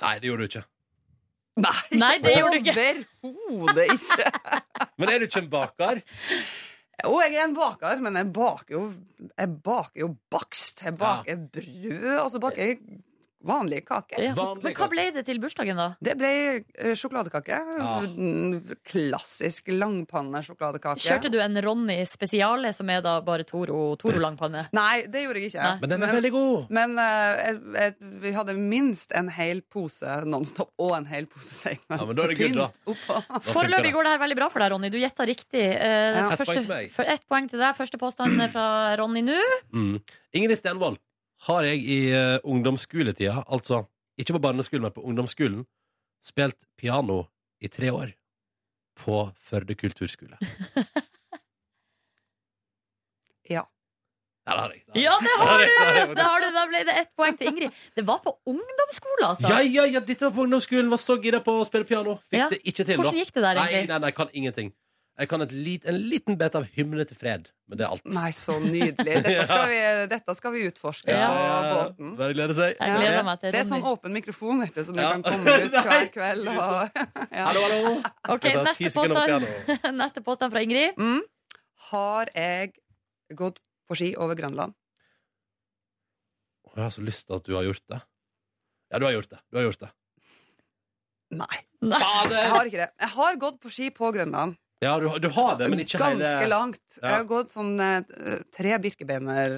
S2: Nei, det gjorde du ikke.
S6: Nei,
S4: Nei, det gjorde du ikke.
S6: Overhodet ikke.
S2: Men er du ikke en baker?
S6: Jo, jeg er en baker, men jeg baker jo, jeg baker jo bakst. Jeg baker brød, og så baker jeg vanlige kaker.
S4: Ja.
S2: Vanlig
S4: Men hva
S2: kake.
S4: ble det til bursdagen, da?
S6: Det ble eh, sjokoladekake.
S2: Ja.
S6: Mm, Klassisk langpannesjokoladekake.
S4: Kjørte du en Ronny spesiale, som er da bare Toro, Toro langpanne?
S6: Nei, det gjorde jeg ikke.
S4: Nei.
S2: Men den er veldig god.
S6: men, eh, jeg, jeg, vi hadde minst en hel pose Nonstop og en hel pose
S2: Ja,
S6: segment.
S2: men da er det good, da.
S6: Oppå.
S2: Da funker
S4: Foreløpig
S2: det.
S4: går det her veldig bra for deg, Ronny. Du gjetta riktig. Eh,
S6: Ja.
S2: Ett
S4: første-
S2: poeng til meg.
S4: for- Ett poeng til deg. Første påstand er fra Ronny nå.
S2: Mm. Ingrid Stenvold har jeg i eh, ungdomsskoletida, altså ikke på barneskolen, men på ungdomsskolen, spilt piano i tre år på Førde kulturskole.
S6: Ja.
S2: Ja, det har jeg. Det har jeg.
S4: Ja, det har
S2: Ja, det har
S4: du!
S2: jeg.
S4: Det har du. Da ble det ett poeng til Ingrid. Det var på ungdomsskolen, altså.
S2: Ja, ja, ja, dette var på ungdomsskolen. Var så gira på å spille piano. Fikk
S4: Ja.
S2: det ikke til, da.
S4: Hvordan gikk det der,
S2: Nei,
S4: egentlig?
S2: nei, nei, jeg kan ingenting. Jeg kan et lit, en liten bit av Hymne til fred, men det er alt.
S6: Nei, så nydelig. Dette skal vi, dette skal vi utforske på båten.
S2: Bare glede seg.
S4: Jeg gleder meg til
S6: Det er sånn
S4: Ronny.
S6: åpen mikrofon, vet du, så du
S2: Ja.
S6: kan komme ut hver
S2: Nei.
S6: kveld. Og, ja.
S2: Hallo, hallo.
S4: Ok,
S2: Jeg tar ti
S4: neste
S2: sekunder om
S4: påstand.
S2: piano.
S4: Neste påstand fra Ingrid.
S6: mm. Har jeg gått på ski over Grønland?
S2: Jeg har så lyst til at du har gjort det. Ja, du har gjort det. Du har gjort det.
S6: Nei.
S4: Nei.
S6: Jeg
S2: Fader!
S6: har ikke det. Jeg har gått på ski på Grønland.
S2: Ja, du, har- du har det, men ikke
S6: Ganske
S2: hele
S6: langt.
S2: Ja.
S6: Jeg har gått sånn eh, tre birkebeiner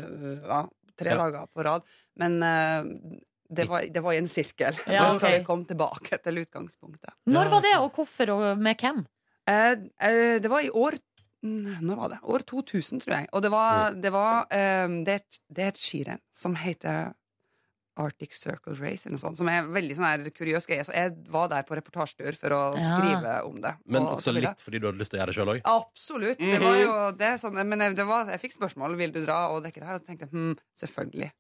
S6: ja, tre
S2: Ja.
S6: dager på rad. Men eh, det, var, det var i en sirkel.
S4: Ja,
S6: Så
S4: ok.
S6: jeg kom tilbake til utgangspunktet.
S4: Når var det, og hvorfor, og med hvem?
S6: Eh, eh, det var i år mm, Når var det? År 2000, tror jeg. Og det var,
S2: Mm.
S6: det, var eh, det, er et, det er et skirenn som heter Arctic Circle Race, eller noe sånt, som er en veldig sånn her kuriøs greie. Så jeg var der på reportasjetur for å
S4: Ja.
S6: skrive om det.
S2: Men
S6: og
S2: også
S6: ta bilder.
S2: litt fordi du hadde lyst til å gjøre det sjøl òg.
S6: Absolutt. Det var jo det er sånn, men jeg, det var, jeg fikk spørsmål vil du dra og dekke det her, og så tenkte jeg hm, selvfølgelig.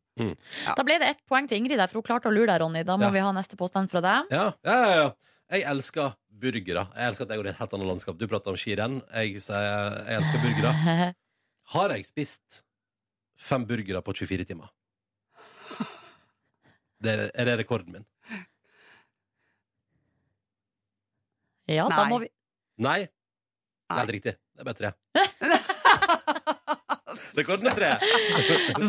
S4: Da ble det ett poeng til Ingrid, der, for hun klarte å lure deg, Ronny. Da må
S2: Ja.
S4: vi ha neste påstand fra deg.
S2: Ja, ja, ja, ja. Jeg elsker burgere. Jeg elsker at jeg går i et helt annet landskap. Du prater om skirenn. Jeg, sier jeg elsker burgere. Har jeg spist fem burgere på 24 timer? Det er, er det rekorden min?
S4: Ja, da
S6: Nei.
S4: må vi
S2: Nei. Det er helt riktig. Det er bare tre. Rekorden er tre.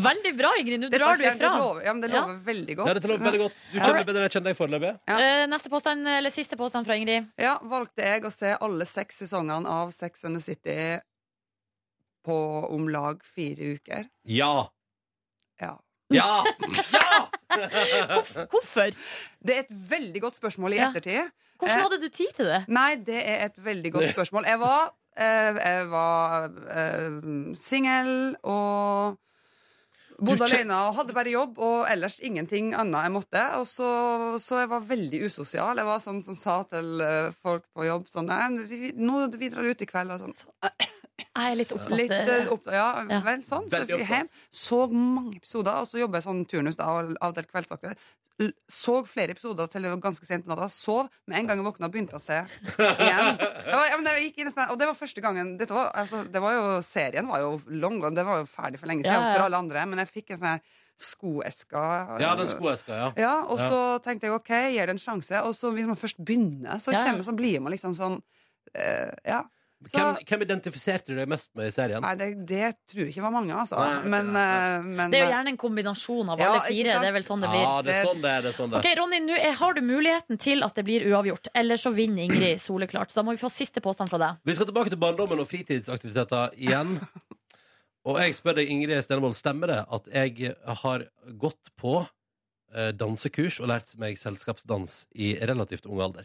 S4: Veldig bra, Ingrid. Nå
S6: Det
S4: drar du
S6: passer-
S4: ifra.
S6: Det lover, ja, men det
S4: Ja.
S6: lover veldig
S2: Ja,
S6: godt.
S2: dette lå veldig godt. Du kjenner meg bedre enn jeg kjenner deg foreløpig.
S6: Ja.
S4: Eh, Neste påstand, eller siste påstand fra Ingrid.
S6: Ja, valgte jeg å se alle seks sesongene av Sex and the City på om lag fire uker.
S2: Ja.
S6: Ja.
S2: Ja!
S4: Hvorf- Hvorfor?
S6: Det er et veldig godt spørsmål i
S4: Ja.
S6: ettertid.
S4: Hvordan
S6: Eh.
S4: hadde du tid til det?
S6: Nei, det er et veldig godt spørsmål. Jeg var, eh, jeg var eh, singel og
S2: Du
S6: bodde
S2: kjen-
S6: alene og hadde bare jobb og ellers ingenting annet jeg måtte. Og så, så jeg var veldig usosial. Jeg var sånn som sa til eh, folk på jobb sånn Nei, men vi, vi- nå vi drar ut i kveld og sånn.
S4: Jeg er litt opptatt.
S6: Litt
S4: eh,
S6: eh, opptatt, ja,
S4: Ja.
S6: vel, sånn. Så
S2: Veldig
S6: jeg
S2: opptatt.
S6: hjem, så mange episoder, og så jobber jeg sånn turnus da, og avdelt kveldsvakter. L- Så flere episoder til det var ganske sent på natta. Sov. Med en gang jeg våkna, begynte jeg å se igjen. Det var, ja, men det gikk i nesten, og det var første gangen dette var, altså, det var jo, Serien var jo long gone. Det var jo ferdig for lenge siden
S4: Ja, ja.
S6: for alle andre. Men jeg fikk en sånn her skoeske.
S2: Ja, den skoeska, ja.
S6: Ja, og så tenkte jeg OK, gir det en sjanse. Og så hvis man først begynner, så,
S4: Ja, ja.
S6: kommer, så blir man liksom sånn eh, Ja. Så-
S2: Hvem, hvem identifiserte du deg mest med i serien?
S6: Nei, det, det tror jeg ikke var mange, altså.
S2: liksom. Nei, ok,
S6: men,
S2: nei,
S6: eh, men
S4: Det er jo gjerne en kombinasjon av
S6: Ja,
S4: alle
S6: ikke
S4: fire.
S6: sant?
S4: Det er vel sånn det
S2: Ja,
S4: blir.
S2: det er sånn det er. Det er sånn det.
S4: Ok,
S2: er.
S4: Ronny, nå er- har du muligheten til at det blir uavgjort. Eller så vinner Ingrid soleklart. Så da må vi få siste påstand fra deg.
S2: Vi skal tilbake til barndommen og fritidsaktiviteter igjen. Og jeg spør deg, Ingrid Stenevold, stemmer det at jeg har gått på eh, dansekurs og lært meg selskapsdans i relativt ung alder?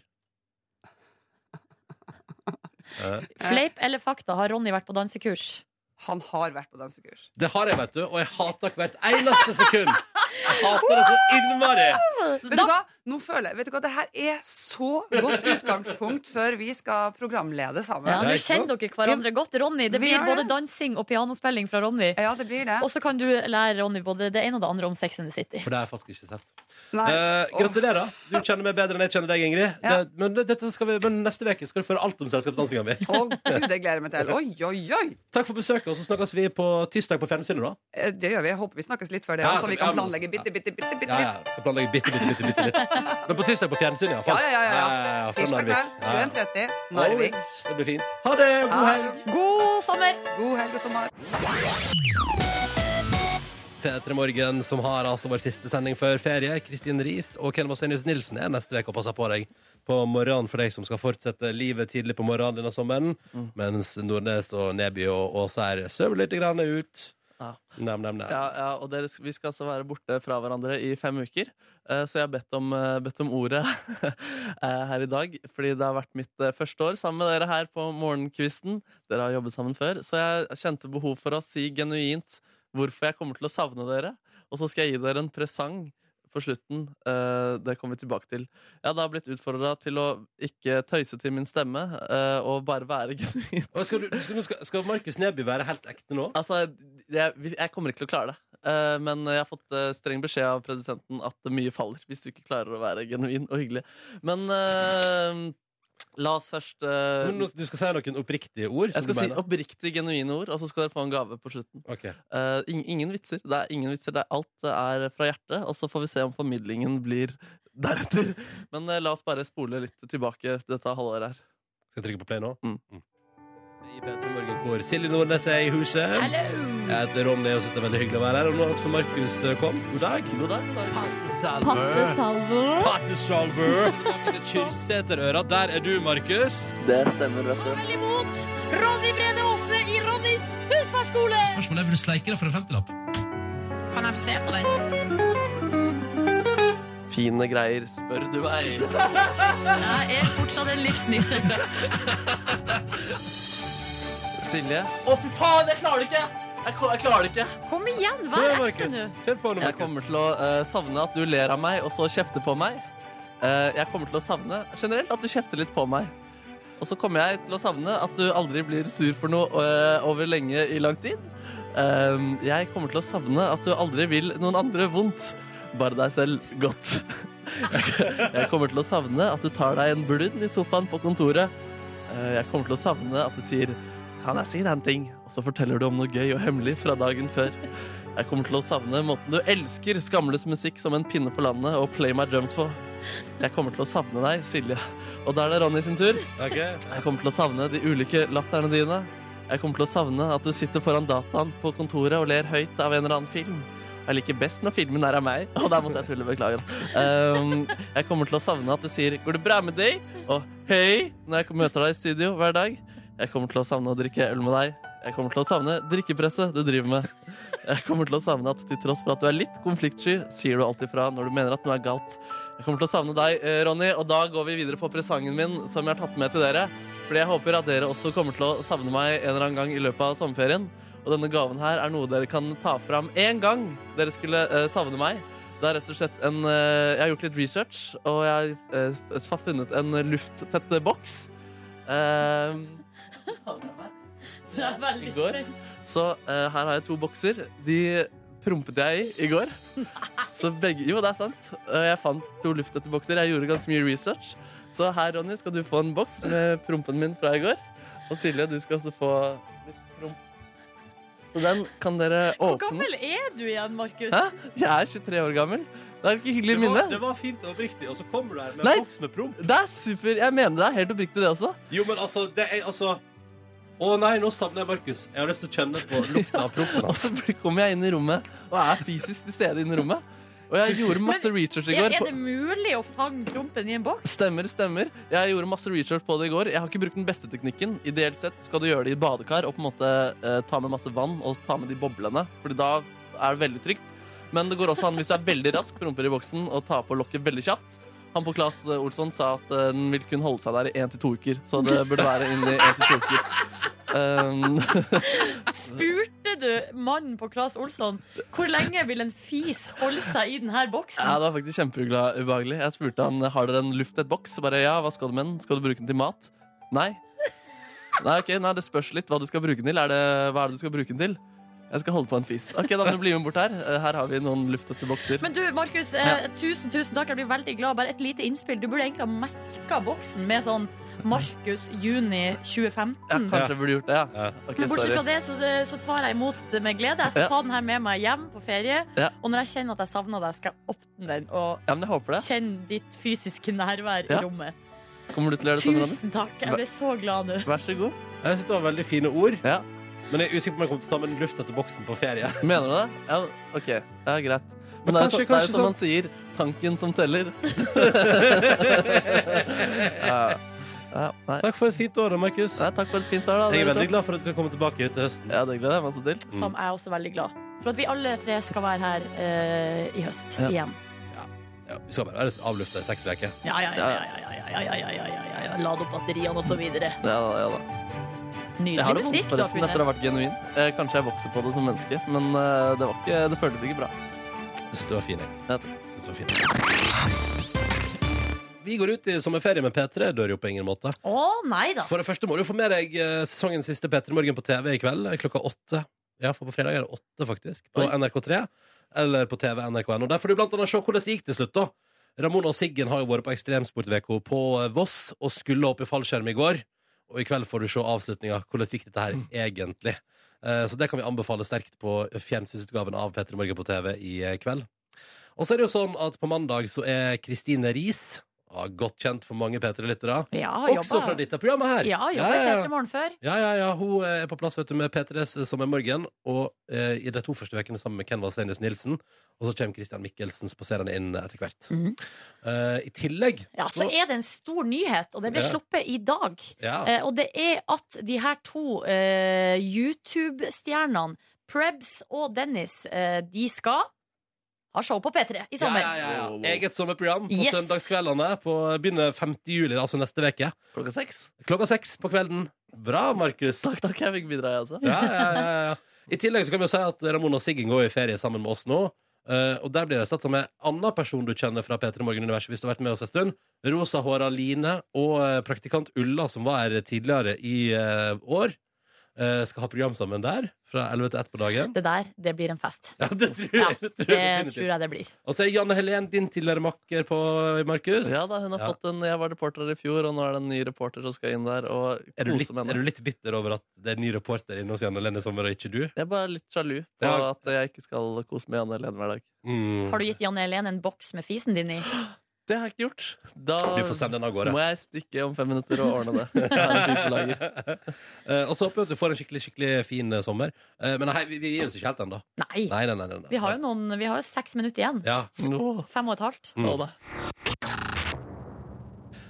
S2: Eh,
S4: Fleip eller fakta, har Ronny vært på dansekurs?
S6: han har vært på dansekurs.
S2: det har jeg, vet du, og jeg hater hvert eneste sekund! Jeg hater det så innmari!
S6: Vet du hva? Nå føler jeg, vet du hva? Det her er så godt utgangspunkt før vi skal programlede sammen.
S4: Ja,
S6: Ja,
S2: det er
S4: Nå
S2: ikke
S4: kjenner dere hverandre godt, Ronny. Det
S6: Vi
S4: blir
S6: gjør
S4: både
S6: det.
S4: dansing og pianospilling fra Ronny.
S6: det blir det.
S4: Og så kan du lære Ronny både det ene og det andre om Sex and the City.
S2: For det har jeg faktisk ikke sett.
S6: Nei.
S2: Eh,
S6: Åh.
S2: gratulerer. Du kjenner meg bedre enn jeg kjenner deg, Ingrid.
S6: Ja.
S2: Det, men, dette skal vi, men neste uke skal du føre alt om selskapsdansinga mi.
S6: Å, gud, det gleder jeg meg til. Oi, oi, oi!
S2: Takk for besøket, og så snakkes vi på tirsdag på fjernsynet, da.
S6: Eh, Det gjør vi. Jeg håper vi snakkes litt før det,
S2: Ja,
S6: også, så
S2: så-
S6: vi kan
S2: ja, men-
S6: planlegge
S7: bitte, bitte, bitte, bitte
S2: Ja, ja.
S7: litt.
S2: Skal planlegge bitte, bitte, bitte, bitte litt. Men på tirsdag på fjernsyn,
S7: Ja,
S2: iallfall.
S7: ja, ja. ja, ja.
S2: Fra
S7: Tirsdag
S2: Narvik.
S7: kveld
S2: Ja, ja.
S7: 21.30. Narvik.
S2: Oi, Det blir fint. Ha det! God helg!
S4: God sommer!
S7: God helg og sommer.
S2: P3 Morgen, som har altså vår siste sending før ferie. Kristin Riis og Ken Vasenius Nilsen er neste uke og passer på deg på morgenen for deg som skal fortsette livet tidlig på morgenen denne sommeren,
S3: Mm.
S2: mens Nordnes og Neby og Åsær sover litt grann ut.
S3: Ja.
S2: Nam, nam, nam.
S3: Ja, ja, og dere, vi skal altså være borte fra hverandre i fem uker, eh, så jeg har bedt om, eh, bedt om ordet eh, her i dag. Fordi det har vært mitt eh, første år sammen med dere her på morgenkvisten. Dere har jobbet sammen før, så jeg kjente behov for å si genuint hvorfor jeg kommer til å savne dere. Og så skal jeg gi dere en presang på slutten. eh, Det kommer vi tilbake til. Jeg har da blitt utfordra til å ikke tøyse til min stemme eh, og bare være genuin.
S2: Og Skal, du- skal, du- skal, skal Markus Neby være helt ekte nå?
S3: Altså, jeg, jeg kommer ikke til å klare det. Eh, men jeg har fått eh, streng beskjed av produsenten at mye faller hvis du ikke klarer å være genuin og hyggelig. Men eh, la oss først eh,
S2: Men nå, du skal si noen oppriktige ord? som
S3: Jeg
S2: du
S3: skal si
S2: mener.
S3: oppriktig genuine ord, og så skal dere få en gave på slutten.
S2: Ok.
S3: Eh, ing- ingen vitser. Det er ingen vitser. Det er alt eh, er fra hjertet, og så får vi se om formidlingen blir deretter. Men eh, la oss bare spole litt tilbake dette halvåret her.
S2: Skal jeg trykke på play nå?
S3: Mm.
S2: I P3 Morgen hvor Silje Nordnes er i huset.
S4: Hello!
S2: Jeg heter Ronny og syns det er veldig hyggelig å være her. Og nå har også Markus eh, kommet. God dag.
S3: God dag. God dag.
S4: Pattesalver.
S2: Pattesalver. Kyrksæterøra, der er du, Markus.
S3: Det stemmer, vet
S4: Ta vel imot Ronny Brede Aase i Ronnys husfarskole!
S2: Spørsmålet er vil du sleike deg for en femtilapp?
S4: Kan jeg få se på den?
S3: Fine greier, spør du meg.
S4: Jeg er fortsatt en livsnyter.
S3: Silje. Å, fy faen, jeg klarer det ikke! Jeg, ko- jeg klarer det ikke.
S4: Kom igjen,
S2: Kjør,
S4: vær ekte
S2: Markus.
S4: nå.
S2: Kjør på nå,
S3: Jeg
S2: Markus.
S3: kommer til å eh, savne at du ler av meg, og så kjefter på meg. Eh, jeg kommer til å savne generelt at du kjefter litt på meg. Og så kommer jeg til å savne at du aldri blir sur for noe eh, over lenge i lang tid. Eh, jeg kommer til å savne at du aldri vil noen andre vondt, bare deg selv godt. jeg kommer til å savne at du tar deg en blund i sofaen på kontoret. Eh, jeg kommer til å savne at du sier 'Kan jeg si den ting?' og så forteller du om noe gøy og hemmelig fra dagen før. Jeg kommer til å savne måten du elsker skamløs musikk som en pinne for landet og Play My Drums på. Jeg kommer til å savne deg, Silje. Og da er det Ronny sin tur.
S2: Ok.
S3: Jeg kommer til å savne de ulike latterne dine. Jeg kommer til å savne at du sitter foran dataen på kontoret og ler høyt av en eller annen film. Jeg liker best når filmen er av meg, og der måtte jeg tulle, beklager. Um, jeg kommer til å savne at du sier 'går det bra med deg?' og 'hei' når jeg møter deg i studio hver dag. Jeg kommer til å savne å drikke øl med deg. Jeg kommer til å savne drikkepresset du driver med. Jeg kommer til å savne at til tross for at du er litt konfliktsky, sier du alltid fra når du mener at noe er galt. Jeg kommer til å savne deg, eh, Ronny, og da går vi videre på presangen min som jeg har tatt med til dere. Fordi jeg håper at dere også kommer til å savne meg en eller annen gang i løpet av sommerferien. Og denne gaven her er noe dere kan ta fram én gang dere skulle eh, savne meg. Det er rett og slett en eh, Jeg har gjort litt research, og jeg eh, f- har funnet en lufttett boks. Eh,
S4: Jeg er veldig
S3: I går.
S4: spent.
S3: så eh, her har jeg to bokser. De prompet jeg i i går. Så begge, jo, det er sant. Eh, jeg fant to lufttette bokser. Jeg gjorde ganske mye research. Så her, Ronny, skal du få en boks med prompen min fra i går. Og Silje, du skal også få litt promp. Så den kan dere
S4: Hvor
S3: åpne.
S4: gammel er du igjen, Markus?
S3: Hæ? Jeg er 23 år gammel. Det er ikke hyggelig
S2: Det
S3: minne.
S2: var, det var fint og oppriktig, og så kommer du her med
S3: Nei.
S2: en boks med promp.
S3: Det er super. Jeg mener det er helt oppriktig, det også.
S2: Jo, men altså, det er altså Å nei, nå savner jeg Markus. Jeg har lyst til å kjenne på lukta av prompen.
S3: Og så blir- kommer jeg inn i rommet og er fysisk til stede inne i rommet. Og jeg gjorde masse research i
S4: Er,
S3: går.
S4: er
S3: på-
S4: det mulig å fange prompen i en boks?
S3: Stemmer, stemmer. Jeg gjorde masse research på det i går. Jeg har ikke brukt den beste teknikken. Ideelt sett skal du gjøre det i badekar og på en måte eh, ta med masse vann og ta med de boblene, Fordi da er det veldig trygt. Men det går også an hvis du er veldig rask med rumper i boksen og tar på lokket veldig kjapt. Han på Claes Olsson sa at eh, den vil kunne holde seg der i én til to uker, så det burde være inni én til to uker. Um,
S4: Spurte du mannen på Claes Olsson hvor lenge vil en fis holde seg i denne
S3: Ja,
S4: boksen?
S3: det var faktisk kjempeubehagelig. Jeg spurte han har dere en lufttett boks. Bare ja, hva skal du med den? Skal du bruke den til mat? Nei. Nei, ok, nei, Det spørs litt hva du skal bruke den til. Er det, hva er det du skal bruke den til? Jeg skal holde på en fis. Ok, da må du bli med bort her. Eh, Her har vi noen luftete bokser.
S4: Men du, Markus, eh, tusen, tusen takk. Jeg blir veldig glad. Bare et lite innspill. Du burde egentlig ha merka boksen med sånn Markus juni 2015.
S3: Ja, kanskje jeg burde gjort det, ja.
S2: Ja.
S3: Ok,
S4: Men bortsett
S3: sorry.
S4: fra det, så, eh, så tar jeg imot det med glede. Jeg skal
S3: Ja.
S4: ta den her med meg hjem på ferie.
S3: Ja.
S4: Og når jeg kjenner at jeg savner deg, skal jeg åpne den og
S3: Ja, men jeg håper det.
S4: kjenne ditt fysiske nærvær
S3: Ja.
S4: i rommet.
S3: Kommer du til å gjøre det sånn, Ronny?
S4: Tusen takk. Jeg ble så glad nå.
S3: Vær så god.
S2: Jeg synes det var veldig fine ord,
S3: Ja.
S2: men jeg er usikker på om jeg kommer til å ta med den lufta til boksen på ferie.
S3: Mener du det? Ja, OK. Ja, greit. Men,
S2: Men
S3: det er jo
S2: kanskje-
S3: så- det er
S2: kanskje
S3: jo som man sier tanken som teller. ja. Ja, nei.
S2: Takk for et fint år, da, Markus.
S3: nei, takk for et fint år, da.
S2: Jeg er
S3: dere
S2: veldig
S3: to.
S2: glad for at du skal komme tilbake til høsten.
S3: Ja, det gleder jeg meg så til.
S4: Som jeg er også veldig glad for at vi alle tre skal være her eh, i høst
S3: Ja.
S4: igjen.
S2: Ja, vi skal bare være avlufta i seks uker.
S4: Ja, ja, ja. ja, ja, ja, ja, ja, ja, ja, ja. Lade opp batteriene og så videre.
S3: Ja, da, ja, da. Jeg har
S4: Nydelig
S3: det vondt
S4: musikk du har
S3: forresten etter å
S4: funnet.
S3: ha vært genuin. Eh, kanskje jeg vokser på det som menneske, men eh, det, var ikke, det føltes ikke bra.
S2: Jeg synes det var fint.
S3: Ja,
S2: Jeg synes det var fint. Vi går ut i sommerferie med P3, dør jo på ingen måte.
S4: Å, nei da.
S2: For det første må du få med deg eh, sesongens siste P3 Morgen på TV i kveld eh, klokka åtte. Ja, for på fredag er det åtte, faktisk. På
S3: Oi.
S2: NRK3 eller på TV NRK1. Og der får du blant annet se hvordan det gikk til slutt, da. Ramona og Siggen har jo vært på Ekstremsportveko på eh, Voss og skulle opp i fallskjerm i går. Og i kveld får du se avslutninga. Hvordan gikk dette her egentlig? Eh, Så det kan vi anbefale sterkt på fjernsynsutgaven av P3 Morgen på TV i eh, kveld. Og så er det jo sånn at på mandag så er Kristine Riis, ja, godt kjent for mange P3-lyttere,
S4: Ja,
S2: også
S4: jobba.
S2: fra dette programmet her.
S4: Ja, jobba i
S2: ja,
S4: P3 Morgen før.
S2: ja, ja, ja. Hun eh, er på plass vet du, med P3s eh, Sommermorgen og eh, i de to første ukene sammen med Ken Vasenius Nilsen. Og så kommer Christian Michelsen spaserende inn etter hvert.
S4: Mhm.
S2: Eh, I tillegg
S4: Ja, så er det en stor nyhet, og det ble
S2: Ja.
S4: sluppet i dag.
S2: ja,
S4: Eh, og det er at de her to eh, YouTube-stjernene, Prebz og Dennis, eh, de skal ha show på P3 i sommer.
S2: Ja, ja, ja, ja. Eget sommerprogram på
S4: Yes.
S2: søndagskveldene. På, begynner 5. juli, altså neste uke.
S3: Klokka seks.
S2: Klokka seks på kvelden. Bra, Markus.
S3: Takk, takk, jeg fikk bidra, jeg også.
S2: Ja, ja, ja, ja. I tillegg så kan vi jo si at Ramona og Siggen går i ferie sammen med oss nå. eh, og der blir det erstatta med annen person du kjenner fra P3 Morgen-universet. hvis du har vært med oss en stund Rosa Håra Line og eh, praktikant Ulla, som var her tidligere i eh, år, eh, skal ha program sammen der fra 11 til 1 på dagen.
S4: Det der, det blir en fest.
S2: Ja, det tror
S4: Ja,
S2: jeg. det tror jeg
S4: Det
S2: definitivt.
S4: tror jeg det blir.
S2: Og så er Janne Helen din tidligere makker på eh, Markus.
S3: Ja da, hun har
S2: Ja.
S3: fått en Jeg var reporter i fjor, og nå er det en ny reporter som skal inn der og
S2: Er du, litt,
S3: kose med
S2: er du
S3: henne.
S2: litt bitter over at det er ny reporter inne hos Janne Helen i sommer, og ikke du?
S3: Jeg er bare litt sjalu på
S2: Ja.
S3: at jeg ikke skal kose med Janne Helene hver dag.
S2: Mm.
S4: Har du gitt Janne Helen en boks med fisen din i?
S3: Det har jeg ikke gjort. Da
S2: Vi får sende den av gårde.
S3: må jeg stikke om fem minutter og ordne det. Jeg har en fis på lager.
S2: Eh, og så håper vi at du får en skikkelig skikkelig fin eh, sommer. Eh, men hei, vi, vi gir oss ikke helt ennå.
S4: Nei.
S2: Nei, nei, nei, nei, nei.
S4: Vi har jo, noen, vi har jo seks minutter igjen.
S2: ja.
S3: Nå.
S4: Fem og et halvt.
S2: Mm.
S3: Nå da.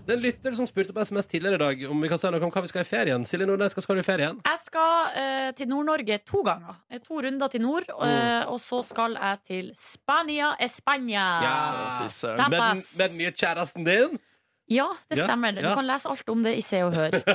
S2: Det er en lytter som spurte på SMS tidligere i dag om vi kan si noe om hva vi skal i ferien. Silje Nordnes, hva skal du i ferien?
S4: Jeg skal eh, til Nord-Norge to ganger. Eh, To runder til nord.
S2: Oh.
S4: eh, og så skal jeg til Spania, Espania.
S3: Fy søren.
S4: Tapas.
S2: Med den, med den nye kjæresten din?
S4: Ja, det
S2: Ja,
S4: stemmer. Du
S2: ja.
S4: kan lese alt om det i Se og Hør.
S3: Jeg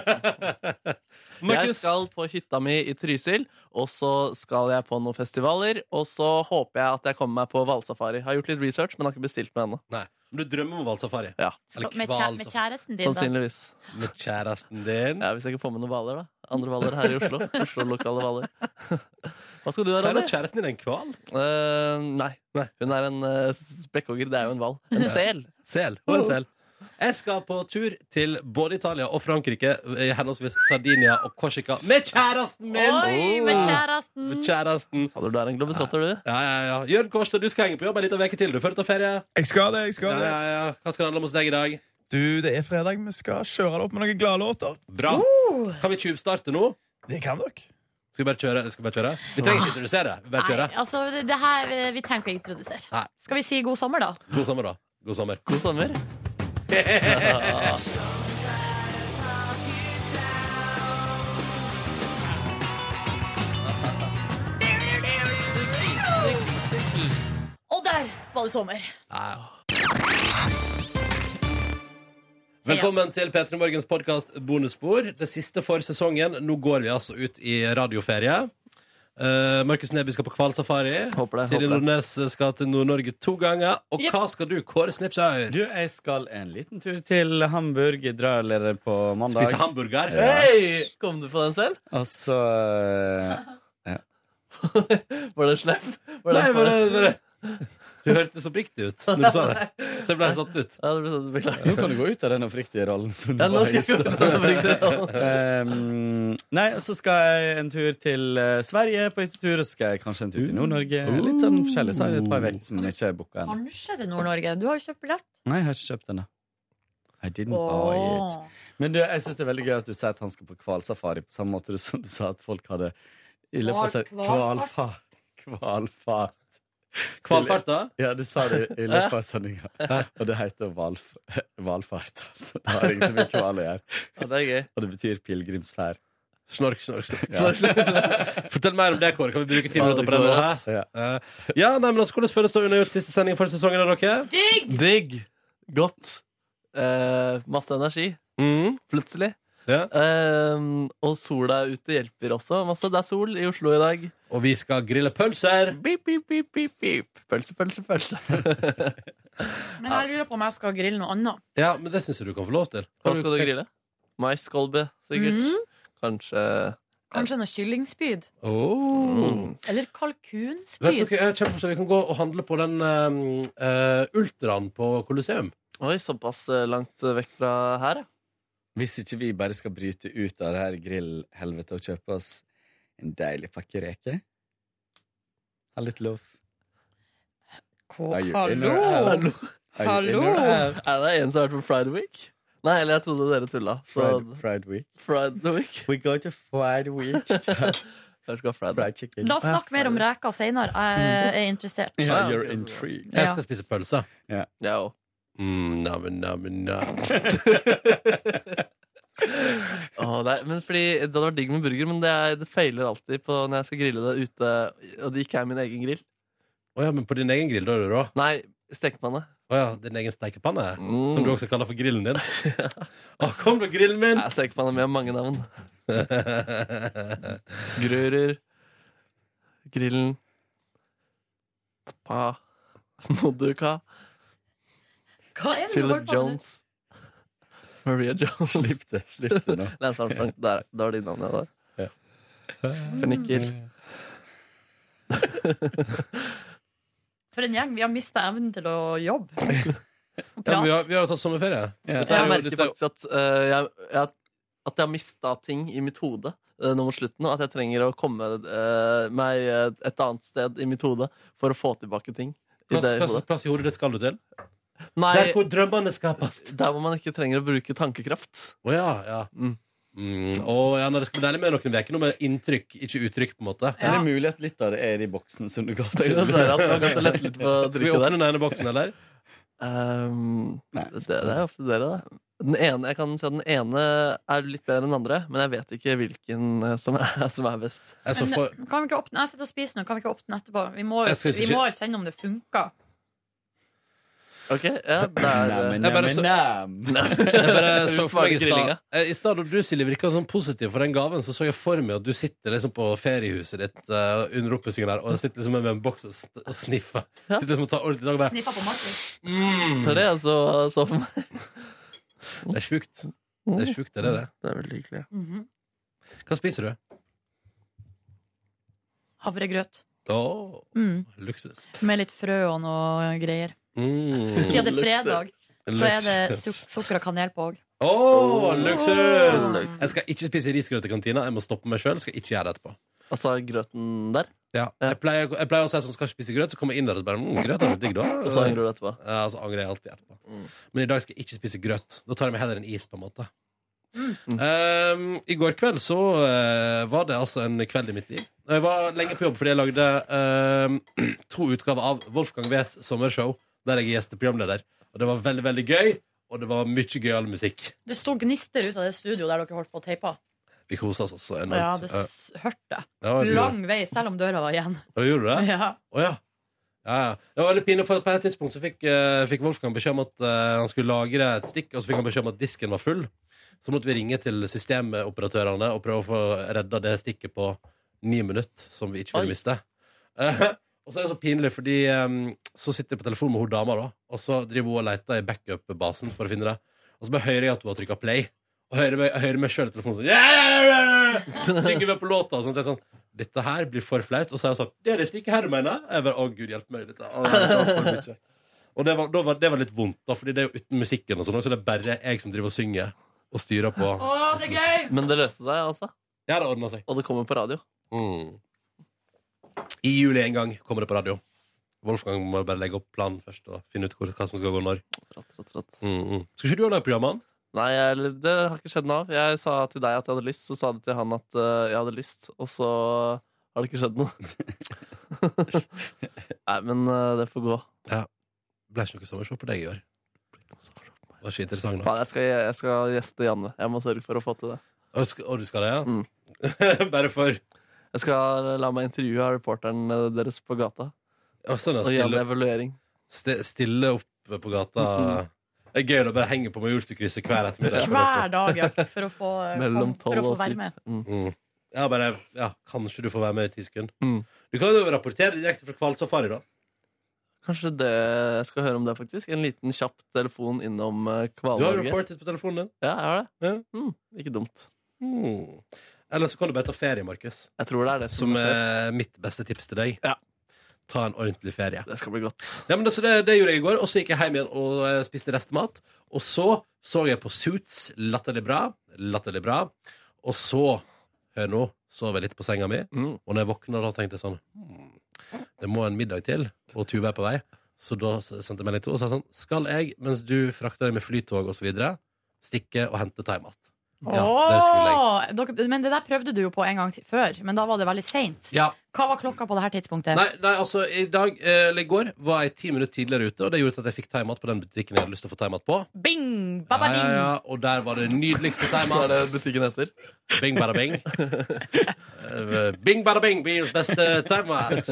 S2: Markus?
S3: skal på hytta mi i Trysil, og så skal jeg på noen festivaler. Og så håper jeg at jeg kommer meg på hvalsafari. Har gjort litt research, men har ikke bestilt meg ennå.
S2: Nei. Men du drømmer om hvalsafari?
S3: Ja,
S4: Skal, med, kjæ, med kjæresten din, da.
S3: sannsynligvis.
S2: Med kjæresten din?
S3: Ja, hvis jeg ikke får med noen hvaler, da. Andre hvaler her i Oslo. Oslo-lokale hvaler. Hva skal du
S2: Så
S3: gjøre,
S2: er da
S3: Ronny?
S2: kjæresten din en hval?
S3: Eh, nei.
S2: Nei.
S3: Hun er en eh, spekkhogger. Det er jo en hval. En sel.
S2: Sel. Og
S3: Oh.
S2: en sel. Jeg skal på tur til både Italia og Frankrike, i henholdsvis Sardinia og Korsika, med kjæresten min!
S4: Oi, med
S2: Oh. Med
S4: kjæresten!
S2: kjæresten.
S3: Fader, du er en globetrotter, du.
S2: Ja, ja, ja. Jørn Kårstad, du skal henge på jobb en liten uke til. Du før du tar ferie.
S8: Jeg skal det. jeg
S2: Ja,
S8: skal det
S2: ja, ja. Hva skal det handle om hos deg i dag?
S8: Du, Det er fredag. Vi skal kjøre det opp med noen gladlåter.
S2: Bra. Kan vi tjuvstarte nå?
S8: Det kan dere.
S2: Skal vi bare kjøre? Skal vi, bare kjøre? vi trenger ikke introdusere. Vi bare
S4: Nei,
S2: kjøre.
S4: altså, det det her eh, Vi trenger ikke å introdusere.
S2: Nei.
S4: Skal vi si god sommer, da?
S2: God sommer, da. God sommer.
S3: God sommer.
S4: Og der var det sommer!
S2: Velkommen til P3 Morgens podkast Bonusspor. Det siste for sesongen. Nå går vi altså ut i radioferie. Eh, Markus Neby skal på hvalsafari.
S3: Håper det,
S2: Silje
S3: håper det.
S2: Nordnes skal til Nord-Norge to ganger. Og
S4: Yep.
S2: hva skal du, Kåre Snipsøy?
S9: Du, jeg skal en liten tur til Hamburg. Jeg drar allerede på mandag.
S2: Spise hamburger?
S9: Ja. eh,
S3: Kom du på den selv?
S9: Og så
S3: Var det slepp? Var
S2: Nei,
S3: det-
S2: bare, bare. Du hørtes oppriktig ut når du sa det. Så jeg ble satt ut.
S3: Ja, det ble sånn, beklager.
S9: Nå kan du gå ut av den oppriktige rollen. Som du
S3: Ja, nå
S9: var i
S3: skal jeg
S9: sted.
S3: gå
S9: Ehm, nei, og så skal jeg en tur til eh, Sverige på hyttetur, og så skal jeg kanskje en tur til Nord-Norge. Litt sånn forskjellig. Så er det et par uker som jeg ikke er booka ennå.
S4: Kanskje til Nord-Norge. Du har jo kjøpt billett.
S9: Nei, jeg har ikke kjøpt den, da. I didn't buy it.
S4: Åh.
S9: Men du, jeg synes det er veldig gøy at du sier at han skal på kvalsafari, på samme måte som du sa at folk hadde i løpet av seg
S4: Kval-
S9: Kvalfart. Kvalfart.
S2: Kvalfarta?
S9: Ja, du sa det i løpet av sendinga. Og det heter valf valfart. Altså. Det har ingenting med kval å gjøre.
S3: Ja, det er gøy.
S9: Og det betyr pilegrimsferd.
S2: Snork, snork, snork.
S9: Ja.
S2: Fortell mer om det, Kåre. Kan vi bruke ti
S3: Ja,
S2: minutter
S3: det
S2: på det?
S3: går,
S2: nå,
S3: ass.
S2: hæ?
S9: Ja.
S2: Eh, Ja, nei, men altså, Hvordan føles det å undergjort siste sending for sesongen? av dere?
S4: Digg!
S3: Digg. Godt. Eh, masse energi,
S2: Mm.
S3: plutselig.
S2: Ja.
S3: Eh, og sola ute hjelper også masse. Det er sol i Oslo i dag.
S2: Og vi skal grille pølser.
S3: Beep, beep, beep, beep, beep. Pølse, pølse, pølse.
S10: Men jeg lurer på om jeg skal grille noe annet.
S2: Ja, men Det syns jeg du kan få lov til.
S3: Hva skal du grille? Maiskolbe, sikkert.
S4: Mm.
S3: Kanskje
S4: Kanskje noe kyllingspyd.
S2: Oh.
S3: Mm.
S2: Vet
S4: Eller
S2: dere,
S4: kalkunspyd.
S2: jeg har kjempeforskjell. Vi kan gå og handle på den um, eh, Ultraen på Colosseum.
S3: Oi, såpass eh, langt eh, vekk fra her, ja.
S9: Hvis ikke vi bare skal bryte ut av det her grillhelvetet og kjøpe oss en deilig pakke reker. Ha litt lov.
S10: Hva-
S9: Are you in
S10: Hallo!
S9: or out? Are you
S10: Hallo!
S9: in or out?
S3: Er det en som har vært på Pride Week? Nei, eller jeg trodde dere tulla. Så-
S9: Fried, fried week.
S3: Pride Week.
S9: We go to fried week.
S3: Jeg skal ha Pride Week.
S9: fried chicken.
S4: La oss snakke mer om reker seinere. Jeg er interessert.
S9: Yeah,
S3: Ja.
S9: you're intrigued.
S2: Jeg
S4: Ja.
S2: Mm. skal spise pølse.
S3: Jeg òg.
S2: Mm, nam, nam, nam.
S3: Åh, det er, men fordi Det hadde vært digg med burger, men det, er, det feiler alltid på når jeg skal grille det ute. Og det ikke er min egen grill.
S2: Å ja, men på din egen grill, da, er du, da?
S3: Nei, stekepanne.
S2: Å ja, din egen stekepanne?
S3: Mm.
S2: Som du også kaller for grillen din? Å, kom da, grillen min!
S3: Nei, Stekepanne med mange navn. Grører. Grillen. Pa. Moduka.
S4: Hva er det du holder
S3: Philip
S4: på med?
S3: Jones. Maria Jones.
S9: Slipp det, slipp det nå.
S3: Lance Armstrong. Der, det var de navnene der.
S9: Ja.
S3: Fenniker.
S2: Eh,
S4: For en gjeng. Vi har mista evnen til å jobbe. Og
S2: Ja, men vi,
S4: prate.
S2: har, vi har jo tatt sommerferie.
S9: Ja.
S2: Dette er
S3: Jeg
S2: jo-
S3: merker
S2: dette er jo-
S3: faktisk at, eh, jeg, jeg, at jeg har mista ting i mitt hode eh, nå mot slutten, og at jeg trenger å komme eh, meg eh, et annet sted i mitt hode for å få tilbake ting. I
S2: Hva
S3: det
S2: slags
S3: hodet.
S2: plass i hodet ditt skal du til?
S3: Nei,
S2: Der hvor drømmene skapes.
S3: der hvor man ikke trenger å bruke tankekraft.
S2: Å ja, ja. Mm.
S3: Mm.
S2: Å, ja nei, det skal bli deilig med noen uker, noe med inntrykk, ikke uttrykk, på en måte.
S9: Men det er mulig at litt av det er i boksen som du ga
S3: Det
S9: til.
S3: kan være at man kan lette litt på
S2: Skal vi
S3: drikket
S2: åpne
S3: der.
S2: den ene boksen, eller?
S3: Ehm,
S9: Nei.
S3: det, det er opp til dere, da. Den ene, jeg kan si at den ene er litt bedre enn den andre, men jeg vet ikke hvilken eh, som er, som er best.
S2: Jeg, så
S4: Men,
S2: for,
S4: Kan vi ikke åpne? Jeg sitter og spiser nå. Kan vi ikke åpne den etterpå? Vi må,
S2: Jeg synes
S4: vi
S2: ikke-
S4: må kjenne om det funker.
S3: Ok, ja, det er eh,
S9: Nam,
S2: Jeg bare
S9: nam,
S2: så-
S9: nam.
S2: jeg bare så for meg i stad
S3: Grillinga.
S2: Eh, I stad da du Silje, virka sånn positiv for den gaven, så så jeg for meg at du sitter liksom på feriehuset ditt eh, under oppussingen der og sitter liksom med en boks og, st- og sniffer.
S3: Ja.
S2: Sitter liksom og tar ordentlig tak og bare mm,
S4: Sniffa på Martin.
S3: Så det er altså så for meg.
S2: Det er sjukt. Det er sjukt, det er det.
S3: Det er veldig hyggelig.
S4: Mhm.
S2: Hva spiser du?
S4: Havregrøt.
S2: Å,
S4: Mm.
S2: luksus.
S4: Med litt frø og noe greier.
S2: Mm.
S4: Siden det er fredag, så er det
S2: Luksus.
S4: suk sukker og kanel på òg.
S2: Å, luksus!
S4: Åh.
S2: Jeg skal ikke spise risgrøt i kantina. Jeg må stoppe meg sjøl. Skal ikke gjøre det etterpå.
S3: Altså grøten der,
S2: Ja. Jeg, pleier, jeg pleier å si sånn, skal ikke spise grøt, så kommer jeg inn der og så bare mm, grøt er litt digg, da.
S3: og så angrer du etterpå.
S2: Ja, altså angrer jeg alltid etterpå.
S3: Mm.
S2: Men i dag skal jeg ikke spise grøt. Da tar jeg meg heller en is, på en måte.
S4: Mm.
S2: Ehm, I går kveld så eh, var det altså en kveld i mitt liv. Jeg var lenge på jobb fordi jeg lagde ehm, to utgaver av Wolfgang Wees sommershow, der jeg er gjesteprogramleder. Og det var veldig, veldig gøy, og det var mye gøyal musikk.
S4: Det sto gnister ut av det studioet der dere holdt på å teipe.
S2: Vi kosa oss altså enormt.
S4: Ja, det
S2: Ja,
S4: s hørte jeg.
S2: ja, du gjorde-
S4: Lang vei, selv om døra var igjen.
S2: Ja, Gjorde du det?
S4: Ja.
S2: Å ja. Ja, ja. Det var veldig pinlig, for på et tidspunkt så fikk, eh, fikk Wolfgang beskjed om at eh, han skulle lagre et stikk, og så fikk han beskjed om at disken var full. Så måtte vi ringe til systemoperatørene og prøve å få redda det stikket på ni minutter, som vi ikke
S3: Oi.
S2: ville miste. Eh, og så er det så pinlig, fordi eh, så sitter jeg på telefonen med hun dama, da, og så driver hun og leter i backup-basen for å finne det. Og så bare hører jeg at hun har trykka play. Og hører meg, jeg hører meg sjøl i telefonen sånn yeah, yeah, yeah, yeah. Synger med på låta og sånt. Jeg er sånn dette her blir for flaut, og så er hun sånn Det er det slik her du mener? Jeg bare, å gud hjelpe meg i dette. Å, det var for mye. Og det var, da var, det var litt vondt, da, Fordi det er jo uten musikken og sånn, så det er bare jeg som driver og synger og styrer på.
S10: Å, det er gøy!
S3: Men det løste seg, altså.
S2: Ja, det ordna seg.
S3: Og det kommer på radio.
S2: Mm. I juli en gang kommer det på radio. Wolfgang må bare legge opp planen først og finne ut hvor, hva som skal gå når.
S3: Ratt, ratt, ratt.
S2: Mm, mm. Skal ikke du ha lagd programmet?
S3: Nei, jeg, eller det har ikke skjedd noe av. Jeg sa til deg at jeg hadde lyst, så sa du til han at eh, jeg hadde lyst, og så har det ikke skjedd noe. Nei, men eh, det får gå.
S2: Ble ikke noe sommershow på deg i år. Var ikke interessant nok.
S3: Faen, jeg, skal, jeg skal gjeste Janne. Jeg må sørge for å få til det.
S2: Og, sk- og du skal det, ja?
S3: Mm.
S2: bare for
S3: Jeg skal eh, la meg intervjue av reporteren eh, deres på gata
S2: Ja, sånn, ja,
S3: og gi han
S2: stille,
S3: en evaluering.
S2: sti- stille opp på gata. Det er gøy å bare henge på Majorstukrysset hver ettermiddag.
S10: Hver dag, ja. For å få,
S3: Mellom
S10: for å
S3: tolv
S10: få
S3: og
S10: være
S3: syv.
S10: med.
S3: Mm.
S2: Mm. Ja, bare, ja, kanskje du får være med i ti sekunder.
S3: Mm.
S2: Du kan jo rapportere direkte fra hvalsafari, da.
S3: Kanskje det, jeg skal høre om det, faktisk. En liten kjapp telefon innom eh,
S2: Du har jo
S3: Kvaløyet.
S2: rapportet på telefonen din.
S3: Ja, jeg har det.
S2: Ja.
S3: Mm, ikke dumt.
S2: Mm. Eller så kan du bare ta ferie, Markus.
S3: Jeg tror det er det som,
S2: Som eh,
S3: skjer.
S2: er mitt beste tips til deg.
S3: Ja.
S2: Ta en ordentlig ferie.
S3: Det skal bli godt.
S2: Ja, men det, så det, det gjorde jeg i går, og så gikk jeg hjem igjen og eh, spiste restemat. Og så så jeg på Suits, latterlig bra, latterlig bra. Og så, hør nå, sov jeg litt på senga mi,
S3: Mm.
S2: og når jeg våkna da, tenkte jeg sånn hmm, Det må en middag til, og Tuva er på vei. Så da s- sendte jeg melding til henne og sa sånn Skal jeg, mens du frakter deg med flytog og så videre stikke og hente thaimat? Ja, det skulle jeg.
S10: Åh, dere, men det der prøvde du jo på en gang til, før, men da var det veldig seint.
S2: Ja,
S10: Hva var klokka på det her tidspunktet?
S4: Eh.
S2: Nei, nei, altså i dag, eh, eller i går var jeg ti minutter tidligere ute, og det gjorde at jeg fikk thaimat på den butikken jeg hadde lyst til å få thaimat på.
S10: Bing!
S2: Ja,
S10: Baba ding!
S2: ja, ja, og der var det nydeligste
S3: Hva er
S2: thaimat.
S3: det butikken heter?
S2: Bing, bada, bing. Eh, bing, bada, bing, byens beste thaimat.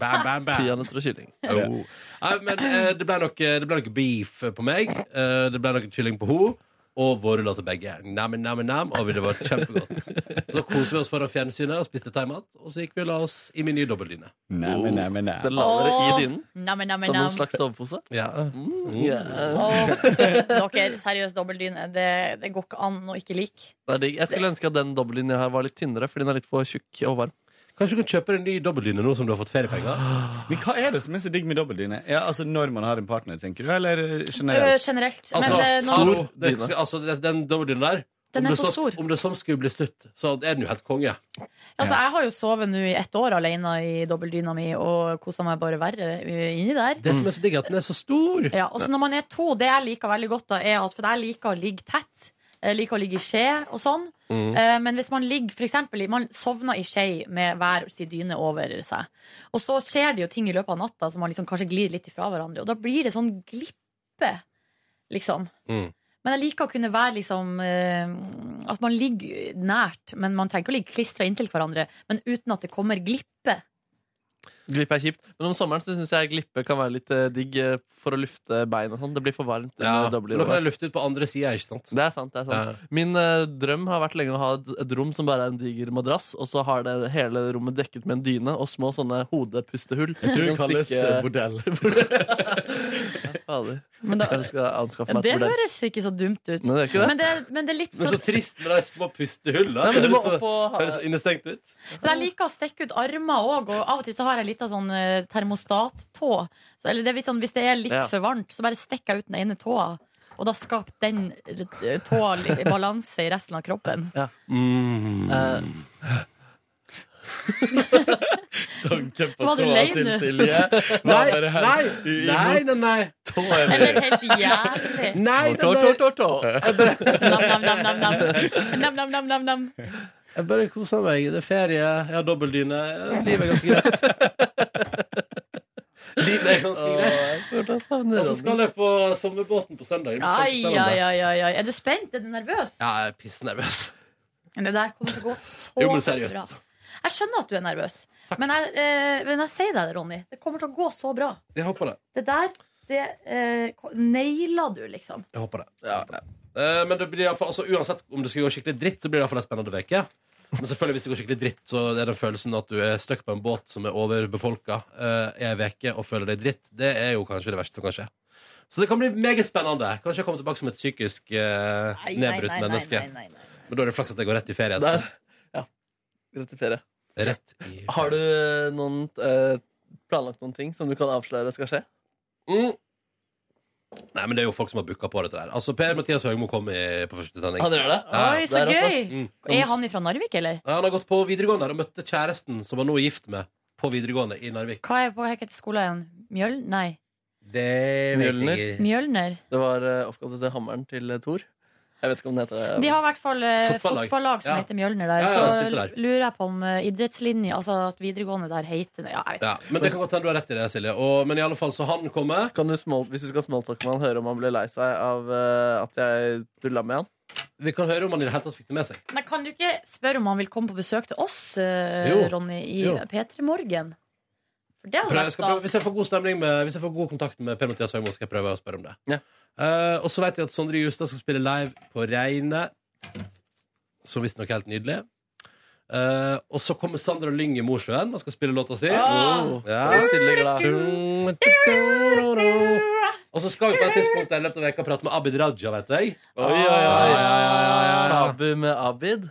S2: Bam, bam, bam.
S3: Peanøtter og kylling.
S2: Jo. Nei, men eh, det ble nok, det ble nok beef på meg. Eh, det ble nok kylling på henne. Og vårruller til begge. Nam, nam, nam, og det var kjempegodt. Så koser vi oss foran fjernsynet og spiste thaimat. Og så gikk vi og la oss i min nye dobbeldyne.
S9: Nei, men nei, men nei.
S3: Den la dere i
S10: Åh,
S3: dynen
S10: Namme, namme,
S3: som en
S10: namme.
S3: slags sovepose.
S2: Ja.
S3: Mm. Yeah.
S4: Åh, dere, seriøst, dobbeltdyne. Det, det går ikke an å ikke like.
S3: Det er digg. Jeg skulle ønske at den dobbeltlinja her var litt tynnere, fordi den er litt for tjukk og varm.
S2: Kanskje du kan kjøpe deg en ny dobbeldyne nå som du har fått feriepenger?
S9: Men hva er det som er så digg med dobbeltdyne? Ja, altså når man har en partner, tenker du, eller
S4: Øh,
S9: generelt?
S4: generelt.
S2: Altså,
S4: men eh, nå,
S2: hallo,
S3: Stor
S2: det,
S3: dyne.
S2: altså det- den dobbeldynen der
S10: øh, Den
S2: om
S10: er
S2: det
S10: så
S2: så-
S10: stor.
S2: Om det sånn skulle bli slutt, så er den jo helt konge.
S4: altså, jeg har jo sovet nå i ett år alene i dobbeltdyna mi og kosa meg bare verre eh, inni der.
S2: Det som er så digg, er at den er så stor.
S4: Ja, og så når man er to, det jeg liker veldig godt da, er at For jeg liker å ligge tett. Jeg liker å ligge i skje og sånn. Eh, Men hvis man ligger for eksempel, i- Man sovner i skje med hver sin dyne over seg. Og så skjer det jo ting i løpet av natta som man liksom kanskje glir litt ifra hverandre. Og da blir det sånn glippe, liksom.
S2: Mm.
S4: Men jeg liker å kunne være liksom eh, At man ligger nært, men man trenger ikke å ligge klistra inntil hverandre. Men uten at det kommer glippe.
S3: Glippe er kjipt. Men om sommeren så syns jeg glippe kan være litt eh, digg eh, for å lufte bein og sånn. Det blir for varmt.
S2: Ja,
S3: under dobbeltdyna.
S2: Nå kan jeg lufte ut på andre sida, ikke sant?
S3: Det er sant. det er sant
S2: Ja.
S3: Min eh, drøm har vært lenge å ha et, et rom som bare er en diger madrass, og så har det hele rommet dekket med en dyne og små sånne hodepustehull.
S9: Jeg tror det
S3: Noen
S9: kalles eh,
S3: stykke-
S9: bordell.
S3: Ja, fader.
S4: Men da,
S3: Jeg skal anskaffe meg
S4: det
S3: et bordell.
S4: høres ikke så dumt ut.
S3: Nei, det er ikke det.
S4: Men det, men det er litt
S2: Men så trist med de små pustehullene.
S3: Nei, men du må
S2: Høres så-
S3: opp og ha
S2: høres så innestengt ut.
S4: For jeg liker å stikke ut armer òg, og av og til så har jeg litt av sånn eh, termostattå. Så, eller det er litt sånn, hvis det er litt
S3: Ja.
S4: for varmt, så bare stikker jeg ut den ene tåa. Og da skaper den eh, tåa litt balanse i resten av kroppen.
S3: eh,
S9: Tanken på
S4: Var du
S9: tåa
S4: lei
S9: til
S4: nå?
S9: Silje var bare helt i-
S2: nei,
S9: imot
S2: nei, nei.
S9: tåen.
S4: Eller helt jævlig.
S2: Nei, nei,
S3: tå, tå,
S2: nei.
S3: tå, tå.
S4: Nam-nam-nam-nam.
S2: Jeg bare koser meg. Det er ferie, jeg har dobbeldyne. Livet er ganske greit. Livet er ganske greit. Og så skal jeg på sommerbåten på søndag. Det blir
S4: Ai,
S2: kjempespennende.
S4: ai, ai, ai. Er du spent? Er du nervøs?
S2: Ja, jeg er pissnervøs.
S4: Men Det der kommer til å gå så
S2: Jo, men seriøst,
S4: bra.
S2: altså.
S4: Jeg skjønner at du er nervøs, men jeg, eh, men jeg sier deg det, Ronny. Det kommer til å gå så bra.
S2: Jeg håper det.
S4: Det der, det eh, ko- naila du, liksom.
S2: Jeg håper det. Jeg håper det. Eh, men det blir i hvert fall- altså, uansett om det skal gå skikkelig dritt, så blir det i hvert fall en spennende uke. Men selvfølgelig hvis det går skikkelig dritt, så er den følelsen at du er stuck på en båt som er overbefolka eh, i ei uke og føler deg dritt, det er jo kanskje det verste som kan skje. Så det kan bli meget spennende. Kanskje jeg kommer tilbake som et psykisk eh, nedbrutt menneske.
S4: nei, nei, nei.
S2: Men da er det flaks at jeg går rett i ferie.
S3: Der. Ja. Gratulerer.
S2: Rett i
S3: Har du noen, eh, planlagt noen ting som du kan avsløre skal skje?
S2: Mm. Nei, men det er jo folk som har booka på dette der. Altså, Per Mathias Høgmo kom i, på første sending. Mm.
S3: Han gjør det?
S2: Ja.
S4: Oi, så
S3: der oppe, ass.
S4: gøy! Er han ifra Narvik, eller?
S2: Ja, han har gått på videregående og møtte kjæresten som han nå er gift med, på videregående i Narvik.
S4: Hva er på hva heter skolen igjen? Mjøl... Nei.
S2: Det
S3: Mjølner.
S4: Mjølner.
S3: Det var eh, oppkalt etter hammeren til eh, Thor. Jeg vet ikke om den heter det.
S4: De har i hvert fall eh,
S3: Fotballag.
S4: fotballag, som
S3: Ja.
S4: heter Mjølner der.
S3: Ja, ja, jeg
S4: så
S3: spilte der.
S4: lurer jeg på om eh, idrettslinje, altså at videregående der heter det. Ja, jeg vet
S2: Ja, men det kan godt hende du har rett i det, Silje. Og, men i alle fall, så han kommer.
S3: Kan du small, hvis du skal smalltalke med han, høre om han ble lei seg av eh, at jeg dulla med han?
S2: Vi kan høre om han i det hele tatt fikk det med seg.
S4: Men kan du ikke spørre om han vil komme på besøk til oss, eh,
S2: Jo.
S4: Ronny, i
S2: Jo.
S4: P3 Morgen? For det hadde
S2: Prøv, jeg
S4: vært
S2: skal prøve, hvis jeg
S4: stas.
S2: får god stemning med, Hvis jeg får god kontakt med Per-Mathias Høgmo, skal jeg prøve å spørre om det.
S3: Ja.
S2: Eh, og så vet jeg at Sondre Justad skal spille live på Reine, som visstnok er helt nydelig. Eh, og så kommer Sandra Lyng i Mosjøen og skal spille låta si.
S3: Ah.
S2: Ja.
S3: Det er Silje glad.
S2: Og så skal vi på et tidspunkt der i løpet av veka prate med Abid Raja, vet jeg.
S3: Oi, oi,
S2: Ja,
S3: oi.
S2: ja, ja, ja, ja.
S3: Tabu med Abid.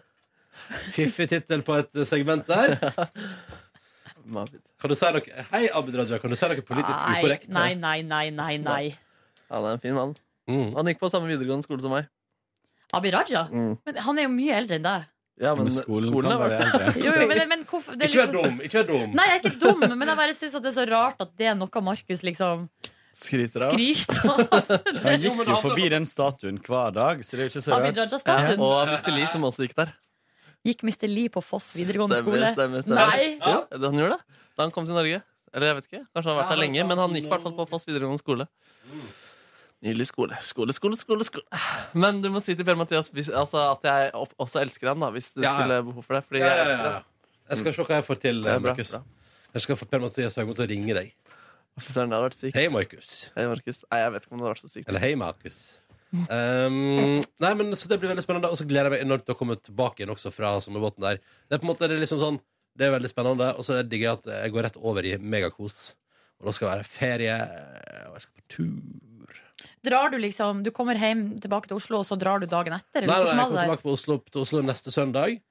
S2: Fiffig tittel på et eh, segment der.
S3: Med Abid.
S2: Kan du si noe Hei, Abid Raja, kan du si noe politisk
S4: Nei,
S2: ukorrekt? eh.
S4: nei, nei, nei, nei, nei.
S3: Han er en fin mann.
S2: Mm.
S3: Han gikk på samme videregående skole som meg.
S4: Abid Raja?
S3: Mm.
S4: Men han er jo mye eldre enn deg.
S3: Ja, men
S9: Men skolen,
S3: skolen
S9: kan
S3: er
S9: være
S3: verdt
S9: eldre.
S4: Jo, jo, men, men hvorfor det er
S2: Ikke vær
S4: liksom så-
S2: dum. Ikke vær dum.
S4: Nei, jeg er ikke dum, men jeg bare syns det er så rart at det er noe Markus liksom
S3: skryter av.
S4: skryter av.
S9: Han gikk jo forbi den statuen hver dag, så det er jo ikke så
S4: Abid
S9: rart.
S3: Ja,
S4: Raja-statuen.
S3: og Mr. Lee, som også gikk der.
S4: Gikk Mr. Lee på Foss videregående
S3: Stemmer,
S4: skole?
S3: stemmer, stemmer.
S4: Nei.
S3: Ja, det han gjorde det. Da han kom til Norge. Eller jeg vet ikke, kanskje han har vært der lenge, men han gikk i hvert fall på Foss videregående skole.
S2: Mm.
S3: Nylig skole. Skole, skole, skole, skole. Men du må si til Per Mathias hvis, altså, at jeg opp, også elsker han, da, hvis du
S2: Ja, ja.
S3: skulle behov for det. Fordi
S2: Ja,
S3: jeg
S2: ja,
S3: elsker
S2: ja.
S3: han.
S2: Jeg skal se hva jeg får til,
S3: Det er bra,
S2: Markus.
S3: bra.
S2: Jeg skal få Per-Mathias Høgmo til å ringe deg.
S3: Fy søren, det hadde vært sykt.
S2: Hei, Markus.
S3: Hei, Markus. Nei, jeg vet ikke om det hadde vært så sykt.
S2: Eller hei, Markus. Um, nei, men Så det blir veldig spennende, og så gleder jeg meg enormt til å komme tilbake igjen også fra sommerbåten der. Det er på en måte det er liksom sånn Det er veldig spennende, og så digger jeg at jeg går rett over i megakos. Og da skal det være ferie, og jeg skal på tur.
S4: Drar du liksom Du kommer hjem tilbake til Oslo, og så drar du dagen etter?
S2: Nei, nei, jeg
S4: Eller hvordan
S2: kommer
S4: var det?
S2: tilbake på Oslo, til Oslo neste søndag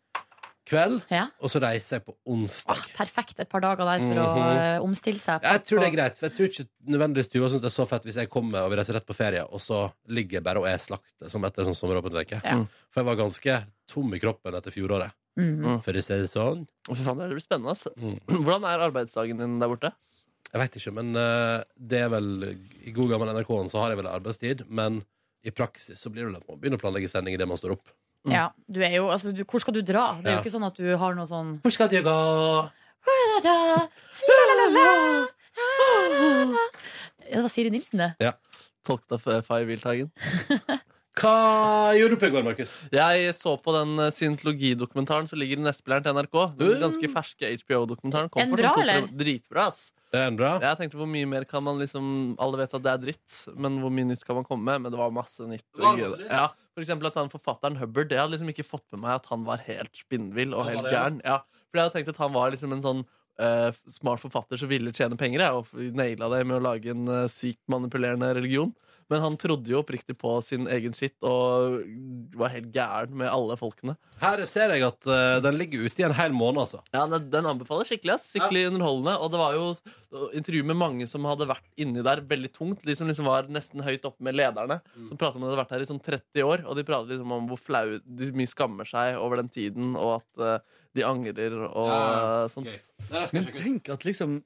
S2: kveld,
S4: Ja.
S2: og så reiser jeg på
S4: Ah,
S2: onsdag.
S4: perfekt et par dager der for å eh, omstille
S2: Mhm.
S4: seg.
S2: Jeg tror det er greit, for jeg tror ikke nødvendigvis Tuva syns det er så fett hvis jeg kommer og vi reiser rett på ferie, og så ligger jeg bare og er slakt som etter en sånn sommeråpen uke.
S4: Ja.
S2: For jeg var ganske tom i kroppen etter fjoråret.
S4: Mm.
S2: For i stedet sånn
S3: Å, Fy faen, det blir spennende, altså.
S2: Mm.
S3: Hvordan er arbeidsdagen din der borte?
S2: Jeg veit ikke, men eh, det er vel I god gammel NRK-en så har jeg vel arbeidstid, men i praksis så blir det vel at man begynner å planlegge sending idet man står opp.
S4: Ja, du er jo, altså, du, hvor skal du dra? Det
S2: Mm.
S4: er
S2: Ja.
S4: jo ikke sånn at du har noe sånn
S2: Hvor skal jeg gå?
S4: Ja, Det var Siri Nilsen, det.
S3: Tolket av eh, Fay Wilthagen.
S2: Hva gjorde du på i går, Markus?
S3: Jeg så på den eh, scientologidokumentaren som ligger i nettspilleren til NRK. Den ganske ferske HBO-dokumentaren. kom
S4: Mm. En
S3: for
S4: bra,
S3: sånn to-
S4: eller?
S3: Dritbra, ass.
S2: Det er bra.
S3: Jeg tenkte hvor mye mer kan man liksom Alle vet at det er dritt, men hvor mye nytt kan man komme med? Men det var masse nytt.
S2: Det var
S3: og gøy.
S2: masse nytt.
S3: ja, for eksempel at han forfatteren Hubbard Jeg hadde liksom ikke fått med meg at han var helt spinnvill og
S2: Han var
S3: helt
S2: det, ja.
S3: gæren. Ja, for jeg hadde tenkt at han var liksom en sånn eh, smart forfatter som ville tjene penger, jeg, og naila det med å lage en eh, sykt manipulerende religion. Men han trodde jo oppriktig på sin egen skitt og var helt gæren med alle folkene.
S2: Her ser jeg at eh, den ligger ute i en hel måned, altså.
S3: Ja, den, den anbefaler skikkelig. ass. Skikkelig underholdende. Og det var jo intervju med mange som hadde vært inni der veldig tungt. De som liksom var nesten høyt oppe med lederne.
S2: Mm.
S3: Som pratet om at de hadde vært her i sånn 30 år. Og de pratet liksom om hvor flau de mye skammer seg over den tiden, og at eh, de angrer og
S2: Ja,
S3: eh, sånt.
S2: Gøy. Det skal
S9: Men
S2: jeg sjekke ut.
S9: tenk at liksom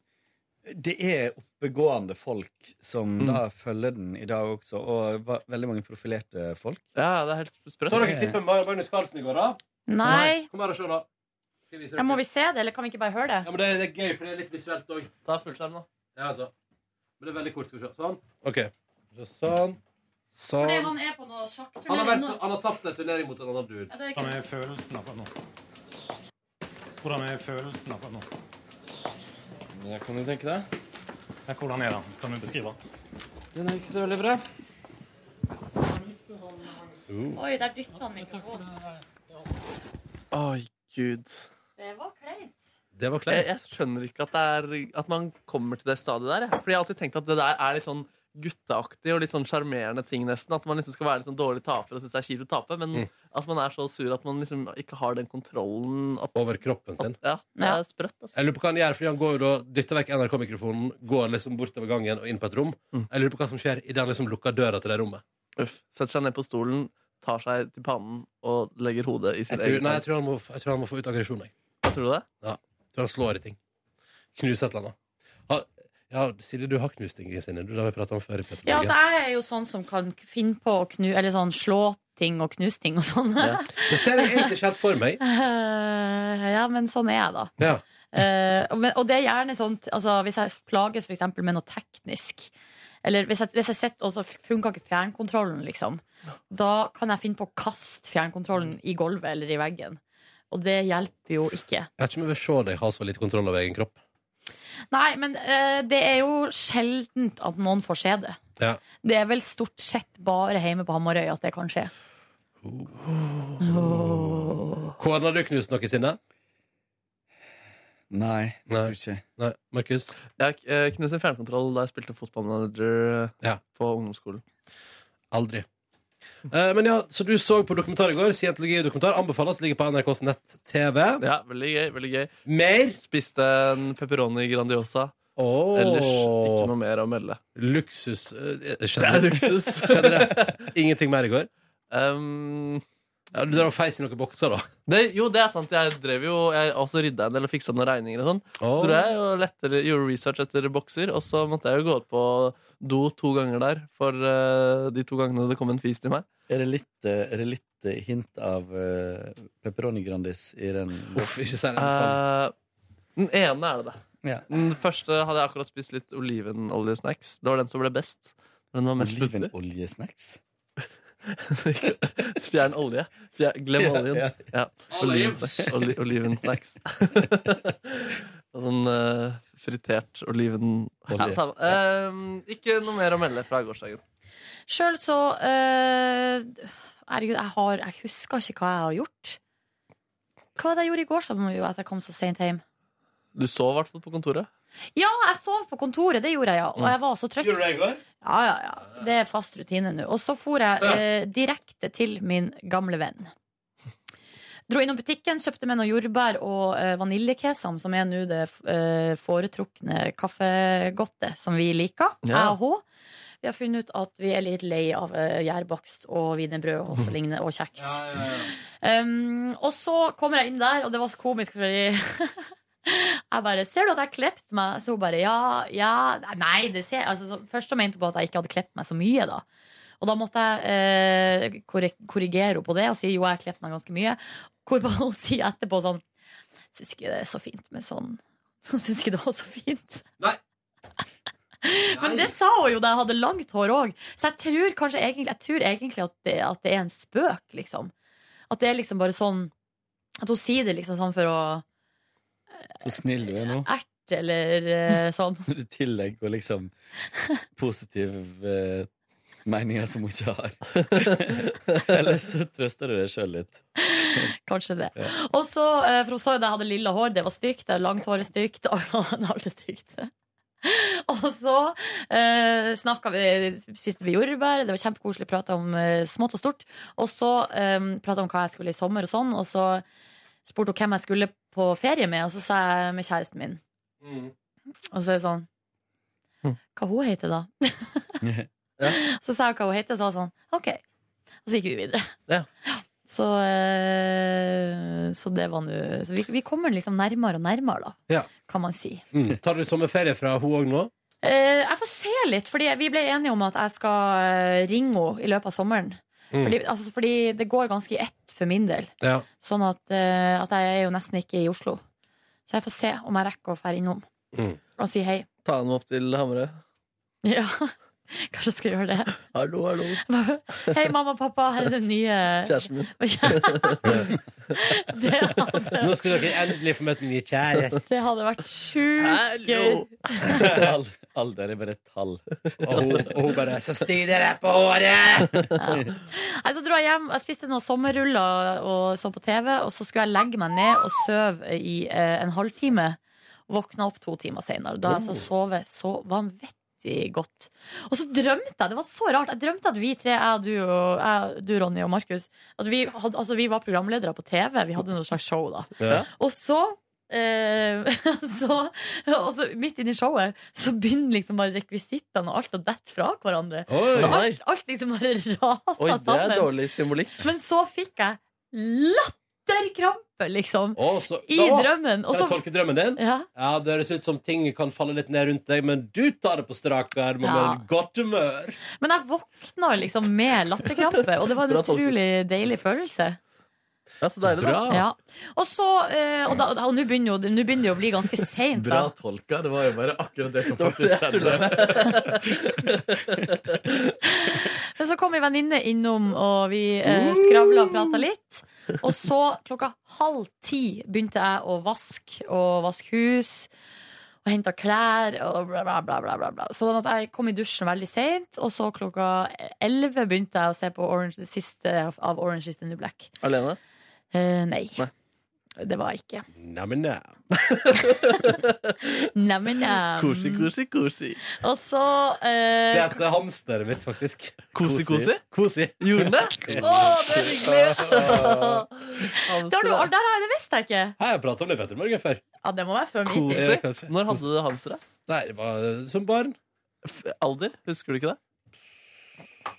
S9: det er oppegående folk som da følger den i dag også, og va- veldig mange profilerte folk.
S3: Ja, det er helt sprøtt.
S2: Så dere tippet Mag- Magnus Carlsen i går, da?
S4: Nei.
S2: Kom her og se, da. Skal jeg vise
S4: Ja,
S2: dere?
S4: må vi se det, eller kan vi ikke bare høre
S2: Ja,
S4: det?
S2: men det, det er gøy, for det er litt visuelt òg.
S3: Ta fullskjerm, da.
S2: Ja, altså. Men det er veldig kort. Skal vi se. Sånn. OK. Så Sånn.
S4: Fordi
S2: Sånn.
S4: han er på
S2: Han har,
S4: noe
S2: vært,
S4: sjakkturnering. nå.
S2: han har tapt en turnering mot en annen
S4: Ja,
S2: dude.
S4: det er
S8: Hvordan
S4: ikke-
S8: er følelsen akkurat nå? Hvordan er følelsen akkurat nå?
S9: Ja, kan du tenke deg?
S8: Ja, Hvordan er den? Kan du beskrive den?
S9: Den er ikke så veldig bra.
S4: Oi, der dytta han mikrofonen.
S3: Oi, gud.
S4: Det var kleint.
S2: Det var
S9: Eh,
S2: kleint.
S3: Jeg, jeg skjønner ikke at, det er, at man kommer til det stadiet der. jeg. Fordi jeg har alltid tenkt at det der er litt sånn gutteaktig og litt sånn sjarmerende ting, nesten. At man liksom skal være litt sånn dårlig taper og synes det er kjipt å tape, men
S2: Mm.
S3: at man er så sur at man liksom ikke har den kontrollen
S9: eh.
S3: at,
S2: Over kroppen sin.
S3: Ja, det er sprøtt, ass.
S2: Jeg lurer på hva han gjør, fordi han går jo da, dytter vekk NRK-mikrofonen, går liksom bortover gangen og inn på et rom. Jeg lurer på hva som skjer idet han liksom lukker døra til det rommet.
S3: Uff. Setter seg ned på stolen, tar seg til pannen og legger hodet i
S2: Jeg
S3: sin
S2: tror,
S3: egen
S2: nei, jeg tror, han, må, jeg tror han må få ut aggresjon, jeg.
S3: Tror du det?
S2: Ja. Jeg tror han slår i ting. Knuser et eller annet. Ha, ja, Silje, du har knust ting i sinnet. Du, det har vi pratet om før. i Petter
S4: Ja,
S2: Morgen.
S4: altså, jeg er jo sånn som kan finne på å knu, eller sånn, slå ting og knuse ting og sånn.
S2: Ja. Det ser jeg egentlig ikke helt for meg.
S4: Eh, ja, men sånn er jeg, da.
S2: Ja.
S4: Eh, og- men, og det er gjerne sånt altså, Hvis jeg plages for eksempel med noe teknisk Eller hvis jeg, hvis jeg sitter og så funker ikke fjernkontrollen liksom, Da kan jeg finne på å kaste fjernkontrollen I gulvet eller i veggen Og det hjelper jo ikke
S2: Jeg har ikke med å se deg ha så lite kontroll over egen kropp.
S4: Nei, men eh, det er jo sjeldent at noen får se det
S2: Ja.
S4: Det er vel stort sett bare hjemme på Hammarøy At det kan skje
S2: Kåren, har du knust noe i sinnet?
S9: Nei,
S2: Nei.
S9: jeg tror ikke.
S2: Nei. Markus?
S3: Jeg eh, knuste en fjernkontroll da jeg spilte fotballmanager eh,
S2: Ja.
S3: på ungdomsskolen.
S2: Aldri. Eh, men ja, Så du så på dokumentar i går. Scientologi-dokumentar anbefales. Ligger på NRKs nett-TV.
S3: Ja, veldig gøy. veldig gøy
S2: Mer?
S3: Spiste en pepperoni Grandiosa.
S2: Åh.
S3: Ellers ikke noe mer å melde.
S2: Luksus. eh,
S3: Det
S2: Skjedde
S3: er luksus.
S2: Skjedde det? Ingenting mer i går?
S3: Um,
S2: Ja, du drev og feis i noen bokser, da.
S3: det, jo, det er sant. Jeg drev jo Jeg også rydda en del og fiksa noen regninger og sånn. Så tror jeg jo lettere, gjorde research etter bokser, og så måtte jeg jo gå ut på do to ganger der for eh, de to gangene det kom en fis til meg.
S9: Er det litt, eh, er det litt eh, hint av eh, pepperoni grandis i den?
S2: Uff, ikke si det.
S3: Eh, den ene er det, det.
S9: Ja.
S3: Den første hadde jeg akkurat spist litt olivenoljesnacks. Det var den som ble best. Den var mest putter.
S9: Olivenoljesnacks?
S3: Fjern olje. Fjer- glem
S9: Ja,
S3: oljen.
S9: ja.
S3: Ja, Olivensnacks. Oli, olivensnacks. Og sånn eh, fritert oliven... Ja,
S9: Olje.
S3: samme. Ehm, ikke noe mer å melde fra gårsdagen.
S4: Selv så eh, Herregud, jeg, har, jeg husker ikke hva jeg har gjort. Hva var det jeg gjorde i går som gjorde at jeg kom så sent hjem?
S3: Du sov i hvert fall på kontoret.
S4: Ja, jeg sov på kontoret, det gjorde jeg, ja. Og jeg var så trøtt.
S2: Gjorde du det i går?
S4: Ja, ja, ja. Det er fast rutine nå. Og så for jeg eh, direkte til min gamle venn. Dro innom butikken, kjøpte meg noen jordbær og eh, vaniljekesam, som er nå det eh, foretrukne kaffegodtet som vi liker.
S3: Ja.
S4: Jeg og hun. Vi har funnet ut at vi er litt lei av eh, gjærbakst og wienerbrød og så lignende, og kjeks. Um, og så kommer jeg inn der, og det var så komisk, fordi jeg bare 'Ser du at jeg klepte meg?' Så hun bare 'Ja, ja Nei, det ser jeg altså, så, Først så mente hun på at jeg ikke hadde klept meg så mye, da. Og da måtte jeg eh, korre- korrigere henne på det og si 'Jo, jeg har klept meg ganske mye'. Hvorpå hun sier etterpå sånn 'Syns ikke det er så fint med sånn'. Hun syns ikke det var så fint.
S2: Nei.
S4: Men det sa hun jo da jeg hadde langt hår òg. Så jeg tror kanskje egentlig, jeg tror egentlig at, det, at det er en spøk, liksom. At det er liksom bare sånn At hun sier det liksom sånn for å
S9: Så snill du er nå.
S4: erte eller eh, sånn.
S9: Når du tillegger liksom positive eh, meninger som hun ikke har. Eller så trøster du deg sjøl litt.
S4: Kanskje det.
S9: Ja.
S4: Og så, eh, for hun sa jo at jeg hadde lilla hår, det var stygt. Jeg hadde Langt hår er stygt. Alt er stygt. Og så eh, snakket vi, spiste vi jordbær, det var kjempekoselig, prata om eh, smått og stort. Og så eh, prata om hva jeg skulle i sommer og sånn, og så spurte hun hvem jeg skulle på ferie med, og så sa jeg med kjæresten min.
S2: Mm.
S4: Og så er det sånn
S2: Hm.
S4: Hva hun heter da? Så sa jeg hva hun heter, og så var hun sånn OK. Og så gikk vi videre.
S3: Ja.
S4: Så, eh, så det var nå Så vi, vi kommer liksom nærmere og nærmere, da,
S2: Ja.
S4: kan man si.
S2: Mm. Tar du sommerferie fra hun òg nå?
S4: Eh, jeg får se litt, fordi vi ble enige om at jeg skal eh, ringe henne i løpet av sommeren.
S2: Mm.
S4: Fordi, altså, fordi det går ganske i ett for min del.
S2: Ja.
S4: Sånn at, eh, at jeg er jo nesten ikke i Oslo. Så jeg får se om jeg rekker å dra innom
S2: Mm.
S4: og si hei.
S3: Ta henne opp til Hamarøy.
S4: Ja, kanskje jeg skal gjøre det.
S3: Hallo, hallo.
S4: Hei, mamma og pappa, her er den nye
S3: Kjæresten min.
S4: det, hadde,
S2: Nå skulle dere endelig få møte min nye kjæreste.
S4: det hadde vært sjukt gøy.
S9: Al- Alder er bare et tall.
S2: Og hun, og hun bare Så styrer jeg på håret!
S4: Nei, så dro jeg hjem, jeg spiste noen sommerruller og så på TV, og så skulle jeg legge meg ned og sove i eh, en halvtime. Våkna opp to timer senere. Da har jeg altså sovet så vanvittig vanvittig godt. Og så drømte jeg, det var så rart, jeg drømte at vi tre, jeg, du, og, jeg, du Ronny og Markus, at vi, hadde, altså, vi var programledere på TV. Vi hadde noe slags show, da.
S11: Ja.
S4: Og så eh, så, og så midt inni showet så begynner liksom bare rekvisittene og alt å dette fra hverandre.
S3: Oi.
S4: så alt, alt liksom bare rasa
S3: Oi, det
S4: sammen.
S3: er dårlig symbolikk.
S4: Men så fikk jeg latterkrampe, liksom.
S2: Å, så-
S4: I
S2: Å,
S4: drømmen, og
S2: Kan jeg
S4: så-
S2: tolke drømmen din?
S4: Ja.
S2: Det høres ut som ting kan falle litt ned rundt deg, men du tar det på strak arm og
S4: Ja.
S2: med godt humør.
S4: Men jeg våkna liksom med latterkrampe, og det var en
S2: Bra tolket.
S4: utrolig deilig følelse.
S3: Ja, så deilig, da.
S4: Ja. Og så, eh, og da- og nå begynner, jo- nå begynner det å bli ganske seint.
S9: Bra
S4: da.
S9: tolka. Det var jo bare akkurat det som
S3: Det var det
S9: faktisk
S3: jeg
S9: skjedde.
S4: Men så kom ei venninne innom, og vi eh, skravla og prata litt. Og så klokka halv ti begynte jeg å vaske og vaske hus. Og henta klær og bla, bla, bla. bla, bla, bla. Sånn at jeg kom i dusjen veldig seint. Og så klokka elleve begynte jeg å se på Orange, det siste av Orange is the New Black. Eh,
S3: Alene?
S4: nei. Det var jeg ikke.
S2: Neimen, nei.
S4: Neimen, ja.
S2: Koselig, koselig, koselig.
S4: Og så eh,
S2: Det heter hamsteret mitt, faktisk.
S3: Kosi, kosi?
S2: Kosi.
S3: Gjorde den det?
S4: Å, det er hyggelig! Det har du, der har jeg det visst jeg ikke.
S2: Hei, jeg prata om det i Petter Morgen før.
S4: Ja, det må være før min tid.
S3: Koselig. Når hadde du hamstere?
S2: Nei, det var eh, som barn.
S3: F- Alder? Husker du ikke det?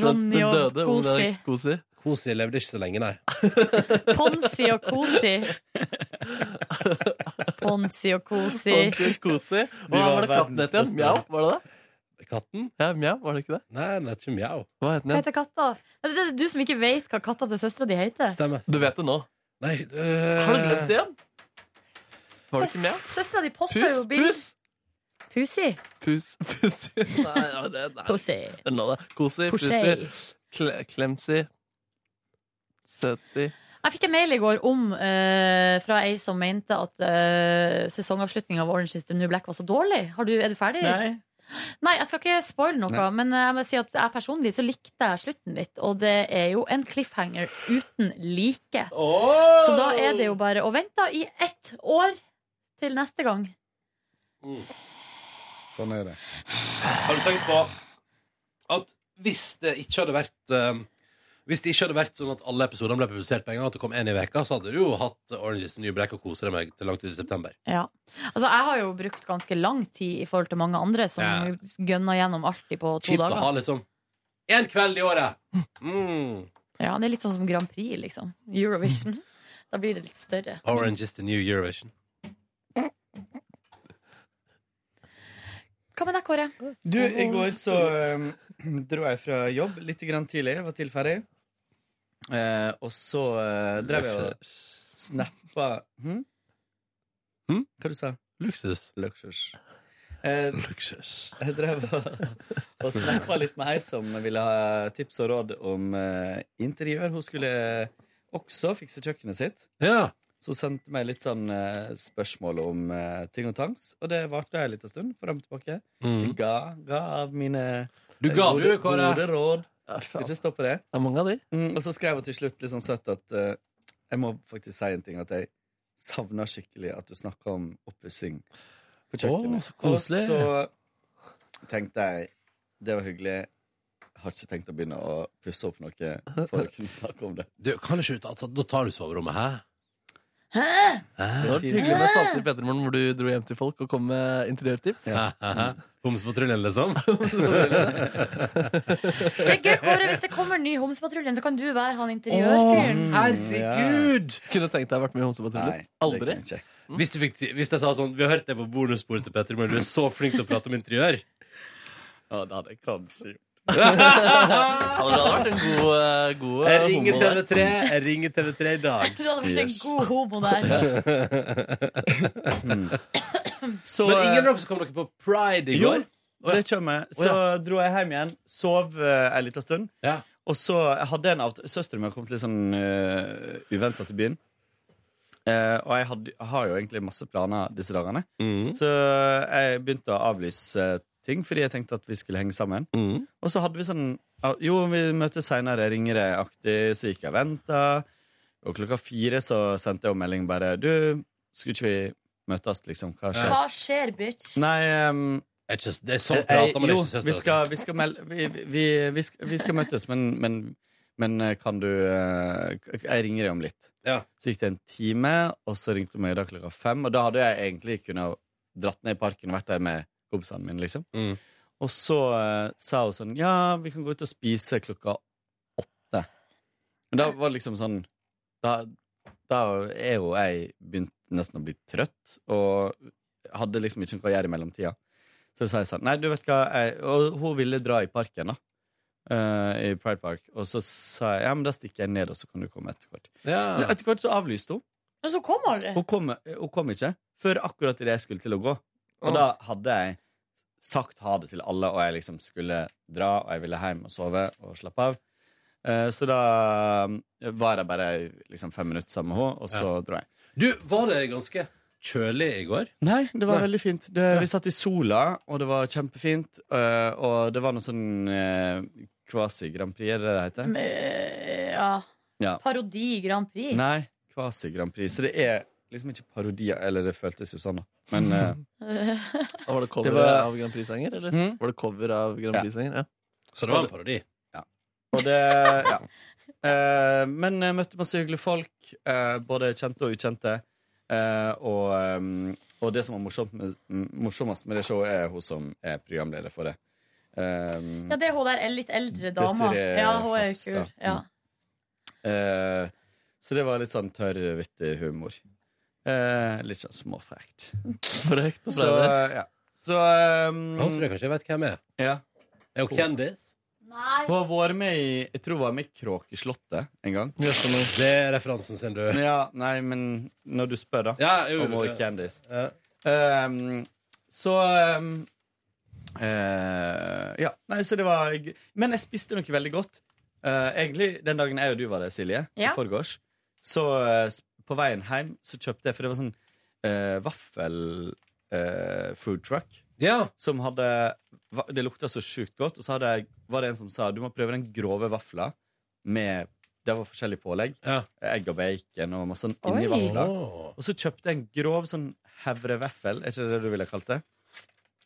S4: Ronny
S3: Den- den
S4: og
S3: døde, om det
S4: Kosi.
S3: er Kosi.
S2: Kosi levde ikke så lenge, nei.
S4: Ponsi og Kosi. Ponsi og Kosi.
S3: Ordentlig Kosi. Hva
S2: var
S3: var det
S2: verdens
S3: katten het igjen?
S2: beste.
S3: Mjau, var det det?
S2: Katten?
S3: Ja, mjau, var det ikke det?
S2: Nei, den heter ikke Mjau.
S3: Hva het
S4: Hva
S3: den igjen?
S4: heter katta? Nei, Det er du som ikke vet hva katta til søstera di heter.
S2: Stemmer.
S3: Du vet det nå.
S2: Nei, øh...
S3: Har du glemt det igjen? Var det ikke mjau?
S4: Søstera di poster
S3: Pus,
S4: jo bilder
S3: pus,
S4: Pusi.
S3: pus, pus. Nei, ja, det, nei.
S4: Pussy.
S3: Den lå der. Kosi, pusi,
S4: Pussy.
S3: kle, klemsi, søti.
S4: Jeg fikk en mail i går om eh, fra ei som mente at uh, sesongavslutninga av Orange Is the New Black var så dårlig. Har du, er du ferdig?
S9: Nei.
S4: Nei, jeg skal ikke spoile noe,
S9: Nei.
S4: men eh, jeg må si at jeg personlig så likte jeg slutten litt. Og det er jo en cliffhanger uten like. Så da er det jo bare å vente da i ett år til neste gang.
S9: Sånn er det.
S2: Har du tenkt på at hvis det ikke hadde vært eh, Hvis det ikke hadde vært sånn at alle episodene ble publisert på en gang, at det kom én i veka, så hadde du jo hatt Orange is the New Black og koset deg med til langt ut i september.
S4: Ja. Altså, jeg har jo brukt ganske lang tid i forhold til mange andre som
S2: Ja.
S4: gønner gjennom alltid på to
S2: Kjipt å ha
S4: dager.
S2: liksom én kveld i året. Mm.
S4: Ja, det er litt sånn som Grand Prix, liksom. Eurovision. Da blir det litt større.
S2: Orange is the new Eurovision.
S4: Hva med deg, Kåre?
S9: Du, i går så eh, dro jeg fra jobb litt grann tidlig. Jeg var tidlig ferdig. Eh, og så eh, drev jeg og snappa hm?
S2: Hm?
S9: Hva du sa du?
S2: Luksus.
S9: Luksus. Eh, Jeg drev og, og snakka litt med ei som ville ha tips og råd om eh, interiør. Hun skulle også fikse kjøkkenet sitt. Så hun sendte meg litt sånn eh, spørsmål om eh, ting og tangs, og det varte ei lita stund. Fram og tilbake.
S2: Mm.
S9: Jeg ga, ga av mine
S2: Du ga
S9: gode,
S2: du, Kåre.
S9: gode råd. Skal ikke stoppe det.
S3: Det er mange av de.
S9: Mm, og så skrev hun til slutt litt sånn søtt at eh, jeg må faktisk si en ting, at jeg savner skikkelig at du snakker om oppussing på
S2: Å,
S9: kjøkkenet.
S2: så koselig.
S9: og så tenkte jeg det var hyggelig. Jeg har ikke tenkt å begynne å pusse opp noe for å kunne snakke om det.
S2: Du, kan ikke ut, altså, da tar du soverommet, hæ?
S3: Det var hyggelig med stanser i Petermorgen hvor du dro hjem til folk og kom med interiørtips.
S2: Homsepatruljen, liksom?
S4: Det er gøy, Kåre, Hvis det kommer ny Homsepatruljen, så kan du være han interiørfyren.
S9: Mm,
S2: Herregud!
S3: Kunne tenkt deg å vært med i Homsepatruljen. Aldri.
S2: Hvis, du fikk, hvis jeg sa sånn Vi har hørt deg på bonussporet til Petter, men du er så flink til å prate om interiør.
S9: Ja, det hadde jeg kanskje gjort.
S3: Ja, Det hadde vært en god, eh, god eh,
S2: Jeg ringer
S3: homo der.
S2: TV3 Jeg ringer TV3 i dag.
S4: Du hadde vært en
S9: Yes.
S4: god homo der.
S9: Så,
S2: Men ingen
S9: eh,
S2: av dere som kom dere på pride i
S9: Jo,
S2: går? Å, ja.
S9: det kommer. Så dro jeg hjem igjen, sov eh, en liten stund.
S2: Ja.
S9: Og så hadde jeg en avtale Søsteren min har kommet litt sånn uh, uventa til byen. Eh, og jeg, hadde, jeg har jo egentlig masse planer disse dagene.
S2: Mm.
S9: Så jeg begynte å avlyse ting fordi jeg tenkte at vi skulle henge sammen.
S2: Mm.
S9: Og så hadde vi sånn ja, Jo, vi møtes seinere, ringer jeg aktig, så gikk jeg og venta. Og klokka fire så sendte jeg jo melding bare Du, skulle ikke vi møtes, liksom? Hva skjer?
S4: Hva skjer, bitch?
S9: Nei, ehm,
S2: Er ikke, det er sånn prater man ikke
S9: Eh, jo,
S2: søster,
S9: vi
S2: altså.
S9: skal, vi, skal melde, vi, vi, vi, skal, vi skal møtes, men, men, men eh, kan du eh, k- Jeg ringer deg om litt. Så gikk det en time, og så ringte hun meg i dag klokka fem. Og da hadde jeg egentlig kunnet dratt ned i parken og vært der med kompisene mine. liksom Og så eh, sa hun sånn Ja, vi kan gå ut og spise klokka åtte. Men da var det liksom sånn Da, da er jo jeg begynt nesten å bli trøtt, og hadde liksom ikke noe å gjøre i mellomtida. Så sa jeg sånn Nei, du vet hva jeg, Og hun ville dra i parken, da. eh, I Pride Park. Og så sa jeg ja, men da stikker jeg ned, og så kan du komme etter hvert.
S2: Ja.
S9: Men Etter hvert så avlyste hun.
S4: Men så kom aldri.
S9: Hun kom, hun kom ikke før akkurat idet jeg skulle til å gå. Og
S4: Å.
S9: da hadde jeg sagt ha det til alle, og jeg liksom skulle dra, og jeg ville hjem og sove og slappe av. Eh, Så da eh, var jeg bare liksom fem minutter sammen med henne, og så dro jeg.
S2: Du, var det ganske kjølig i går?
S9: Nei, det var
S2: Nei.
S9: veldig fint. Det, vi satt i sola, og det var kjempefint. eh, Og det var noe sånn eh, kvasi-Grand Prix, er det det heter?
S4: Men, ja.
S9: Ja.
S4: Parodi Grand Prix.
S9: Nei, kvasi-Grand Prix. Så det er liksom ikke parodier. Eller det føltes jo sånn, da. Men eh,
S3: Og var det cover
S9: Det var-
S3: av Grand Prix-sanger, eller?
S9: Mm.
S3: Var det cover av Grand
S9: Ja.
S3: Prix-sanger? Ja.
S2: Så det var en parodi?
S9: Ja. Og det, ja. Eh, men jeg møtte masse hyggelige folk, eh, både kjente og ukjente. Eh, og, ehm, og det som var morsomt med, m- morsommest med det showet, er hun som er programleder for det. Ehm,
S4: Ja, det er hun der litt eldre dama.
S9: Desiree
S4: Ja, hun er jo kul.
S9: Hofstad.
S4: Ja.
S9: eh, så det var litt sånn tørr, vittig humor. Eh, litt sånn småfrekt.
S3: Frekt og
S9: Så,
S3: bra,
S9: ja. Så ehm,
S2: Jeg tror jeg kanskje jeg vet hvem jeg er.
S9: ja.
S2: Er hun kjendis?
S9: Hun har vært med i Jeg tror hun var med i Kråkeslottet en gang.
S2: Det er referansen sin, du.
S9: Ja, nei, men når du spør, da.
S2: Ja, jo,
S9: om vår
S2: det-
S9: kjendis.
S2: Ja.
S9: Ehm, så ehm, eh, Ja. Nei, så det var g- Men jeg spiste noe veldig godt. Eh, egentlig den dagen jeg og du var der, Silje,
S4: Ja.
S9: i forgårs, så eh, s- på veien hjem så kjøpte jeg For det var sånn eh, vaffel eh, food truck. Som hadde va- Det lukta så sjukt godt. Og så hadde jeg, var det en som sa du må prøve den grove vafla med Det var forskjellig pålegg. Egg og bacon og masse sånn inni
S4: Oi.
S9: vafla. Og så kjøpte jeg en grov sånn hevreveffel. Er ikke det det du ville kalt det?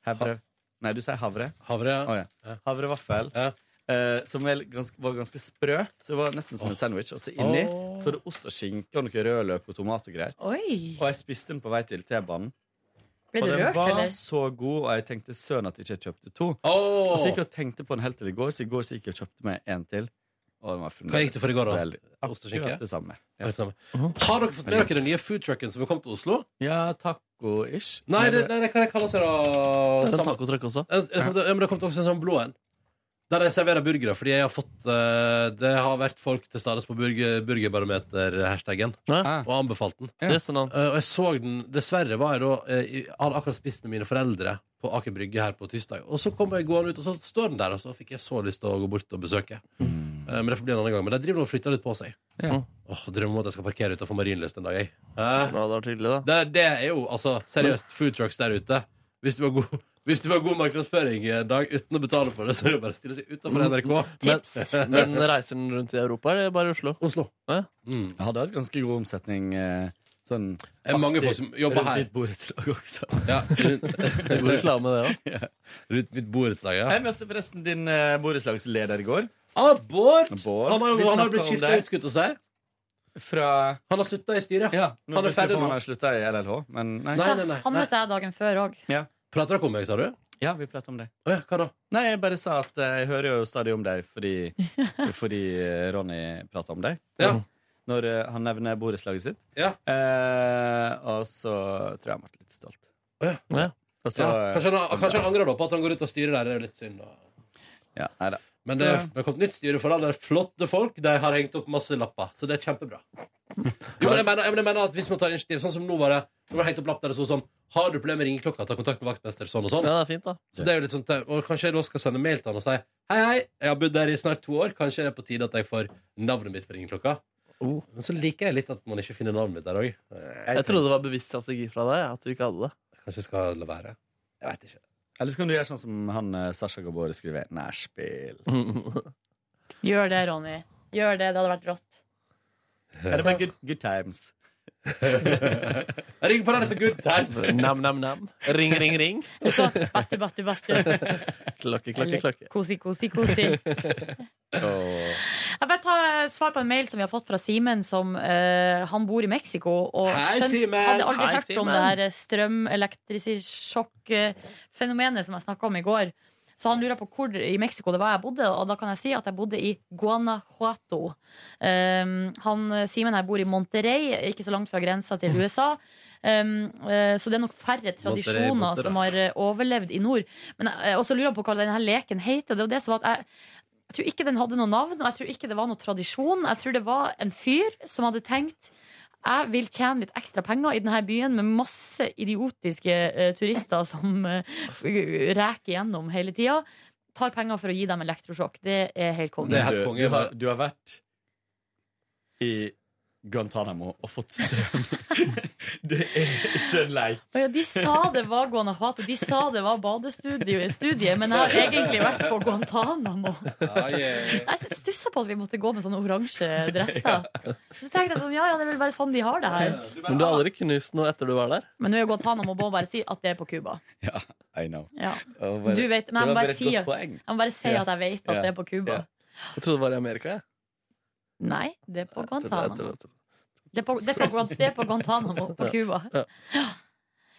S9: Hevre... Nei, du sier havre.
S2: Havre, ja.
S9: Å, Havrevaffel. Eh, som er ganske, var ganske sprø. Så det var nesten som en sandwich. Og så inni
S2: Åh.
S9: så er det ost og skinke og noe rødløk og tomat og greier.
S4: Oi!
S9: Og jeg spiste den på vei til T-banen.
S4: Ble
S9: Og
S4: du
S9: den
S4: rørt,
S9: var
S4: eller?
S9: så god, og jeg tenkte søren at jeg ikke kjøpte to. Og så gikk jeg og tenkte på den helt til i går, så i går så gikk jeg og kjøpte meg en til. Og den var
S2: Hva gikk det for i går, da?
S9: veldig-
S2: Ost og skinke?
S9: Akkurat det samme.
S2: Akkurat
S9: Ja.
S2: det samme. Har dere fått med dere den nye foodtrucken som har kommet til Oslo?
S9: Ja, taco-ish.
S2: Nei, det, nei, det, hva det kalles det da?
S3: Det er en
S2: Samme-
S3: tacotrøkk også.
S2: En- en- ja, Men det har kommet også en sånn blå en. Der jeg serverer burgere, fordi jeg har fått eh, Det har vært folk til stades på burger, burgerbarometer-hashtagen
S9: Ah.
S2: og anbefalt den.
S9: Ja.
S3: Yes, no.
S2: Eh, og jeg så den Dessverre var jeg da eh, i- Jeg hadde akkurat spist med mine foreldre på Aker Brygge her på tirsdag. Og så kom jeg gående ut, og så står den der, og så fikk jeg så lyst til å gå bort og besøke. Eh, men det får bli en annen gang. Men de driver nå og flytter litt på seg.
S9: Mm. Ja.
S2: Åh, drømmer om at jeg skal parkere utenfor Marienlyst en dag, jeg. Hæ?
S3: ja, det var tydelig, da.
S2: Det, det er jo altså seriøst food trucks der ute. Hvis du har god, hvis du har god markedsføring en dag uten å betale for det, så er det bare å stille seg
S9: Mm.
S2: utenfor NRK.
S4: Tips.
S3: Men reiser den rundt i Europa, eller bare i Oslo?
S2: Oslo.
S3: Ja.
S2: Mm.
S9: Jeg hadde hatt ganske god omsetning eh, sånn
S2: Det er mange folk som jobber
S9: rundt
S2: her.
S9: ditt borettslag også.
S2: Ja, rundt,
S3: Det er god reklame, det òg.
S2: rundt mitt borettslag, ja.
S9: Jeg møtte forresten din eh, borettslagsleder i går.
S2: Ah, Bård!
S9: Bård.
S2: Han har,
S9: Vi
S2: jo- han har
S9: snakket
S2: blitt
S9: om
S2: skifta
S9: deg.
S2: ut, skulle jeg til å si.
S9: Fra
S2: Han har slutta i styret.
S9: Ja, nå
S2: Han er
S9: lurer jeg på
S2: ferdig
S9: om
S2: nå.
S9: Han har slutta i LLH, men nei.
S2: Nei, nei, nei.
S4: Han møtte jeg dagen før òg.
S2: Prater dere om meg, sa du?
S9: Ja, vi prater om det.
S2: Å ja, hva da?
S9: Nei, jeg bare sa at eh, jeg hører jo stadig om deg fordi, fordi eh, Ronny prater om deg.
S2: Ja.
S9: Når eh, han nevner borettslaget sitt.
S2: Ja.
S9: Eh, og så tror jeg han ble litt stolt.
S2: Å ja.
S9: Og så, eh,
S2: Ja, kanskje, han, kanskje han angrer da på at han går ut av styret der. Det er jo litt synd. Da.
S9: ja, nei da.
S2: Men det er- det har kommet nytt styre for alle. Det er flotte folk. De har hengt opp masse lapper. Så det er kjempebra. Jo, men jeg mener, jeg mener at Hvis man tar initiativ, sånn som nå var det Nå var det hengt opp lapp der det sto sånn Har du problemer med ringeklokka, ta kontakt med vaktmester, sånn og sånn.
S3: Ja, det er fint, da.
S2: Så det er jo litt sånn te- Og kanskje jeg da skal sende mail til han og si Hei, hei, jeg har bodd der i snart to år Kanskje det er på tide at jeg får navnet mitt på ringeklokka
S3: Oh.
S2: Men så liker jeg litt at man ikke finner navnet mitt der også Eh,
S3: Jeg trodde det var bevisst strategi fra deg at du ikke hadde det.
S2: Kanskje jeg skal la være Jeg vet ikke
S9: Eller så kan du gjøre sånn som han eh, Sasha Gabor skriver. Nærspill.
S4: Gjør det, Ronny. Gjør det. Det hadde vært rått.
S9: Ja, det var good, good times.
S2: Ring på Radio Good Times.
S3: Nam, nam, nam. Ring, ring, ring.
S4: Og så bastu, bastu, bastu.
S3: Klokke, klokke,
S4: Eller
S3: klokke.
S4: kosi, kosi, kosi. Jeg bare tar svar på en mail som vi har fått fra Simen, som eh, han bor i Mexico. Og
S2: Hei,
S4: skjøn-
S2: Simen!
S4: hadde aldri
S3: Hei,
S4: hørt om
S3: Simen!
S4: det her eh, strømelektrisirsjokk-fenomenet som jeg snakka om i går. Så han lurer på hvor i Mexico det var jeg bodde, og da kan jeg si at jeg bodde i Guanajuato. Um, han Simen her bor i Monterrey, ikke så langt fra grensa til USA. Um, eh, så det er nok færre tradisjoner
S2: Monterrey.
S4: som har eh, overlevd i nord. Men jeg- jeg også lurer på hva denne leken heter. Det var det som var at jeg jeg tror ikke den hadde noe navn, og jeg tror ikke det var noe tradisjon. Jeg tror det var en fyr som hadde tenkt jeg vil tjene litt ekstra penger i denne byen med masse idiotiske eh, turister som eh, reker gjennom hele tida. Tar penger for å gi dem elektrosjokk. Det er helt
S9: Du,
S2: Det
S4: konge.
S2: er helt konge.
S9: du, har, du har vært i Guantánamo og fått strøm. det er ikke en leik.
S4: Og ja, de sa det var Guanajuato, de sa det var badestudiet, studiet, men jeg har egentlig vært på Guantánamo.
S2: Ja, yeah.
S4: Jeg stussa på at vi måtte gå med sånne oransje dresser. Så tenkte jeg sånn, ja ja, det er vel bare sånn de har det her.
S3: Men du har aldri knust noe etter du var der?
S4: Men nå er jo Guantánamo må bare si at det er på Cuba.
S9: Ja, I know.
S4: Ja.
S9: Og
S4: Du vet, men jeg
S9: det
S4: må
S9: var
S4: bare
S9: et
S4: si,
S9: godt
S4: jeg
S9: poeng.
S4: må bare si
S9: Ja.
S4: at jeg vet at
S9: Ja.
S4: det er på Cuba.
S9: Ja.
S3: Jeg trodde det var i Amerika. jeg.
S4: Nei, det er på
S3: Jeg trodde- jeg trodde-
S4: Guantánamo.
S3: jeg trodde-
S4: Det er på, det er på, Guan- det er på Guantánamo på Cuba.
S3: Ja.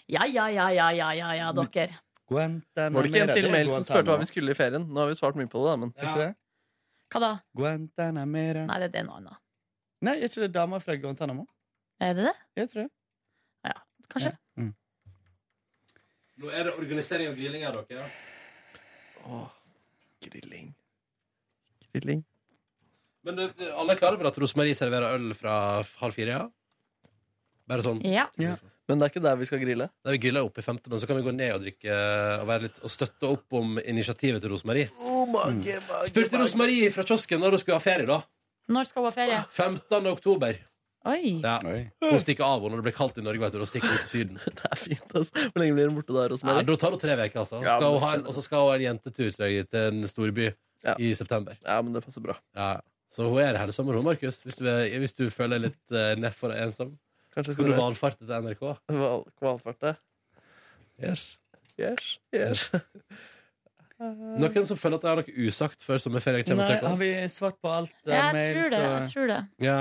S4: Ja, ja, ja, ja, ja, ja, ja, dere.
S9: Guantanamera,
S3: Var det ikke en
S9: det
S3: til
S9: er
S3: mail som spurte hva vi
S9: Guantanamo.
S3: skulle i ferien? Nå har vi svart mye på det, da, men
S9: Er ikke det?
S4: Hva da?
S9: Guantanamera
S4: Nei, det det er noe annet.
S9: Nei, er ikke det dama fra Guantánamo?
S4: Er det det?
S9: Jeg tror det.
S4: Kanskje?
S2: ah, Nå er det organisering og grilling her, dere.
S3: Åh, grilling. Grilling.
S2: Men du, alle er klare over at Rosemarie serverer øl fra halv fire? ja? Bare sånn.
S4: Ja.
S3: Men det er ikke der vi skal grille.
S2: Nei, vi griller opp i femte, men så kan vi gå ned og drikke og, være litt, og støtte opp om initiativet til Rosemarie. Mm. Spurte Rosemarie fra kiosken når hun skulle ha ferie, da.
S4: Når skal hun ha ferie?
S2: 15. oktober.
S4: Oi.
S2: Ja.
S9: Oi.
S2: Hun stikker av og når det blir kaldt i Norge, vet du. Da stikker hun til Syden.
S3: Det er fint, altså. Hvor lenge blir den borte der hos
S2: Nei,
S3: meg?
S2: da tar hun tre uker, altså.
S3: Ja,
S2: Skal
S3: men-
S2: hun ha en, og så skal hun ha en jentetur tror jeg, til en storby
S3: Ja.
S2: i september.
S3: Ja, men det passer bra.
S2: Ja. Så hun er her i sommer, hun, Markus. Hvis du, er, hvis du føler deg litt uh, nedfor og ensom.
S3: Kanskje
S2: Skal du
S3: skal
S2: valfarte til NRK?
S3: du val- valfarte?
S2: Yes.
S3: Yes. yes.
S2: Noen som føler at de har noe usagt før sommerferien kommer?
S9: Nei,
S2: til
S9: har
S2: oss?
S9: vi svart på alt? eh,
S4: Ja, jeg
S9: mail,
S4: tror det.
S9: så-
S4: Jeg tror det.
S2: Ja.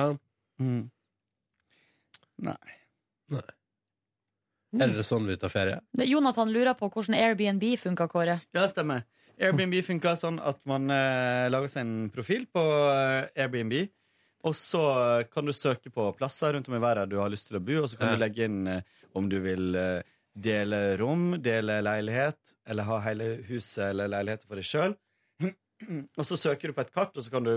S9: Mm.
S2: Er det sånn vi tar ferie?
S4: Det- Jonathan lurer på hvordan Airbnb funka, Kåre.
S9: Ja, stemmer. Airbnb funker sånn at man eh, lager seg en profil på eh, Airbnb. Og så eh, kan du søke på plasser rundt om i verden du har lyst til å bo, og så kan
S2: Ja.
S9: du legge inn eh, om du vil eh, dele rom, dele leilighet, eller ha hele huset eller leiligheten for deg sjøl. og så søker du på et kart, og så kan du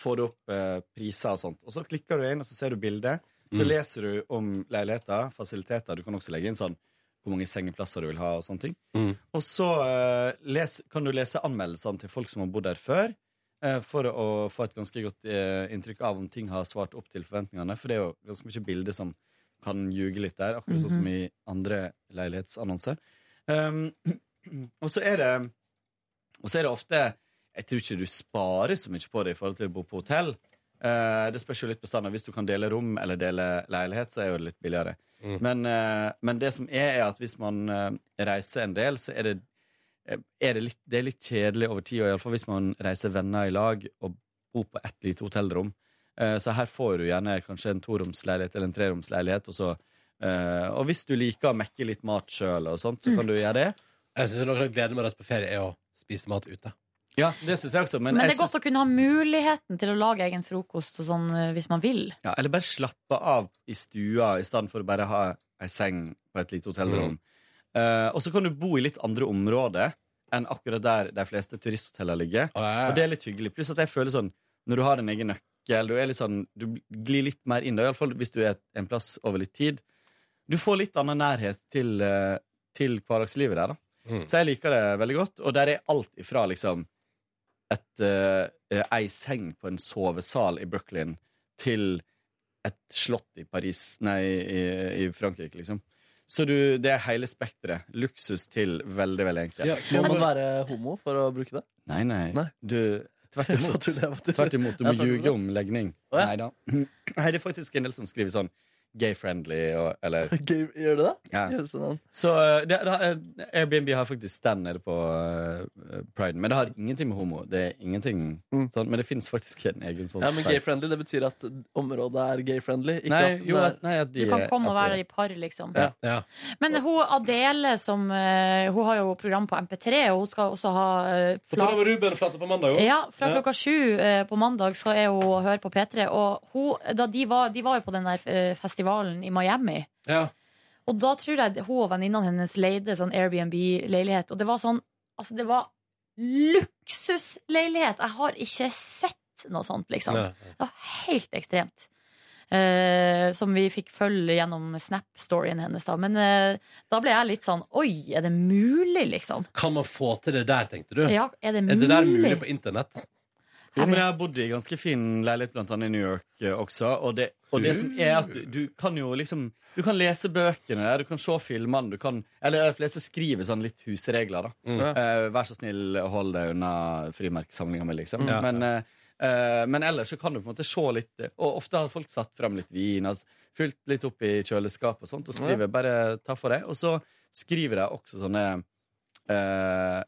S9: få det opp eh, priser og sånt. Og så klikker du inn, og så ser du bildet. Så
S2: Mm.
S9: leser du om leiligheter, fasiliteter. Du kan også legge inn sånn hvor mange sengeplasser du vil ha, og sånne ting.
S2: Mm.
S9: Og så eh, les, kan du lese anmeldelsene til folk som har bodd der før, eh, for å få et ganske godt eh, inntrykk av om ting har svart opp til forventningene. For det er jo ganske mye bilder som kan ljuge litt der, akkurat sånn som i andre leilighetsannonser. Um, og så er det Og så er det ofte Jeg tror ikke du sparer så mye på det i forhold til å bo på hotell. Eh, det spørs jo litt bestandig. Hvis du kan dele rom eller dele leilighet, så er jo det litt billigere.
S2: Mm.
S9: Men, eh, men det som er, er at hvis man eh, reiser en del, så er det, eh, er det, litt, det er litt kjedelig over tid. Iallfall hvis man reiser venner i lag og bor på ett lite hotellrom. Eh, så her får du gjerne kanskje en toromsleilighet eller en treromsleilighet. Og, så, eh, og hvis du liker å mekke litt mat sjøl, så kan du gjøre det.
S2: Jeg synes Noe jeg gleder meg til å reise på ferie, er å spise mat ute.
S9: Ja, det syns jeg også. Men,
S4: Men
S9: jeg
S4: det er godt å kunne ha muligheten til å lage egen frokost og sånn eh, hvis man vil.
S9: Ja, eller bare slappe av i stua i stedet for å bare ha ei seng på et lite hotellrom. Eh, og så kan du bo i litt andre områder enn akkurat der de fleste turisthotellene ligger.
S2: Og jeg,
S9: Og det er litt hyggelig. Pluss at jeg føler sånn når du har din egen nøkkel, du, er litt sånn, du glir litt mer inn. da, i alle fall hvis du er en plass over litt tid. Du får litt annen nærhet til, eh, til hverdagslivet der. da.
S2: Mm.
S9: Så jeg liker det veldig godt. Og der er alt ifra liksom et, eh, eh, ei seng på en sovesal i Brooklyn til et slott i Paris, nei, i, i Frankrike, liksom. Så du, det er hele spekteret. Luksus til veldig, veldig enkelt.
S2: Ja,
S3: Må man være homo for å bruke det?
S9: Nei, nei,
S3: Nei.
S9: Du, tvert imot.
S3: Jeg må tulle, jeg må tulle.
S9: Tvert imot, du
S3: Jeg
S9: må
S3: tar det
S9: ljuge
S3: bra.
S9: om legning.
S3: Å, ja.
S9: Nei da. Nei, det er faktisk en del som skriver sånn gay-friendly og eller
S3: Gjør du det? sånn.
S9: ja.
S3: Jøsse navn.
S9: Så eh, det, det, eh, Airbnb har faktisk stand nede på eh, priden. Men det har ingenting med homo. Det er ingenting sånn, Men det fins faktisk en egen sånn
S3: Ja, men
S9: site.
S3: gay-friendly, det betyr at området er gay-friendly. Ikke
S9: Nei,
S3: at
S9: jo,
S3: det er,
S9: at, nei, at de
S4: Du kan komme og
S9: at
S4: være
S9: de-
S4: der i par, liksom.
S3: Ja.
S2: Ja.
S4: Men hun Adele, som eh, Hun har jo program på MP3, og hun skal også ha eh,
S2: Få ta
S4: plat-
S2: med Ruben-flate på mandag òg.
S4: Ja, fra
S2: Ja.
S4: klokka sju eh, på mandag så er hun og hører på P3. Og hun, da de, var, de var jo på den der eh, festivalen i Miami.
S2: Ja.
S4: Og da tror jeg hun og venninnene hennes leide sånn Airbnb-leilighet. Og det var sånn Altså, det var luksusleilighet! Jeg har ikke sett noe sånt, liksom.
S2: Ja.
S4: Det var helt ekstremt. Eh, som vi fikk følge gjennom Snap-storyen hennes. da Men eh, da ble jeg litt sånn Oi, er det mulig, liksom?
S2: Kan man få til det der, tenkte du?
S4: Ja, er det mulig?
S2: Er det der mulig på internett?
S9: Jo, men jeg har bodd i ganske fin leilighet, blant annet i New York eh, også. Og det, og det som er at du, du kan jo liksom Du kan lese bøkene, der, du kan se filmene, du kan Eller de fleste skriver sånn litt husregler, da.
S2: Mm.
S9: Eh, vær så snill, hold deg unna frimerkesamlinga mi, liksom.
S2: Ja.
S9: Men, eh, eh, men ellers så kan du på en måte se litt eh, Og ofte har folk satt fram litt vin, altså, fylt litt opp i kjøleskapet og sånt, og skriver 'bare ta for deg'. Og så skriver de også sånne eh,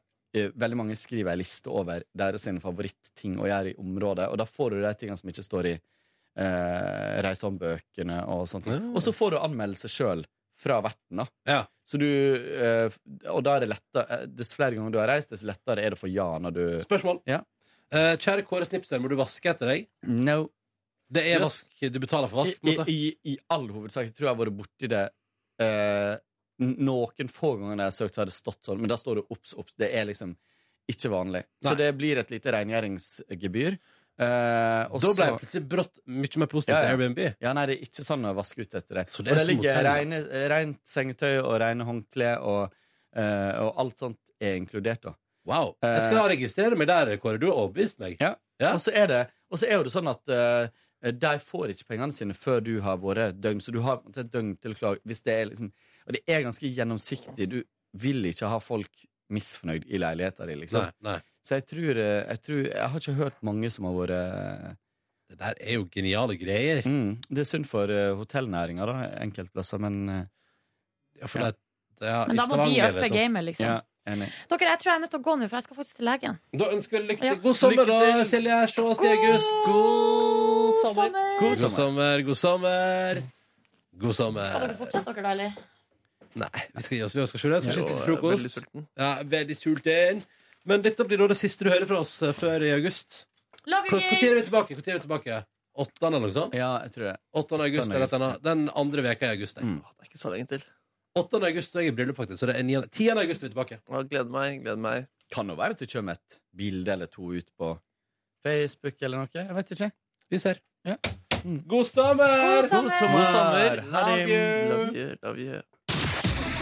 S9: eh, Veldig mange skriver ei liste over deres sine favorittting å gjøre i området, og da får du de tingene som ikke står i eh, reisehåndbøkene og sånt.
S2: Ja.
S9: Og så får du anmeldelse sjøl fra verten, da.
S2: Ja.
S9: Så du, eh, og da er det lettere eh, Dess flere ganger du har reist, dess lettere er det å få ja når du
S2: Spørsmål.
S9: Ja.
S2: Eh, kjære Kåre Snipser, må du vaske etter deg?
S9: No.
S2: Det er
S9: Ja.
S2: vask. Du betaler for
S9: I,
S2: vask. på en måte.
S9: i, I all hovedsak jeg tror jeg har vært borti det eh, n- noen få ganger når jeg har søkt, så har det stått sånn, men da står det obs, obs. Det er liksom ikke vanlig. Så
S2: Nei.
S9: det blir et lite rengjøringsgebyr. Eh, og
S2: Da ble jeg
S9: så-
S2: plutselig brått mye mer positiv
S9: Ja,
S2: til
S9: ja.
S2: Airbnb.
S9: Ja, nei, det er ikke sånn å vaske ut etter det.
S2: Så det er
S9: og det
S2: som
S9: ligger
S2: hotell,
S9: reine, rent sengetøy og rene håndklær og, eh, og alt sånt er inkludert, da.
S2: Wow. Jeg skal registrere meg der, Kåre. Du har overbevist meg.
S9: Ja.
S2: Ja.
S9: Og så er, det- og så er jo det sånn at eh, de får ikke pengene sine før du har vært et døgn, så du har på en måte et døgn til å klage. Hvis det er liksom, og det er ganske gjennomsiktig. Du vil ikke ha folk misfornøyd i leiligheten din, liksom.
S2: Nei, nei.
S9: Så jeg tror, eh, jeg tror Jeg har ikke hørt mange som har vært eh,
S2: Det der er jo geniale greier.
S9: mm, Det er synd for uh, hotellnæringa, da, enkelte plasser, men eh,
S2: Ja, for det, det er,
S4: Men da må de uppe
S2: liksom.
S4: gamet, liksom.
S9: ja, enig.
S4: Dere, jeg tror jeg er nødt til å gå nå, for jeg skal faktisk til legen.
S2: Da ønsker vi lykke
S4: Ja.
S2: til. God sommer,
S3: Lykke til.
S2: da, Silje. Se oss i august. God
S4: sommer.
S2: God sommer. God sommer. God
S4: Skal
S2: sommer.
S4: dere fortsette dere, da, eller?
S2: Nei, vi skal gi oss. Vi skal ikke det. Vi skal
S3: Jeg
S2: ikke spise
S3: er veldig
S2: frokost.
S3: sulten.
S2: Ja, veldig sulten. Men dette blir da det siste du hører fra oss eh, før i august.
S4: Love
S2: Hvor
S4: you,
S2: når er vi
S4: guys!
S2: tilbake? Hvor tid er vi tilbake? 8. eller noe sånt?
S9: Ja, jeg tror det.
S2: 8. august
S9: Åttende
S2: eller et eller
S9: august.
S2: annet. Den andre veka i august. det.
S9: Mm.
S3: Det er ikke så lenge til.
S2: 8. august og jeg er i bryllup, faktisk. Så det er 9. 10. august er vi tilbake.
S3: Å, gleder meg, gleder meg.
S9: Kan jo være at du kommer et bilde eller to ut på Facebook eller noe. Jeg vet ikke.
S2: Vi ser.
S9: Ja. Mm.
S2: God sommer!
S4: God sommer!
S3: God sommer.
S9: Ha det.
S3: Love you, love you.